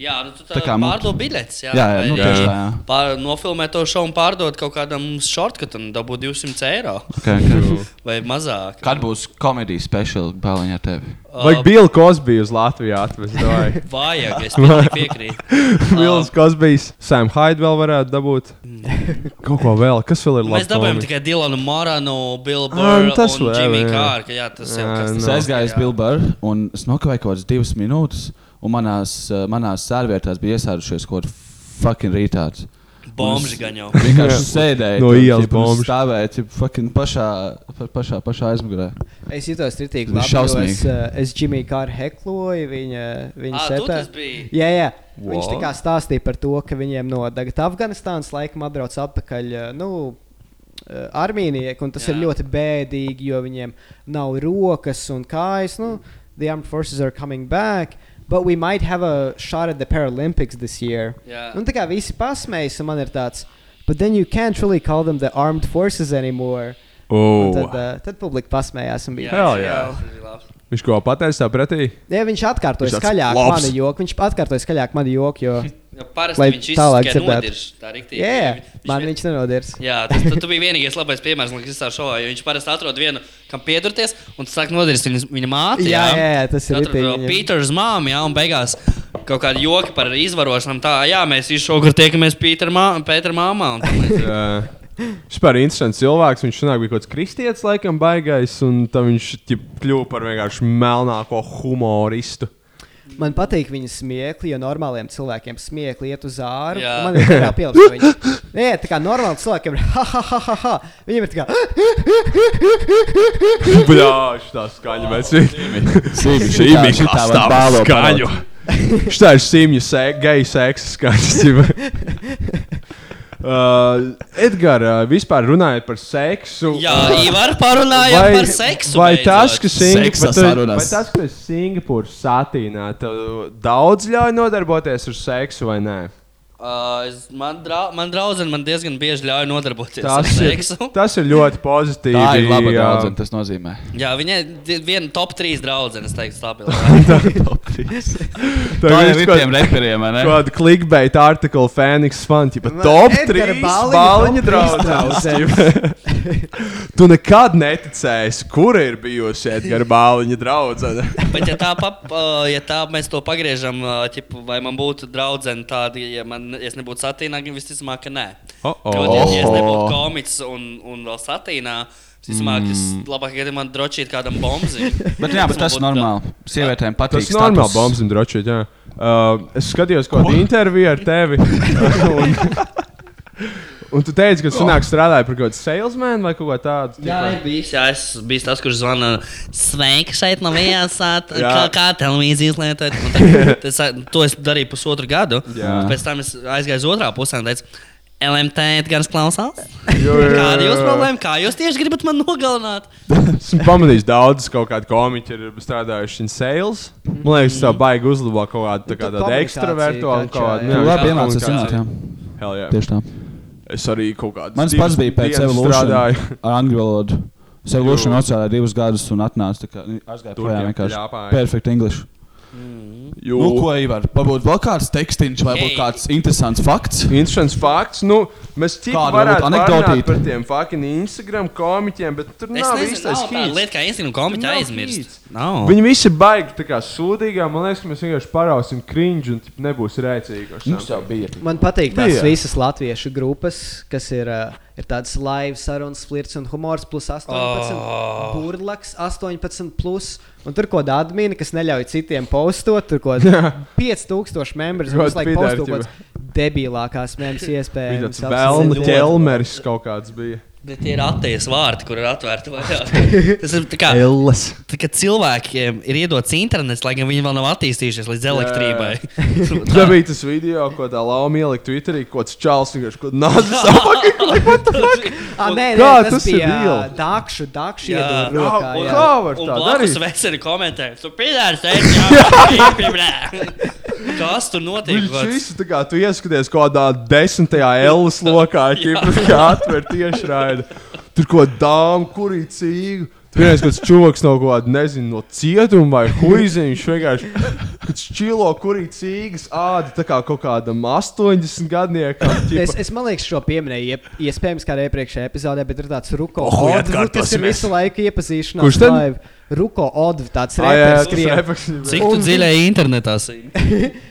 Speaker 5: Jā, nu, tu
Speaker 2: Tā kā mums-
Speaker 5: pārdod biļetes. Jā,
Speaker 2: Jā, jā, nu,
Speaker 5: Vai
Speaker 2: tieši tā, jā.
Speaker 5: Pār, nofilmē to šovu un pārdod kaut kādam shortcutam, dabū 200 eiro.
Speaker 2: Okay, okay.
Speaker 5: Vai mazāk.
Speaker 2: Kad būs komēdijas speciāla balīņa ar tevi?
Speaker 3: Vajag Bill Cosby uz Latviju atvest. davai.
Speaker 5: Vajag, es pilnīgi piekrītu.
Speaker 3: Bills Cosbys, Sam Hyde vēl varētu dabūt.
Speaker 2: Mm.
Speaker 3: Kaut ko vēl, kas vēl ir labi?
Speaker 5: nu, Mēs dabūjām
Speaker 3: komi?
Speaker 5: tikai Dilanu Moranu, Billu
Speaker 3: Ah, nu
Speaker 5: Burru
Speaker 3: tas
Speaker 5: un
Speaker 3: vēl,
Speaker 5: Jimmy
Speaker 3: jā.
Speaker 5: Kārku. Jā, tas jau
Speaker 3: Jā,
Speaker 5: kas
Speaker 2: Es
Speaker 5: tas
Speaker 2: aizgāju uz Bilbāru, un es nokavēju kaut kādas divas minūtes, un manās, eh, manās sērvietās bija iesādušies kaut kāds fucking rītāts.
Speaker 5: Bomži gan jau.
Speaker 2: Vienkārši
Speaker 3: Jā.
Speaker 2: sēdēju.
Speaker 3: No
Speaker 2: tur,
Speaker 3: ielas
Speaker 2: tipu, un
Speaker 3: bomži.
Speaker 2: Stāvēju, tipu, fucking pašā, pa- pašā, pašā aizmugurē.
Speaker 4: Es jutos
Speaker 2: Tas
Speaker 4: kritīgi.
Speaker 2: bija
Speaker 4: Labi, jo
Speaker 2: šausmīgi.
Speaker 4: es eh, es Džimiju Kāru hekloju. Viņa, viņa
Speaker 5: Ā, tu
Speaker 4: setā.
Speaker 5: tas biji?
Speaker 4: Jā, jā. Viņš tā
Speaker 5: What?
Speaker 4: kā stāstīja par to, ka viņiem no tagad Afganistānas laikam atbrauc atpakaļ. eh, Nu, eh, Armīnieki, un tas jā. ir ļoti bēdīgi, jo viņiem nav rokas un kājas. Nu, the armed forces are coming back, but we might have a shot at the Paralympics this year.
Speaker 5: Jā.
Speaker 4: Un tā kā visi pasmējas, un man ir tāds, but then you can't really call them the armed forces anymore.
Speaker 3: Oh.
Speaker 4: Un Tad, eh, tad publika pasmējās un bija.
Speaker 3: Hell, jā. Viņš ko pateica tā pretī?
Speaker 4: Jā, viņš atkārtoja
Speaker 3: Viņš tāds
Speaker 4: skaļāk
Speaker 3: labs.
Speaker 4: manu joku. Viņš atkārtoja skaļāk manu joku. Jo...
Speaker 5: Ja parasti
Speaker 4: lai
Speaker 5: viņš izsaka,
Speaker 4: tālāk
Speaker 5: ka
Speaker 4: dzirdētu.
Speaker 5: nodirž, tā riktīgi.
Speaker 4: Jā,
Speaker 5: Viņš-
Speaker 4: yeah, man viņš nenodirs.
Speaker 5: Jā, tas tu, tu bija vienīgais labais piemērs, kas manā šovā bija. Viņš parasti atrod vienu, kam piedurties, un tas sāk nodarīt viņa, viņa māti.
Speaker 4: Jā, jā, jā, tas ir
Speaker 5: Atrod
Speaker 4: ritīgi
Speaker 5: to
Speaker 4: viņam.
Speaker 5: Pīters māmu, jā, un beigās kaut kāda joka par izvarošanu. Tā, jā, mēs visi šogad tiekamies Pītera mā, Pētera māmā. un tā līdzīgi.
Speaker 3: Jā. Viņš bija interesants cilvēks. Viņš senāk bija kaut kāds kristietis, laikam, baigais. Un tad viņš ķip, kļuva par vienkārši melnāko humoristu.
Speaker 4: Man patīk viņa smieklis, jo normāliem cilvēkiem smieklis iet uz āru.
Speaker 5: Jā.
Speaker 4: un Man ir tā kā pielikts, ka viņš. Nē, tā kā normāli cilvēkiem ir ha ha ha ha ha. Viņam ir tā kā.
Speaker 3: Bļāž, tā skaņa, mēs
Speaker 2: Simi,
Speaker 3: visi.
Speaker 2: šitā- šitā var bālo
Speaker 3: skaņu. Šitā ir simju sek, geju seksa skaņas. ķip. Uh, Edgars, uh, vispār runājot par seksu.
Speaker 5: Jā,
Speaker 3: uh,
Speaker 5: Ivar, parunājam
Speaker 3: vai-
Speaker 5: par seksu
Speaker 3: Vai
Speaker 5: beidzot.
Speaker 3: tas, ka Singapūrā
Speaker 2: Seksa sarunas.
Speaker 3: ir Singapūrā satīnā, tev daudz ļauj nodarboties ar seksu vai nē?
Speaker 5: Uh, es, man drau, man draudzene man diezgan bieži ļauj nodarboties ar
Speaker 3: Tas ir,
Speaker 5: seksu.
Speaker 3: tas ir ļoti pozitīvi.
Speaker 2: Tā ir laba
Speaker 3: jā.
Speaker 2: draudzene, tas nozīmē.
Speaker 5: Jā, viņai di- viena top 3 draudzene, es teiktu, stabila.
Speaker 2: Tā jau ir tiem reperiem, vai ne?
Speaker 3: Kāda clickbait artikla Phoenix fan, tipa
Speaker 5: Man
Speaker 3: top
Speaker 5: Edgara
Speaker 3: 3
Speaker 5: Baliņa
Speaker 3: bāliņa
Speaker 5: top trīs
Speaker 3: draudzene. tu nekad neticēsi, kura ir bijusi Edgara bāliņa draudzene.
Speaker 5: Bet, ja tā, pap, uh, ja tā mēs to pagriežam, uh, ķipu, vai man būtu draudzene tāda, ja man, ja es nebūtu satīnā, tad visticamāk, ka nē.
Speaker 2: Oh,
Speaker 3: Uh-oh.
Speaker 5: Kaut ja- ja es nebūtu
Speaker 3: Oh.
Speaker 5: komiks un, un vēl satīnā, visticamāk, mm. es
Speaker 2: Mm.
Speaker 5: labāk gribētu man drošīt kādam bombzi.
Speaker 2: Bet, jā, bet tas ir normāli. Sievietēm patīk.
Speaker 3: Tas ir normāli, bombs un drošs. Uh, es skatījos kādu interviju ar tevi. un, un tu teici, ka tu nāk strādāji par kaut kādu salesmanu vai kaut ko tādu.
Speaker 5: Jā,
Speaker 3: tipā.
Speaker 5: ir bijis, jā, es biju tas, kurš zvana sveiki šeit no viesāt,
Speaker 3: Jā.
Speaker 5: kā, kā televīzijas lietot. Un tad- tas, To es darīju pusotru gadu.
Speaker 3: Jā.
Speaker 5: un Pēc tam es aizgāju uz otrā pusē un teicu, LMT gan klausās.
Speaker 3: Jo, jo, jo,
Speaker 5: Kāda ir jūsu
Speaker 3: jo.
Speaker 5: problēma? Kā jūs tieši gribat man nogalināt?
Speaker 3: Esmu pamanījis, daudzas kaut kāda komiķa ir strādājuši in sales. Man liekas,
Speaker 5: Mm.
Speaker 3: tā baigi uzlabo kaut kādu tā kā
Speaker 2: Tu
Speaker 3: tādu
Speaker 2: komunikāciju
Speaker 3: ekstravertu un
Speaker 2: taču,
Speaker 3: kaut kādu
Speaker 2: jā. Tu labi
Speaker 3: jā,
Speaker 2: iemācies
Speaker 3: komunikāciju.
Speaker 2: runāt, jā.
Speaker 3: Hell yeah.
Speaker 2: Tieši tā.
Speaker 3: Es arī kaut kādu
Speaker 2: Mans pats bija pēc evolūcijas ar angļu valodu. Es evolūciju
Speaker 3: Jo.
Speaker 2: nocēlēju divus gadus un atnācu. tā kā- Aizgāju projām
Speaker 3: Turkiem
Speaker 2: vienkārši.
Speaker 3: ļāpāja.
Speaker 2: Perfect English.
Speaker 3: Jo-
Speaker 2: Nu, ko Ivar, varbūt vēl kāds tekstiņš vai varbūt kāds interesants fakts?
Speaker 3: Interesants fakts. Nu, mēs tikai
Speaker 2: Kāda varbūt
Speaker 3: varētu anekdotīt
Speaker 2: anekdotīte?
Speaker 3: par tiem fucking Instagram komiķiem, bet tur
Speaker 5: Es
Speaker 3: nav
Speaker 5: nezinu,
Speaker 3: īstais
Speaker 5: nav tāda
Speaker 3: hīts.
Speaker 5: lieta, kā Instagram komiķi
Speaker 3: Nav
Speaker 5: aizmirst.
Speaker 3: hīts.
Speaker 5: Nav.
Speaker 3: Viņi visi ir baigi tā kā sūdīgi. Man liekas, ka mēs vienkārši parausim cringe un tip, nebūs rēcīgi.
Speaker 2: Mums jau bija.
Speaker 4: Man patīk tās
Speaker 3: Bija.
Speaker 4: visas latviešu grupas, kas ir, uh, ir tādas live sarunas, flirts un humors, plus 18, oh.
Speaker 5: Oh.
Speaker 4: burlaks 18, plus, un tur kaut kāda admina, kas neļauj citiem postot, tur kaut kāda 5000 members,
Speaker 3: Kaut
Speaker 4: kurus laikam
Speaker 3: pidari,
Speaker 4: postot kaut
Speaker 3: ģipa.
Speaker 4: kādas debilākās memes
Speaker 3: Bija
Speaker 4: iespējas.
Speaker 3: tāds vēlme, ķelmeris kaut kāds bija.
Speaker 5: Bet tie ir attīstīts vārdi, kur ir atvērti vairāk. Tas ir tā kā,
Speaker 3: Elles.
Speaker 5: tā kā cilvēkiem ir iedots internets, lai gan viņi vēl nav attīstījušies līdz elektrībai.
Speaker 3: Tā bija tas video, ko tā lauma ielika Twitterī, ko tas čels vienkārši kaut nāca apakā.
Speaker 4: Ah, nē, nē,
Speaker 3: Kā
Speaker 4: tas,
Speaker 3: tas
Speaker 4: tas
Speaker 3: ir
Speaker 4: bija
Speaker 3: real?
Speaker 4: ā, dakšu, dakšu
Speaker 5: Jā.
Speaker 4: iedod rokā.
Speaker 5: Un-
Speaker 4: jā.
Speaker 5: un blakus Veseli komentē, tu pidārs, ej, jā, pidārs. Kas tur notiek?
Speaker 3: Viņš
Speaker 5: gods?
Speaker 3: visu tā kā tu ieskaties kaut kādā desmitajā Latvijas lokā, kā atver tiešraidi. Tur ko dāmu, kurī cīgu. Tur viens kāds čūlis no kaut kāda, nezinu, no cietuma vai huiziņš. Vienkārši kāds čilo, kurī cīgas āda, tā kā kaut kādam 80 gadniekam.
Speaker 4: Es,
Speaker 3: ķipa.
Speaker 4: es man liekas, šo pieminēju, iep, iespējams, kādā iepriekšējā epizodē, bet ir tāds Ruko
Speaker 3: Oh, jā,
Speaker 4: Odv, kas ir
Speaker 3: atkārtosimies.
Speaker 4: visu laiku iepazīšanās.
Speaker 3: Kurš tad?
Speaker 4: live. Ruko Odv, tāds
Speaker 3: Ah, jā,
Speaker 4: reperis
Speaker 3: tas reperis,
Speaker 4: skrien.
Speaker 3: jā. Cik tu dziļai
Speaker 5: internetā esi?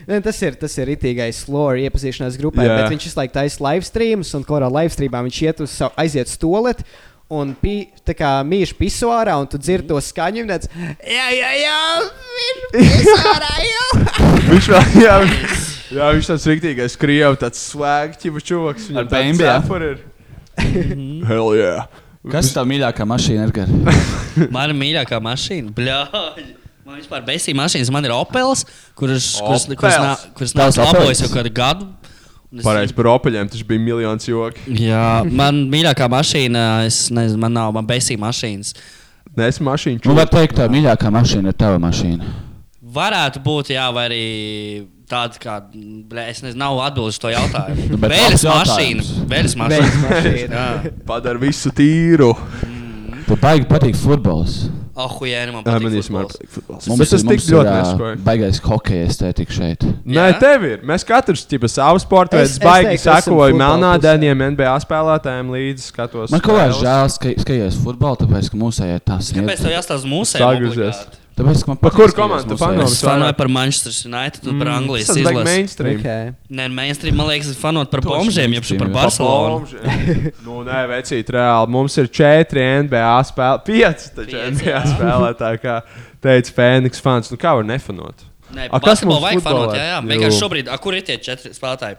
Speaker 4: Nē, tas ir, tas ir itīgais lore iepazīšanās grupai,
Speaker 3: Jā.
Speaker 4: yeah. bet viņš visu laiku taisa live streams, un korā live streamā viņš iet uz savu, aiziet stolēt. Un pī, tā kā mīlēš pisuārā, un tu dzirdi to skaņu, un tāds - jā, jā, jā, viņš pisuārā jau!
Speaker 3: Viņš vēl, jā, viņš, jā, viņš tāds rīktīgais krievs, tāds svēgķis, čūlis.
Speaker 2: Ar bēmbi, jā?
Speaker 3: Hell yeah!
Speaker 2: Kas tā mīļākā mašīna ir? Gar?
Speaker 5: Mana mīļākā mašīna. Bļāj. Man vispār besīja mašīnas. Man ir Opels, kurš kurš kurš nā- kurš nav
Speaker 3: Tavs
Speaker 5: labojas jau
Speaker 3: Opels?
Speaker 5: kādu gadu. Un es-
Speaker 3: Pareizi par opaļiem, tas bija miljons joki.
Speaker 5: Jā, man mīļākā mašīna, es nezinu, man nav, man besīja mašīnas.
Speaker 3: Nē, es mašīnu
Speaker 2: Nu, var teikt, tā mīļākā mašīna ir tava mašīna.
Speaker 5: Varētu būt, jā, vai arī tāda, kā, blē, es nezinu, nav atbildes uz to jautājumu.
Speaker 2: Nu, bet
Speaker 5: Vēles
Speaker 2: labs
Speaker 5: mašīna.
Speaker 2: jautājums.
Speaker 5: Vēles
Speaker 4: Vēles
Speaker 5: mašīna.
Speaker 4: mašīna.
Speaker 5: Jā.
Speaker 3: Padara visu tīru.
Speaker 2: Tev baigi patīk futbols.
Speaker 5: Ah, jēni, man
Speaker 3: Jā,
Speaker 5: patīk.
Speaker 3: man īstenībā
Speaker 5: futbols.
Speaker 3: patīk futbols.
Speaker 2: Mums
Speaker 3: Bet
Speaker 2: ir-
Speaker 3: tas tik
Speaker 2: mums ir,
Speaker 3: ļoti
Speaker 2: ā,
Speaker 3: neskoja.
Speaker 2: Baigais hokeja estētika šeit.
Speaker 3: Nē, tev ir. Mēs katrs tipā savu sportu
Speaker 4: Es-
Speaker 3: veidu
Speaker 4: es
Speaker 3: baigi
Speaker 4: teiktu, esam
Speaker 3: sakojam
Speaker 4: futbola
Speaker 3: melnādēniem NBA spēlētājiem līdzi skatos.
Speaker 2: Man kaut kā
Speaker 3: spēles.
Speaker 2: žēl, ska- skaties futbolu, tāpēc, ka mūsu gājā tas ir.
Speaker 5: Kāpēc tev jāstāsta mūsu?
Speaker 3: Sagriezies.
Speaker 2: Tāpēc, ka man
Speaker 3: Par
Speaker 2: patīk
Speaker 3: kuru
Speaker 2: skatīties
Speaker 3: komandu tu
Speaker 2: mūsējās.
Speaker 3: fano?
Speaker 5: Es fanoju par Manchester United un par
Speaker 3: Mm,
Speaker 5: Anglijas
Speaker 3: tas ir baigi
Speaker 5: izlasi.
Speaker 3: mainstream.
Speaker 4: Ok.
Speaker 5: Nē, mainstream man liekas, fanot par
Speaker 2: Tu esi
Speaker 5: bombžiem, jau par
Speaker 2: mainstream, jā.
Speaker 5: Barcelonu.
Speaker 3: Bomžiem. nu, nē, vecīt, reāli. Mums ir četri NBA spēlētāji, pieci taču
Speaker 5: Pieci,
Speaker 3: NBA
Speaker 5: jā.
Speaker 3: spēlētāji, kā teica Fēniks fans. Nu, kā var nefanot?
Speaker 5: Nē,
Speaker 3: A, kas
Speaker 5: basketbolu
Speaker 3: mums
Speaker 5: vajag
Speaker 3: futbolā?
Speaker 5: fanot. Jā, jā.
Speaker 3: Jū.
Speaker 5: Vienkārši šobrīd, a, kur ir tie četri spēlētāji?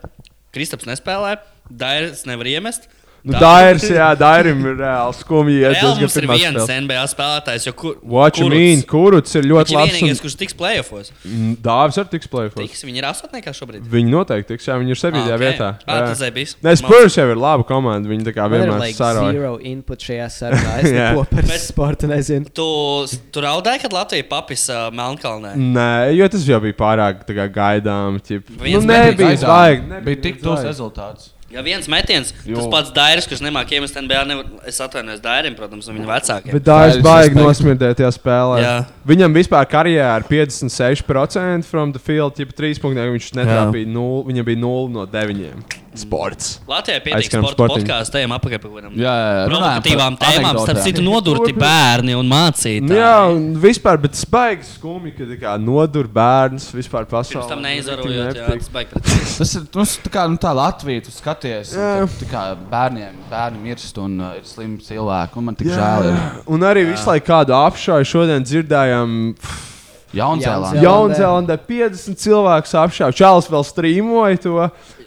Speaker 5: Kristaps nespēlē, Dairis nevar iemest.
Speaker 3: Nu, Dairis, jā, Dairim ir reāli skumji. Es
Speaker 5: Reāli
Speaker 3: diezgan
Speaker 5: mums ir
Speaker 3: pirmās
Speaker 5: viens
Speaker 3: spēles.
Speaker 5: NBA spēlētājs, jo kur,
Speaker 3: What you mean? Kuruts ir ļoti
Speaker 5: Viņš ir
Speaker 3: labs un-
Speaker 5: vienīgais, kurš tiks playoffos.
Speaker 3: Mm, Dāvis arī tiks plēfos.
Speaker 5: Tiks, viņi ir astotniekā šobrīd.
Speaker 3: Viņi noteikti tiks, jā, viņi ir 7. Okay.
Speaker 5: Ah, ok.
Speaker 3: vietā.
Speaker 5: Ah,
Speaker 3: Jā.
Speaker 5: tas zebis.
Speaker 3: Nē, Spurs jau ir laba komanda. Viņi tā kā
Speaker 4: Man ir
Speaker 3: vienmēr
Speaker 4: like
Speaker 3: saroja.
Speaker 4: zero input šajā sarunā. Es
Speaker 3: Jā.
Speaker 4: neko par sportu nezinu.
Speaker 5: Tu, tu raudāji, kad Latvija papisa uh, Melnkalnē.
Speaker 3: Mm. Nē, jo tas jau bija pārāk tā kā, gaidām. Ķip. Nu,
Speaker 5: Viens
Speaker 3: nebija
Speaker 5: metiens.
Speaker 3: zvaig.
Speaker 2: Bija tik tos rezultāts.
Speaker 5: Ja viens metiens,
Speaker 2: Jo.
Speaker 5: jo. tas pats Dairis, kurš nemāķi iemest NBA, nevar, es atvainojos Dairim, protams, un viņa vecākiem.
Speaker 3: Bet Dārzs baigi nosmirdētajā spēlē.
Speaker 5: Jā.
Speaker 3: Viņam vispār karjerā ir 56% from the field, ja 3 punktiem viņš netrāpīja 0, viņam bija 0 no 9. Sports.
Speaker 5: Latvijai pietiek
Speaker 3: Aizskrien
Speaker 5: sporta
Speaker 3: sportiņu.
Speaker 5: podkāstu, ejam apakaļ pie kaut
Speaker 3: jā,
Speaker 5: kādām provokatīvām
Speaker 3: runājam par
Speaker 5: tēmām, starp
Speaker 3: anekdotēm.
Speaker 5: citu, nodurti bērni un mācītāji.
Speaker 3: Nu, jā, un vispār, bet tas baigs skumji, ka tā kā nodur bērns vispār pasaulē.
Speaker 5: Pirms tam
Speaker 3: Tik
Speaker 5: neizvarojot, jā,
Speaker 3: nepatīk.
Speaker 5: tas baigi pret.
Speaker 2: Tas ir tas, kā, nu, tā Latvija, tu skaties,
Speaker 5: Jā.
Speaker 2: un tad tā kā bērniem, bērni mirst un uh, ir slimi cilvēki. Un man tik
Speaker 3: Jā,
Speaker 2: žēl ir.
Speaker 3: jā. Un arī visu laiku kādu apšauju šodien dzirdējām.
Speaker 2: Jaunzēlandē.
Speaker 3: Jaunzēlandē 50 cilvēku apšauju. Čāls vēl strīmoja to.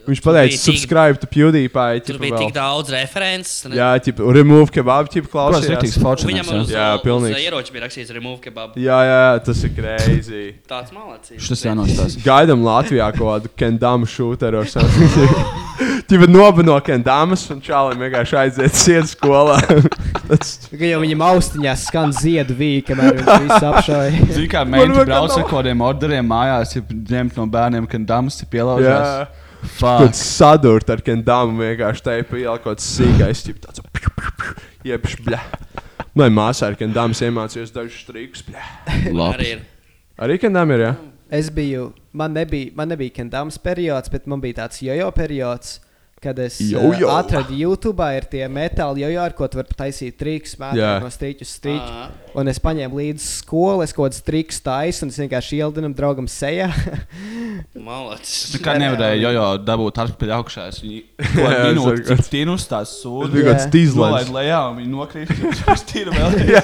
Speaker 3: Viņš pateica,
Speaker 5: bija tik-
Speaker 3: subscribe to PewDiePie.
Speaker 5: Tur
Speaker 3: ķipa,
Speaker 5: bija
Speaker 3: vēl.
Speaker 5: tik daudz references. ne?
Speaker 3: Jā, ķipa, remove kebab, ķip klausās.
Speaker 2: riktīgs fortunēts,
Speaker 5: Viņam uz,
Speaker 3: jā,
Speaker 5: jā, uz
Speaker 3: pilnīgi.
Speaker 5: ieroča bija rakstīts remove kebab.
Speaker 3: Jā, jā, jā, tas ir greizi.
Speaker 5: Tāds malacīgs.
Speaker 2: Šis jānostāsta.
Speaker 3: Gaidām Latvijā kaut kādu kendāmu šūteru ar saviem. Tīpa nobino kendāmas un čālim vienkārši aiziet sienas skolā. Tas-
Speaker 4: Tikai jau viņam austiņās skan ziedu vīka, kamēr viņš visu apšauja.
Speaker 2: Zini, kā meitene brauc ar kaut kādiem orderiem mājās, ir ņemt no bērniem, kad dāmas ir
Speaker 3: Jā.
Speaker 2: pielaužās.
Speaker 3: Kaut
Speaker 2: Fuck.
Speaker 3: kāds sadūrt ar kendāmu vienkārši te pielāgot sīkais, tīpa tāds. Jebš, bļa. Lai māsā ar kendāmas iemācījos dažus trikus, bļa.
Speaker 2: Labi.
Speaker 5: Arī ir.
Speaker 3: Arī kendām ir, jā?
Speaker 4: Es biju, man nebija, man nebija kendāms periods, bet man bija tāds jojo periods. Kad es eh,
Speaker 3: Jojo.
Speaker 4: atradu YouTube, ir tie metāli, jo ar ko tu vari taisīt trikus,
Speaker 3: Jā.
Speaker 4: mētāt no strīķa uz strīķa. Un es paņēmu līdzi skolu, es kaut kādas trikus taisu, un es vienkārši ielidinu draugam sejā.
Speaker 5: Malacis.
Speaker 2: Es
Speaker 3: Nu,
Speaker 2: nekad nevarēju jo, jo dabūt atpakaļ augšā. Es Viņu to
Speaker 3: Jā, es
Speaker 2: minūti,
Speaker 3: saprotu.
Speaker 2: cik tīnus tās sūdi.
Speaker 3: Tas bija kāds tīzlens.
Speaker 2: Nolaid lejā un viņi nokrīt. Viņš tīra vēl.
Speaker 3: Jā.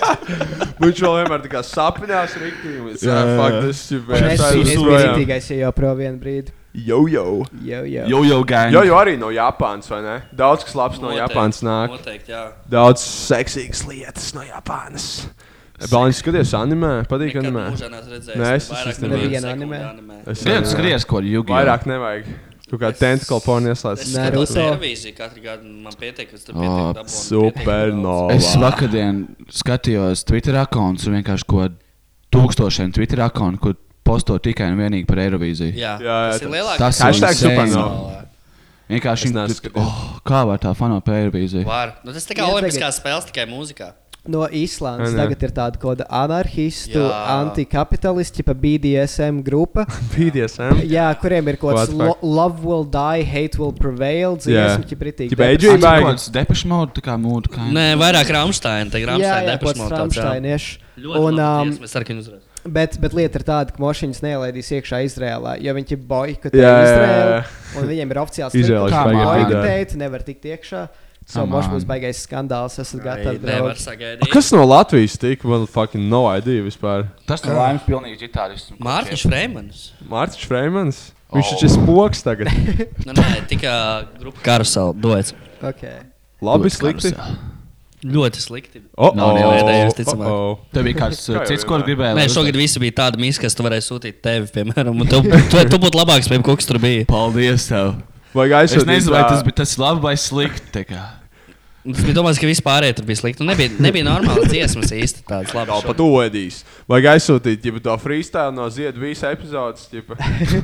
Speaker 3: Nu, Viņš vēl vienmēr tā kā sapņās rīktīgi.
Speaker 2: Jā, jā, jā.
Speaker 4: Un es biju- es biju rītīgais, ja jau pro vienu brīdi.
Speaker 3: Jau, jau.
Speaker 4: Jau, jau.
Speaker 2: Jojo gang.
Speaker 3: Jo, jo arī no Japānas, vai ne? Daudz kas labs no
Speaker 5: Noteikti,
Speaker 3: Japānas nāk.
Speaker 5: noteikti, jā.
Speaker 3: Daudz seksīgas lietas no Japānas. Bāliņš skaties anime, patīk
Speaker 5: Nekad
Speaker 3: anime.
Speaker 5: mūžā neesmu redzējis
Speaker 3: Nē, es
Speaker 5: vairāk
Speaker 3: tas
Speaker 5: nevienu
Speaker 3: nevaru.
Speaker 5: Nevienu sekundi anime? anime.
Speaker 3: Es
Speaker 2: Viens
Speaker 3: nevaru.
Speaker 2: skries, ko ar Yu-Gi-Oh!
Speaker 3: Vairāk nevajag. Kaut kā tentacle porn ieslēdz.
Speaker 5: Es skatos televīziju katru gadu, un man pietiek, ka tur
Speaker 2: Oh,
Speaker 3: Ah,
Speaker 5: pietiek dabu.
Speaker 3: Supernova.
Speaker 2: Es vakardien skatījos Twitter akkontus un vienkārši ko tūkstošiem Twitter akkontu, kur posto tikai un vienīgi par Eirovīziju.
Speaker 5: Jā, Jā, jā, tas ir lielākais.
Speaker 2: Tas ir
Speaker 5: Hashtag
Speaker 2: insane.
Speaker 5: Supernova.
Speaker 2: Vienkārši viņi- oh, kā var tā fanu par Eirovīziju?
Speaker 5: Var. Nu, tas tā kā
Speaker 4: Jā,
Speaker 5: olimpiskās spēles tikai mūzikā.
Speaker 4: No Īslandes
Speaker 2: Ai, nē.
Speaker 4: tagad ir tāda kaut kāda anarchistu,
Speaker 5: Jā.
Speaker 4: antikapitalisti, pa BDSM grupa.
Speaker 3: BDSM?
Speaker 4: Jā, kuriem ir kaut kāds
Speaker 3: What the
Speaker 4: lo
Speaker 3: fuck?
Speaker 4: Love will die, hate will prevail. Dziesmu, ķip ritīgi.
Speaker 2: Atcīm kaut kāds depešu modu, tā kā mūdu. kā-
Speaker 5: Nē, vairāk Rāmsteina. Tā ir
Speaker 4: Mm. Jā, jā,
Speaker 5: Rāmsteina
Speaker 4: kaut
Speaker 5: depresija.
Speaker 4: kāds Rammsteiniešu. Un,
Speaker 5: Un
Speaker 4: um,
Speaker 5: mēs ar viņu uzreiz.
Speaker 4: Bet, bet lieta ir tāda, ka mošiņas neielaidīs iekšā Izrēlā, jo viņi ir boikotēji
Speaker 3: Jā, jā,
Speaker 4: Izrēlu.
Speaker 3: jā.
Speaker 4: Un viņiem ir oficiāls
Speaker 3: Izraels baigi
Speaker 4: boikotēji, tu nevar tikt iekšā. So,
Speaker 3: Come
Speaker 4: moš
Speaker 3: on.
Speaker 4: būs baigais skandāls, esat gatavi.
Speaker 5: nevar
Speaker 4: draugi.
Speaker 5: sagaidīt.
Speaker 3: A, Kas no Latvijas tika? Man fucking no idea vispār.
Speaker 2: Tas no laimes pilnīgi ģitārists.
Speaker 5: Mārtiņš Freimans.
Speaker 3: Mārcis Freimans. Viņš taču ir
Speaker 2: Oh.
Speaker 3: spoks tagad.
Speaker 5: Nu, nē, tikai grupa karusela dodas.
Speaker 4: Okay.
Speaker 3: Labi, slikti.
Speaker 5: Ļoti slikti.
Speaker 3: O, o,
Speaker 5: Nav nevienēdējis,
Speaker 3: o,
Speaker 5: ticamāk.
Speaker 3: o. Tev bija kāds, Kā uh, jau cits, ko vienmēr. gribēji, lai
Speaker 5: Nē, šogad
Speaker 2: uzdod?
Speaker 5: visi bija tādi mīsi, kas tu varēji sūtīt tevi, piemēram. un Tu, tu, tu būtu labāks, piemēram, koks tur bija.
Speaker 2: Paldies tev.
Speaker 3: Vajag
Speaker 2: Es
Speaker 3: aizsūtīt.
Speaker 2: nezinu, vai
Speaker 3: ā,
Speaker 2: tas bija tas labi vai slikti. tā kā.
Speaker 5: Es biju domājis, ka vispār tur bija slikti. Nu, Nebija, nebija normāla dziesmas īsti tādas
Speaker 3: Kā pat
Speaker 5: labas.
Speaker 3: odīs. Vajag aizsūtīt jau to freestyle no Ziedu visas epizodes. ģipa.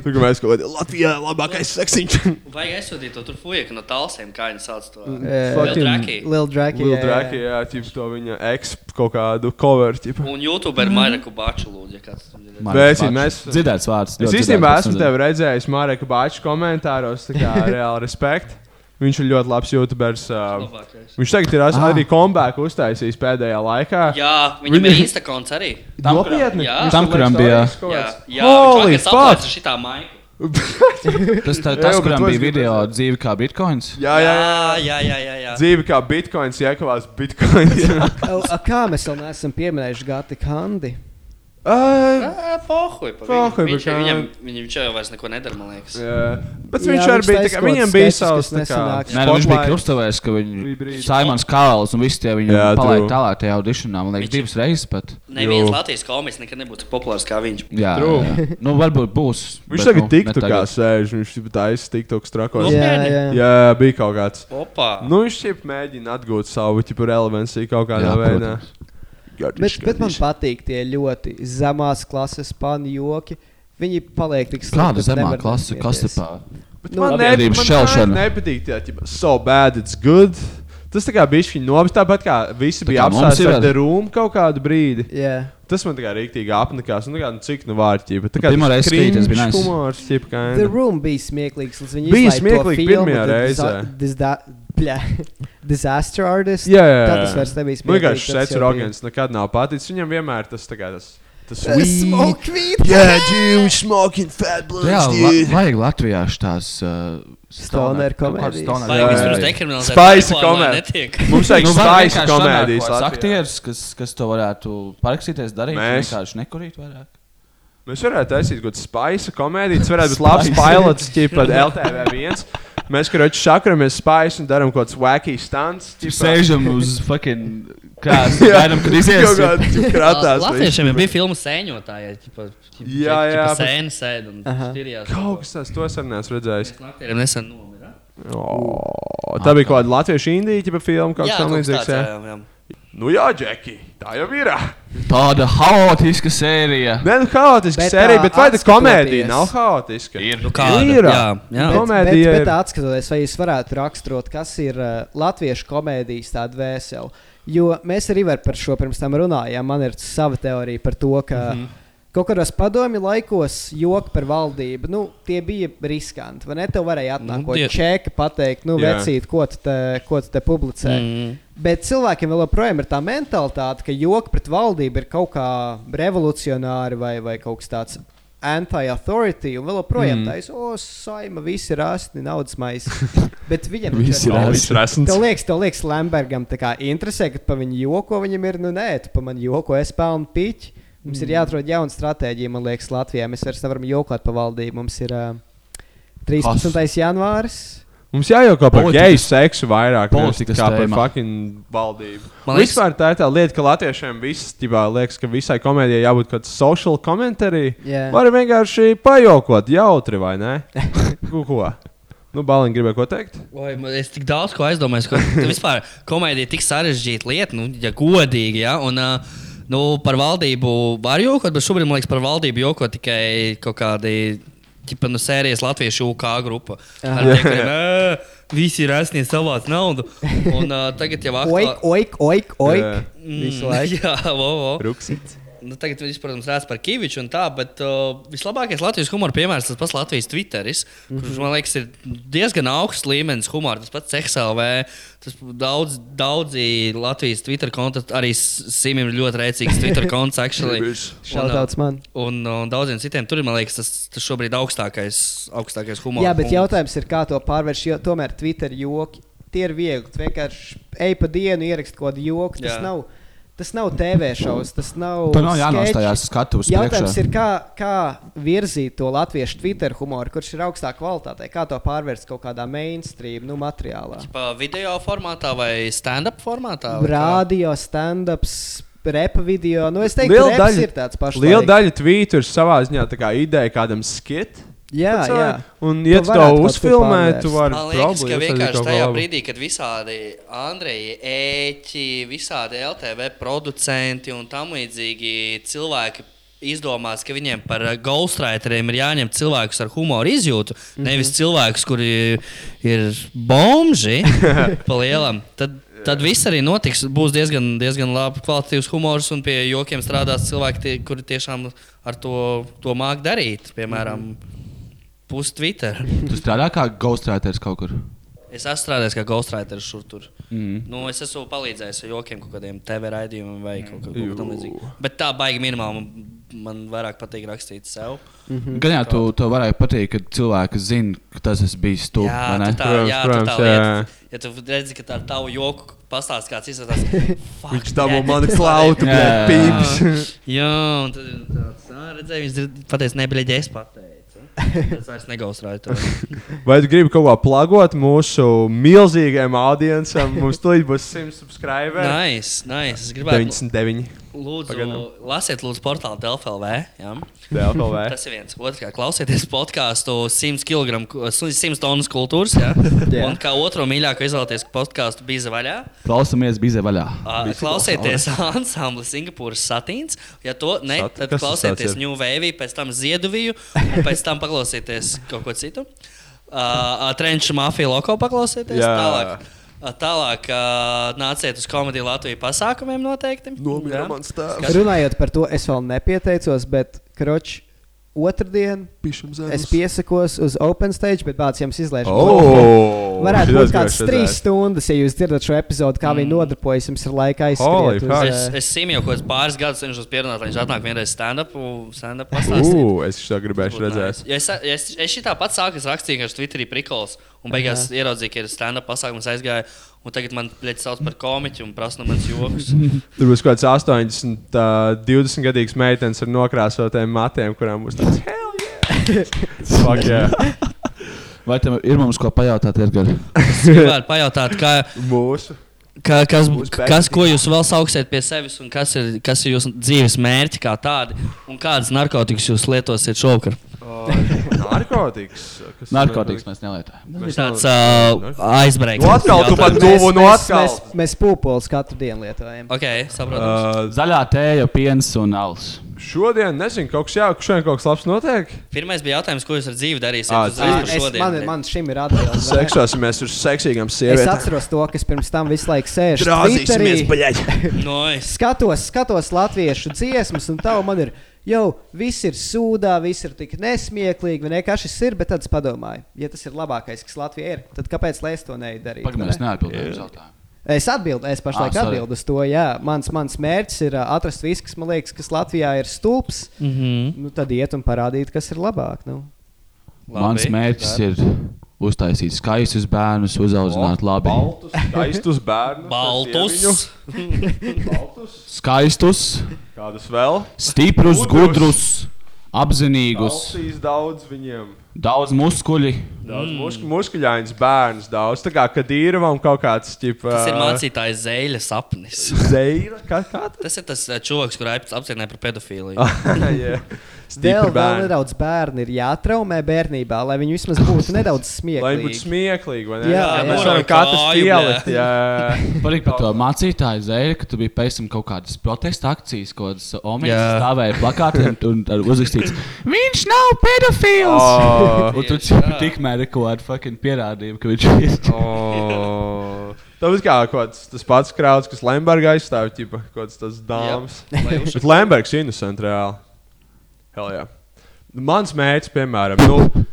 Speaker 3: Tur kā mēs kaut kādā Latvijā labākais seksiņš.
Speaker 5: Vajag aizsūtīt to tur fujeku no talsiem, kā viņi sauc to.
Speaker 3: Mm. Fucking
Speaker 5: Draki.
Speaker 4: Lil Draki,
Speaker 3: Lil
Speaker 4: jā,
Speaker 3: Draki, jā, ģipa, to viņa eks kaut kādu cover. ģipa.
Speaker 5: Un YouTube ir Mairaka Bača lūdzu. Ja kāds tam ir.
Speaker 3: Vēsī, mēs...
Speaker 2: Dzirdēts vārds,
Speaker 3: Es
Speaker 2: ļoti
Speaker 3: īstenībā
Speaker 2: dzirdēts,
Speaker 3: esmu
Speaker 2: dzirdēts.
Speaker 3: tevi redzējis Mareka Bāča komentāros. tā Kā, reāli respekt. Viņš ir ļoti labs YouTuberis. ā, Viņš tagad ir as-
Speaker 5: Ah.
Speaker 3: arī comeback uztaisījis pēdējā laikā.
Speaker 5: Jā, viņam ir Instagrams arī.
Speaker 3: Tam, kuram- Nopietni?
Speaker 5: Jā,
Speaker 3: Viņš Tam, tur kuram liekas bija- stories kaut
Speaker 5: Jā,
Speaker 3: kāds.
Speaker 5: jā Holy
Speaker 3: Holy
Speaker 5: viņš atklāja
Speaker 3: fuck!
Speaker 5: šitā maiku.
Speaker 2: Tas, tā,
Speaker 3: Jā,
Speaker 2: tas
Speaker 3: bet
Speaker 2: kuram
Speaker 3: to es
Speaker 2: bija video dzīve kā bitkoins?
Speaker 3: Jā, jā,
Speaker 5: jā, jā, jā, jā.
Speaker 3: Dzīve kā bitkoins, iekavās bitkoins.
Speaker 4: O, a, Kā mēs vēl neesam pieminējuši Gati Kandi?
Speaker 3: Ehm,
Speaker 5: Ā, Pohuj, pa viņu.
Speaker 3: Pohuj,
Speaker 5: Viņš-
Speaker 3: bet kā-
Speaker 5: viņam- viņam- Viņš jau vairs neko nedara, man liekas.
Speaker 3: Jā, bet Jā, viņš viņš arī bija taisa tā kā- kaut viņam bija sketches, savs, kas tā kā, nesanāk.
Speaker 2: Nē, nu, viņš bija
Speaker 3: spotlight.
Speaker 2: krustavēs, ka
Speaker 3: Bija
Speaker 2: viņi
Speaker 3: brīdis.
Speaker 2: Saimons Kāls un visi tie viņu
Speaker 3: Jā,
Speaker 2: palaida
Speaker 3: true.
Speaker 2: tālāk tajā auditionā. Man liekas, divas reizes pat.
Speaker 5: Neviens Latvijas komiks nekad nebūtu tik populārs kā viņš.
Speaker 2: Jā, jā, jā. nu varbūt būs.
Speaker 3: Viņš
Speaker 2: bet,
Speaker 3: tagad
Speaker 2: nu,
Speaker 3: tiktu
Speaker 2: ne
Speaker 3: kā
Speaker 2: tagad.
Speaker 3: sēž, viņš jau taisa tiktu strakos.
Speaker 2: Jā, jā.
Speaker 3: jā, bija kaut kāds.
Speaker 5: Opa.
Speaker 3: Nu, viņš jau mēģina atgūt savu tipu relevanciju kaut kādā
Speaker 2: Jā,
Speaker 3: veidā.
Speaker 4: Bet, bet man patīk tie ļoti zemās klases pāņu joki. Viņi paliek tik
Speaker 2: Kāda
Speaker 4: slikti.
Speaker 2: zemā klase, kas te pā?
Speaker 3: Bet man ne-
Speaker 2: Sabiedrības
Speaker 3: man
Speaker 2: šķelšana.
Speaker 3: tā nepatīk tie, ja so bad it's good. Tas tā kā bija šī nomas, tāpat kā visi
Speaker 2: Tā
Speaker 3: bija
Speaker 2: kā mums
Speaker 3: apstāstīti
Speaker 2: ir-
Speaker 3: ar The Room kaut kādu brīdi.
Speaker 4: Jā.
Speaker 3: Tas man tā kā rīktīgi apnikās. Un, tā kā, nu, cik nu vārķība. Tā kā
Speaker 2: Pirmā reize skatīties bija
Speaker 3: nice.
Speaker 2: nice.
Speaker 3: humors, jeb kā.
Speaker 4: The Room bija smieklīgs. līdz Viņi
Speaker 3: Bija
Speaker 4: izlaiž to
Speaker 3: smieklīgi
Speaker 4: filmu,
Speaker 3: pirmajā
Speaker 4: The
Speaker 3: reizē.
Speaker 4: Disa- Disda- bļa, Disaster artist.
Speaker 3: Jā, jā, jā.
Speaker 4: Tā tas vairs nebija
Speaker 3: Man
Speaker 4: smieklīgi.
Speaker 3: vienkārši
Speaker 4: tas
Speaker 3: Sets
Speaker 4: jau bija.
Speaker 3: Rogens nekad nav paticis. Viņam vienmēr tas tā kā tas. Tas
Speaker 4: Uh, smoke weed.
Speaker 1: Yeah, dude, smoking fat blunts,
Speaker 2: Jā, la,
Speaker 1: dude.
Speaker 2: vajag Latvijā tās uh,
Speaker 4: Stoner komēdijas.
Speaker 5: Vajag vispirms dekriminalizēt
Speaker 3: Spicy
Speaker 5: marihuānu, lai
Speaker 3: komēdija.
Speaker 5: netiek.
Speaker 3: Mums vajag
Speaker 2: Nu, vajag
Speaker 3: spicy
Speaker 2: vienkārši
Speaker 3: komēdijas
Speaker 2: sanākos
Speaker 3: Latvijā.
Speaker 2: aktieris, kas, kas to varētu parakstīties, darīt.
Speaker 3: Mēs.
Speaker 2: Mēs vienkārši nekurīt vairāk.
Speaker 3: Mēs varētu taisīt kaut kādu spaisu komēdiju. Tas varētu būt labs
Speaker 2: Spicy.
Speaker 3: pilots, tipā LTV1. Mēs, kā reču, sakaramies spaisu un darām kaut kāds wacky stunts. ķipa.
Speaker 2: Sēžam uz fucking krāsas,
Speaker 3: Jā.
Speaker 2: gaidām, kad izies.
Speaker 3: Kaut kāds ķip kratās.
Speaker 5: Latviešiem jau bija filma sēņotāji.
Speaker 3: Jā, jā. bet-
Speaker 5: Sēna sēda un
Speaker 3: Aha.
Speaker 5: stirjās.
Speaker 3: Kaut kas tāds, to es arī neesmu redzējis.
Speaker 5: Aktieriem nesen nomira.
Speaker 3: O, Tā bija kaut kāda latviešu indīķa filma, kaut
Speaker 5: Jā,
Speaker 3: kas tam
Speaker 5: kaut kas
Speaker 3: līdzīgs.
Speaker 5: tāds, jā, jā, jā.
Speaker 3: Nu jā, Džeki, tā jau ir.
Speaker 2: Tāda haotiska sērija.
Speaker 3: Nē, nu haotiska
Speaker 4: Bet,
Speaker 3: sērija,
Speaker 4: ā,
Speaker 3: bet vai tā
Speaker 4: atskatoties-
Speaker 3: komēdija nav haotiska?
Speaker 2: Ir.
Speaker 5: Nu kāda?
Speaker 3: Ir.
Speaker 5: Jā, jā.
Speaker 4: Bet,
Speaker 3: Komēdija
Speaker 4: bet,
Speaker 3: ir.
Speaker 4: bet atskatoties, vai jūs varētu raksturot, kas ir uh, latviešu komēdijas tāda vēsela. Jo mēs arī var par šo pirms tam runājām. Man ir sava teorija par to, ka mm
Speaker 16: Mhm.
Speaker 4: -hmm. kaut kādos padomju laikos joki par valdību, nu, tie bija riskanti. Vai ne? Tev varēja atnākot
Speaker 5: tie-
Speaker 4: nu, čeki, pateikt, nu,
Speaker 5: Jā.
Speaker 4: vecīt, ko tu te, ko tu te publicē. Mm
Speaker 5: Mhm.
Speaker 4: -hmm. Bet cilvēkiem vēl joprojām ir tā mentalitāte, ka joki pret valdību ir kaut kā revolucionāri vai, vai kaut kas tāds anti-authority, un vēl joprojām
Speaker 16: Mm.
Speaker 4: mm. tāds - o, saima, visi ir asti, naudas maisi. Bet viņam
Speaker 3: Visi ir
Speaker 4: Tev
Speaker 3: asti. Rasns.
Speaker 4: Tev liekas, tev liekas, Lambergam tā kā interesē, ka pa viņu joko viņam ir, nu nē, tu pa man joko, es pelnu piķi. Mums mm. ir
Speaker 16: Mm.
Speaker 4: jāatrod jauna stratēģija, man liekas, Latvijā. Mēs vairs nevaram jokot pa valdību. Mums ir uh, 13. Kas? janvāris.
Speaker 3: Mums jājauko par
Speaker 4: Politikas-
Speaker 3: geju seksu vairāk nevis
Speaker 2: politikas
Speaker 3: kā par
Speaker 2: tēmā.
Speaker 3: fucking valdību.
Speaker 2: Man
Speaker 3: Man
Speaker 2: liekas-
Speaker 3: liekas, Vispār tā ir tā lieta, ka latviešiem visticībā liekas, ka visai komēdijai jābūt kaut kādam social komentārī.
Speaker 4: Jā.
Speaker 3: Var vienkārši pajokot, jautri vai ne? Ko? ko? Nu, Balīņa gribēja ko teikt.
Speaker 5: Oi, man- Es tik daudz ko aizdomājos. Ko, vispār komēdija ir tik sarežģīta lieta, nu, ja godīgi. Ja, un, ā, nu, par valdību var jokot, bet šobrīd man liekas, par valdību joko tikai kaut kādi. Ķipa, nu, sērijas Latvijas UK grupa.
Speaker 4: Aha.
Speaker 5: Ar tiem, kuriem, "Ā, Visi ir aizsniegti savāc naudu. Un, uh, tagad jau
Speaker 4: Oik, oik, oik, oik.
Speaker 5: Mm,
Speaker 4: Visu laiku.
Speaker 5: Jā, vau, vau.
Speaker 3: Ruksits.
Speaker 5: Nu, tagad viņš, protams, redz par Kaviču un tā, bet uh, vislabākais Latvijas humora piemērs ir tas pats Latvijas Twitteris,
Speaker 4: Mhm.
Speaker 5: mm -hmm. kurš, man liekas, ir diezgan augsts līmenis humora. Tas pats XLV, tas daudz, daudzi Latvijas Twitter konti, arī Simim ir ļoti rēcīgs Twitter konts, actually.
Speaker 4: Shoutouts
Speaker 3: uh,
Speaker 4: man.
Speaker 5: Un, un daudziem citiem tur ir, man liekas, tas, tas šobrīd augstākais, augstākais humora.
Speaker 4: Jā, bet
Speaker 5: punkts.
Speaker 4: jautājums ir, kā to pārvērst. Jo tomēr Twitter joki tie ir viegli. Tu vienkārši ej pa dienu, ierakst kaut kādu joku. Tas
Speaker 2: Jā.
Speaker 4: nav, tas nav TV šovs, tas nav.
Speaker 2: Tur nav
Speaker 4: skeči.
Speaker 2: jānostājas skatuves
Speaker 4: Jautājums
Speaker 2: priekšā.
Speaker 4: ir, kā, kā virzīt to latviešu Twitter humoru, kurš ir augstā kvalitātē, kā to pārvērst kaut kādā mainstream nu, materiālā.
Speaker 5: Pa Video formātā vai stand-up formātā? vai kā?
Speaker 4: Radio, stand-ups, repa video. Nu, es teiktu,
Speaker 3: Liela
Speaker 4: ka tas ir tāds pašs.
Speaker 3: liela daļa tvītu ir savā ziņā tā kā ideja kādam skit.
Speaker 4: Jā,
Speaker 3: Pats,
Speaker 4: jā.
Speaker 3: Un,
Speaker 4: Tu
Speaker 3: ja tu to
Speaker 4: varētu kaut kur
Speaker 3: uzfilmē, tu
Speaker 4: pārvērst.
Speaker 3: vari
Speaker 5: Man liekas, ka
Speaker 3: probēt,
Speaker 5: vienkārši
Speaker 3: kaut ko
Speaker 5: tajā
Speaker 3: labu.
Speaker 5: brīdī, kad visādi Andreji, ēķi, visādi LTV producenti un tam līdzīgi cilvēki. Izdomās, ka viņiem par eh, ghostwriteriem ir jāņem cilvēkus ar humoru izjūtu, mm -hmm. nevis cilvēkus, kuri ir bomži. pa lielam. Tad, tad viss arī notiks. Būs diezgan, diezgan labi kvalitatīvs humors, un pie jokiem strādās cilvēki, tie, kuri tiešām ar to, to māku darīt. Piemēram, mm -hmm. pusi Twitter.
Speaker 2: Tu strādā kā ghostwriters kaut kur.
Speaker 5: Es esmu strādājis kā ghostwriter šur tur.
Speaker 2: Mm.
Speaker 5: Nu, es esmu palīdzējis ar jokiem, kaut kādiem TV raidījumiem vai kaut ko- kaut ko tamlīdzīgu. Bet tā baigi minimāli. man man vairāk patīk rakstīt sev.
Speaker 2: Gan jau tu, tev varētu patikt, kad cilvēki zina, ka tas esmu bijis tu.
Speaker 5: Jā,
Speaker 2: vai ne?
Speaker 5: tu tā, jā, tu tā lieta. Ja tu redzi, ka tā ir tava joku pastāsts, kāds izskatās, "Fuck,
Speaker 3: Viņš dabū
Speaker 5: nē,
Speaker 3: mani
Speaker 5: tu
Speaker 3: slautu,
Speaker 5: vari."
Speaker 3: bļa, pīps.
Speaker 5: Jā, un tad ir tāds, "Ā, redzēji, viņš dzird- pateica, nebļaģi, es pateicu. Tas vairs negausrāja to.
Speaker 3: Vai tu gribi kaut ko plagot mūsu milzīgajam audiencam? Mums tulīt būs 100 subscriberi.
Speaker 5: Nice, nice. Es gribētu-
Speaker 3: 99.
Speaker 5: Lūdzu,
Speaker 3: Pagaidām.
Speaker 5: lasiet, lūdzu, portālu DLV. Jā.
Speaker 2: Eh?
Speaker 3: DLV.
Speaker 5: Tas ir viens. Otrkārt, klausieties podkāstu 100 kg, 100 tonnas kultūras. Jā.
Speaker 2: Jā.
Speaker 5: Un kā otro mīļāko izvēlēties podkāstu bija vaļā.
Speaker 2: Klausamies, bija vaļā.
Speaker 5: Ā, Klausieties, ansambli Singapūras satīns. Ja to ne,
Speaker 2: Sat-
Speaker 5: tad
Speaker 2: kas tas tāds
Speaker 5: klausieties
Speaker 2: ir?
Speaker 5: New Wave, pēc tam Zieduviju, un pēc tam paklausieties kaut ko citu. Uh, Trenča mafija loko paklausieties.
Speaker 3: Jā.
Speaker 5: Tālāk, uh, tālāk uh, nāciet uz komēdiju Latvijas pasākumiem noteikti.
Speaker 3: Nomira
Speaker 5: Jā.
Speaker 3: mans tēvs.
Speaker 5: Kas-
Speaker 4: Runājot par to, es vēl nepieteicos, bet kroč. Otradien es piesakos uz Open Stage, bet bācis jums izlaiž.
Speaker 3: Oh, šitas
Speaker 4: Varētu būt kāds
Speaker 3: gribēju
Speaker 4: trīs
Speaker 3: redzēt.
Speaker 4: stundas, ja jūs dzirdat šo episodu, kā mm. viņi nodarbojas. Jums ir laika
Speaker 3: Holy
Speaker 4: aizskriet. eh,
Speaker 5: Es, es simju kaut kādus pāris gadus cenšos pierādīt, lai viņš atnāk vienreiz stand-up stand pasākumā.
Speaker 3: Ū, es šo gribēju redzēt.
Speaker 5: Ja es, ja es, es šitā pats sāku, es rakstīju, ka ir Twitterī prikols, un beigās Aha. ieraudzīju, ka ir stand-up pasākums aizgāja, un tagad man plēc sauc par komiķu un prasa no manas joks.
Speaker 3: Tur būs kaut kāds 80, uh, 20 gadīgs meitenes ar nokrāsotiem matiem, kurām būs tāds hell yeah! Fuck yeah!
Speaker 2: Vai tev ir mums ko pajautāt, Edgars?
Speaker 5: Es gribētu pajautāt, kā,
Speaker 3: Mūsu.
Speaker 5: kā, kas,
Speaker 3: Būs
Speaker 5: kas, ko jūs vēl sauksiet pie sevis, un kas ir, kas ir jūsu dzīves mērķi kā tādi, un kādas narkotikas jūs lietosiet šovakar?
Speaker 3: Narkotikas. Kas
Speaker 2: Narkotikas mēs nelietojam.
Speaker 5: Tas bija tāds uh, aizbraukt.
Speaker 3: Nu, atkal tu pat
Speaker 4: Mēs,
Speaker 3: tuvu no
Speaker 4: mēs,
Speaker 3: atkal.
Speaker 4: mēs, mēs pūpoles katru dienu lietojam.
Speaker 5: Ok, saprotu.
Speaker 3: Uh,
Speaker 2: Zaļā tēja, piens un alus.
Speaker 3: šodien, nezinu, kaut kas jauks, šodien kaut kas labs notiek.
Speaker 5: Pirmais bija jautājums, ko jūs ar dzīvi darīsiet.
Speaker 3: Ā,
Speaker 5: Jūs zināt,
Speaker 3: dzīvi.
Speaker 5: par
Speaker 4: Es,
Speaker 5: šodien.
Speaker 4: man, man šim ir atbilde. vai ne?
Speaker 3: Seksosimies ar seksīgām
Speaker 4: Es
Speaker 3: sievietēm.
Speaker 4: atceros to, kas pirms tam visu laiku sēž.
Speaker 3: Drāzīsimies,
Speaker 4: Twitterī.
Speaker 3: bļaģ.
Speaker 5: Noiz.
Speaker 4: Skatos, skatos latviešu dziesmas, un tā man ir jau viss ir sūdā, viss ir tik nesmieklīgi, vai ne? Kā šis ir, bet tad es padomāju, ja tas ir labākais, kas Latvijai ir, tad kāpēc lai es to nedarītu?
Speaker 2: Pagaidām, es neatbildēju uz jautājumu.
Speaker 4: Es atbildēju, es pašlaik ah,
Speaker 2: Ah, sorry.
Speaker 4: atbildēju uz to. Jā, mans, mans mērķis ir ā, atrast visu, kas man liekas, kas Latvijā ir stulbs. Mm
Speaker 5: -hmm.
Speaker 4: nu, tad iet un parādīt, kas ir labāk. Nu.
Speaker 2: Labi. Mans mērķis ir uztaisīt skaistus bērnus, uzaudzināt labi.
Speaker 3: Baltus, skaistus bērnus.
Speaker 5: Baltus.
Speaker 3: Baltus.
Speaker 2: Skaistus,
Speaker 3: Kādus vēl?
Speaker 2: stiprus, gudrus, apzinīgus,
Speaker 3: Balsīs daudz viņiem.
Speaker 2: daudz muskuļi.
Speaker 3: Daudz mm. muskuļains bērns, daudz. Tā kā Kadīram kaut kāds tips.
Speaker 5: Tas ir mācītājs Zēļa sapnis.
Speaker 3: Zeila? Kā, kā?
Speaker 5: Tas ir tas eh, čovaks, kurš aip- apcietināja par pedofīliju.
Speaker 3: Ah, Jā.
Speaker 4: Vēl,
Speaker 3: Stipri
Speaker 4: vēl
Speaker 3: bērni.
Speaker 4: nedaudz bērni ir jātraumē bērnībā, lai viņi vismaz būtu nedaudz
Speaker 3: Lai viņi būtu
Speaker 4: smieklīgi.
Speaker 3: smieklīgi, vai ne?
Speaker 4: Jā, jā.
Speaker 3: mēs
Speaker 4: Varam
Speaker 3: varam katrs
Speaker 5: kāju,
Speaker 3: pielikt.
Speaker 5: bļa.
Speaker 3: Jā,
Speaker 2: Parīk par to mācītāju zēri, ka tu biji pēc tam kaut kādas protesta akcijas, kaut kādas omīdas
Speaker 5: Jā.
Speaker 2: stāvēja plakātiem un ar uzrakstīts. Viņš nav pedofils!
Speaker 3: Oh.
Speaker 2: un tu čip tikmēr ir kaut kāda fucking pierādījuma, ka viņš ir.
Speaker 3: Oh. O, Tas kā kaut kāds tas pats krauts, kas Lemberga aizstāv, ķipa, kaut kāds tas dāmas.
Speaker 5: Jā, lai uzsver-
Speaker 3: Bet Lembergs ir innocent reāli. Hell, jā. Mans mērķis, piemēram, nu,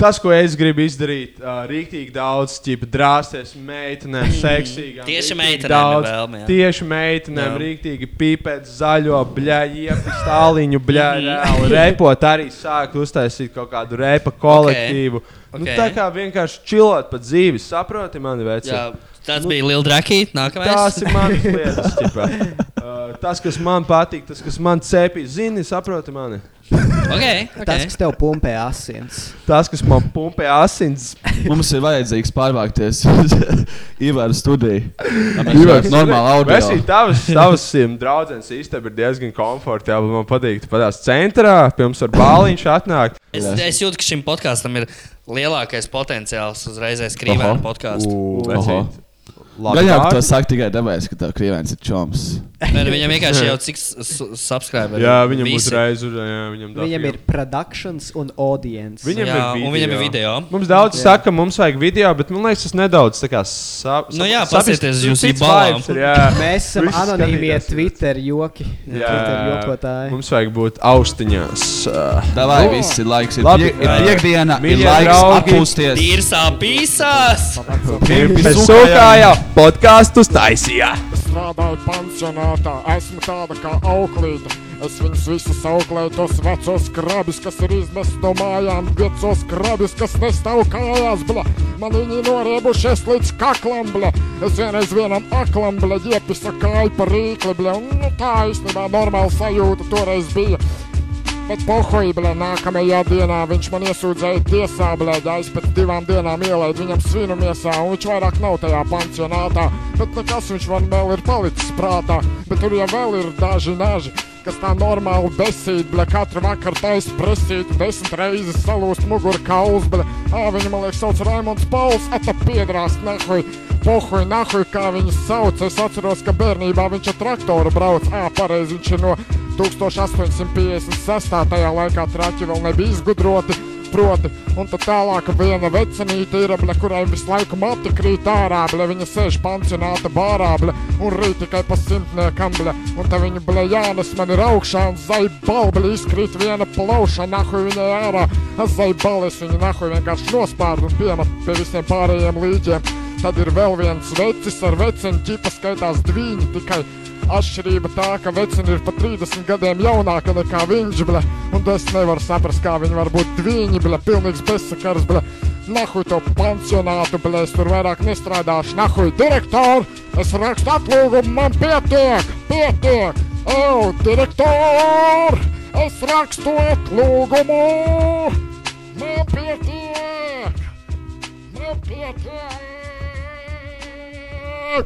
Speaker 3: tas, ko es gribu izdarīt, uh, rīktīgi daudz, ķipa, drāsties meitenēm, seksīgām.
Speaker 5: Mhm. Tieši
Speaker 3: rīktīgi
Speaker 5: meitenēm ir
Speaker 3: daudz,
Speaker 5: vēlme, jā.
Speaker 3: Tieši meitenēm,
Speaker 5: Jā.
Speaker 3: rīktīgi pīpēt zaļo, bļāģi, stāliņu,
Speaker 5: Mhm.
Speaker 3: bļāģi, repot arī sākt uztaisīt kaut kādu repa kolektīvu. Okay. Nu,
Speaker 5: Ok.
Speaker 3: tā kā vienkārši čilot pa dzīvi, saproti, mani veci.
Speaker 5: Jā, tas bija Lielais Drakīs.
Speaker 3: Nu, Tās ir manas lietas. ķipā. Uh, tas, kas man patīk, tas, kas man cepīja, zini, saproti mani.
Speaker 5: Okay,
Speaker 4: Tas,
Speaker 5: okay.
Speaker 4: kas tev pumpē asins.
Speaker 3: Tas, kas man pumpē asins,
Speaker 2: Mums ir vajadzīgs pārvākties uz Ivāra studiju. Lai Mēs
Speaker 3: Ivars,
Speaker 2: varam normāli audio.
Speaker 3: Es domāju, tavs, tavs um, draugs īstenībā ir diezgan komfortabli. Man patīk, ka padās centrā, pirms ar bāliņš atnāk.
Speaker 5: Es, es jūtu, ka šim podkāstam ir lielākais potenciāls uzreiz skrīvēja podkāstu.
Speaker 2: Oho.
Speaker 3: Labi,
Speaker 2: Gan jau
Speaker 3: Dārgi.
Speaker 2: to saka tikai tāpēc, ka tā krīvēns ir čoms.
Speaker 5: Nē, nu Viņam vienkārši jau cik subscriberi.
Speaker 3: Jā, viņam uzreiz ir. Jā, viņam daudz.
Speaker 4: Viņam ir produkcijas un audience.
Speaker 3: Viņam
Speaker 5: Jā,
Speaker 3: ir video. Nu,
Speaker 5: un viņam ir video.
Speaker 3: Mums daudz
Speaker 4: Jā.
Speaker 3: jā. saka, ka mums vajag video, bet man liekas, tas nedaudz tā kā sap,
Speaker 5: Nu jā,
Speaker 3: sap-
Speaker 5: pasieties
Speaker 3: saprast-
Speaker 5: jūs
Speaker 3: cits
Speaker 5: ibalām.
Speaker 3: vibes ir, jā.
Speaker 4: Mēs esam
Speaker 3: Visi
Speaker 4: anonīmie
Speaker 3: skatītās.
Speaker 4: Twitter joki. Jā, Twitter jokotāji.
Speaker 3: mums vajag būt austiņās.
Speaker 2: Davai, viss ir laiks. Ir pie- ir piekdiena, ir laiks atpūsties.
Speaker 5: Ir sāpīsās!
Speaker 3: Mēs sūkājām podkāstu taisījā.
Speaker 15: Strādāju pensionātā, esmu tāda kā auklīte.
Speaker 2: Es viņus visus auklēju, tos vecos krabus, kas ir izmests no mājām, piecos krabus, kas nestāv kājās, bla. Man viņi noriebušies līdz kaklam, bla. Es vienreiz vienam aklam, bla, iepisa kāju par rīkli, bla. Un, Nu, tā īstenībā normāla sajūta toreiz bija. Bet pohoji, blē, nākamajā dienā viņš man iesūdzēja tiesā, blē, es pēc divām dienām ielaidu viņam svinu miesā, un viņš vairs nav tajā pansionātā. Bet nekas viņš man vēl ir palicis prātā, bet tur jau vēl ir daži naži. Kas tā normāli besīt, blē, katru vakaru taisa presīt, desmit reizes salūst muguru kaulus, blē, ā, viņu man liekas sauc Raimons Pauls, ata piedrās, nehuj, pohuj, nahuj, kā viņu sauc, es atceros, ka bērnībā viņš ar traktoru brauc, ā, pareizi viņš ir no 1856. tajā laikā traķi vēl nebija izgudroti. Proti. Un tad tālāk viena vecinīte ir, ble, kurai visu laiku mati krīt ārā, ble, viņa sēž pansionāta bārā, ble, un rīt tikai pa simtniekam, ble, un te viņa, ble, Jānis man ir augšā, un zaibal, ble, izkrīt viena plauša, nahuj viņai ārā, es zaibal, es viņu nahuj vienkārši nospārdu un piemat pie visiem pārējiem līdžiem. Tad ir vēl viens vecis ar vecinu ķipa skaitās divi tikai. Atšķirība tā, ka vecina ir pat 30 gadiem jaunāka nekā viņš, ble, un es nevaru saprast, kā viņi var būt divi, ble, pilnīgs bezsakars, ble. Nahuj to pansionātu, ble, es tur vairāk nestrādāšu, nahuj direktoru, es rakstu atlūgumu, man pietiek, pietiek, eu, direktor, es rakstu atlūgumu, man pietiek, man pietiek.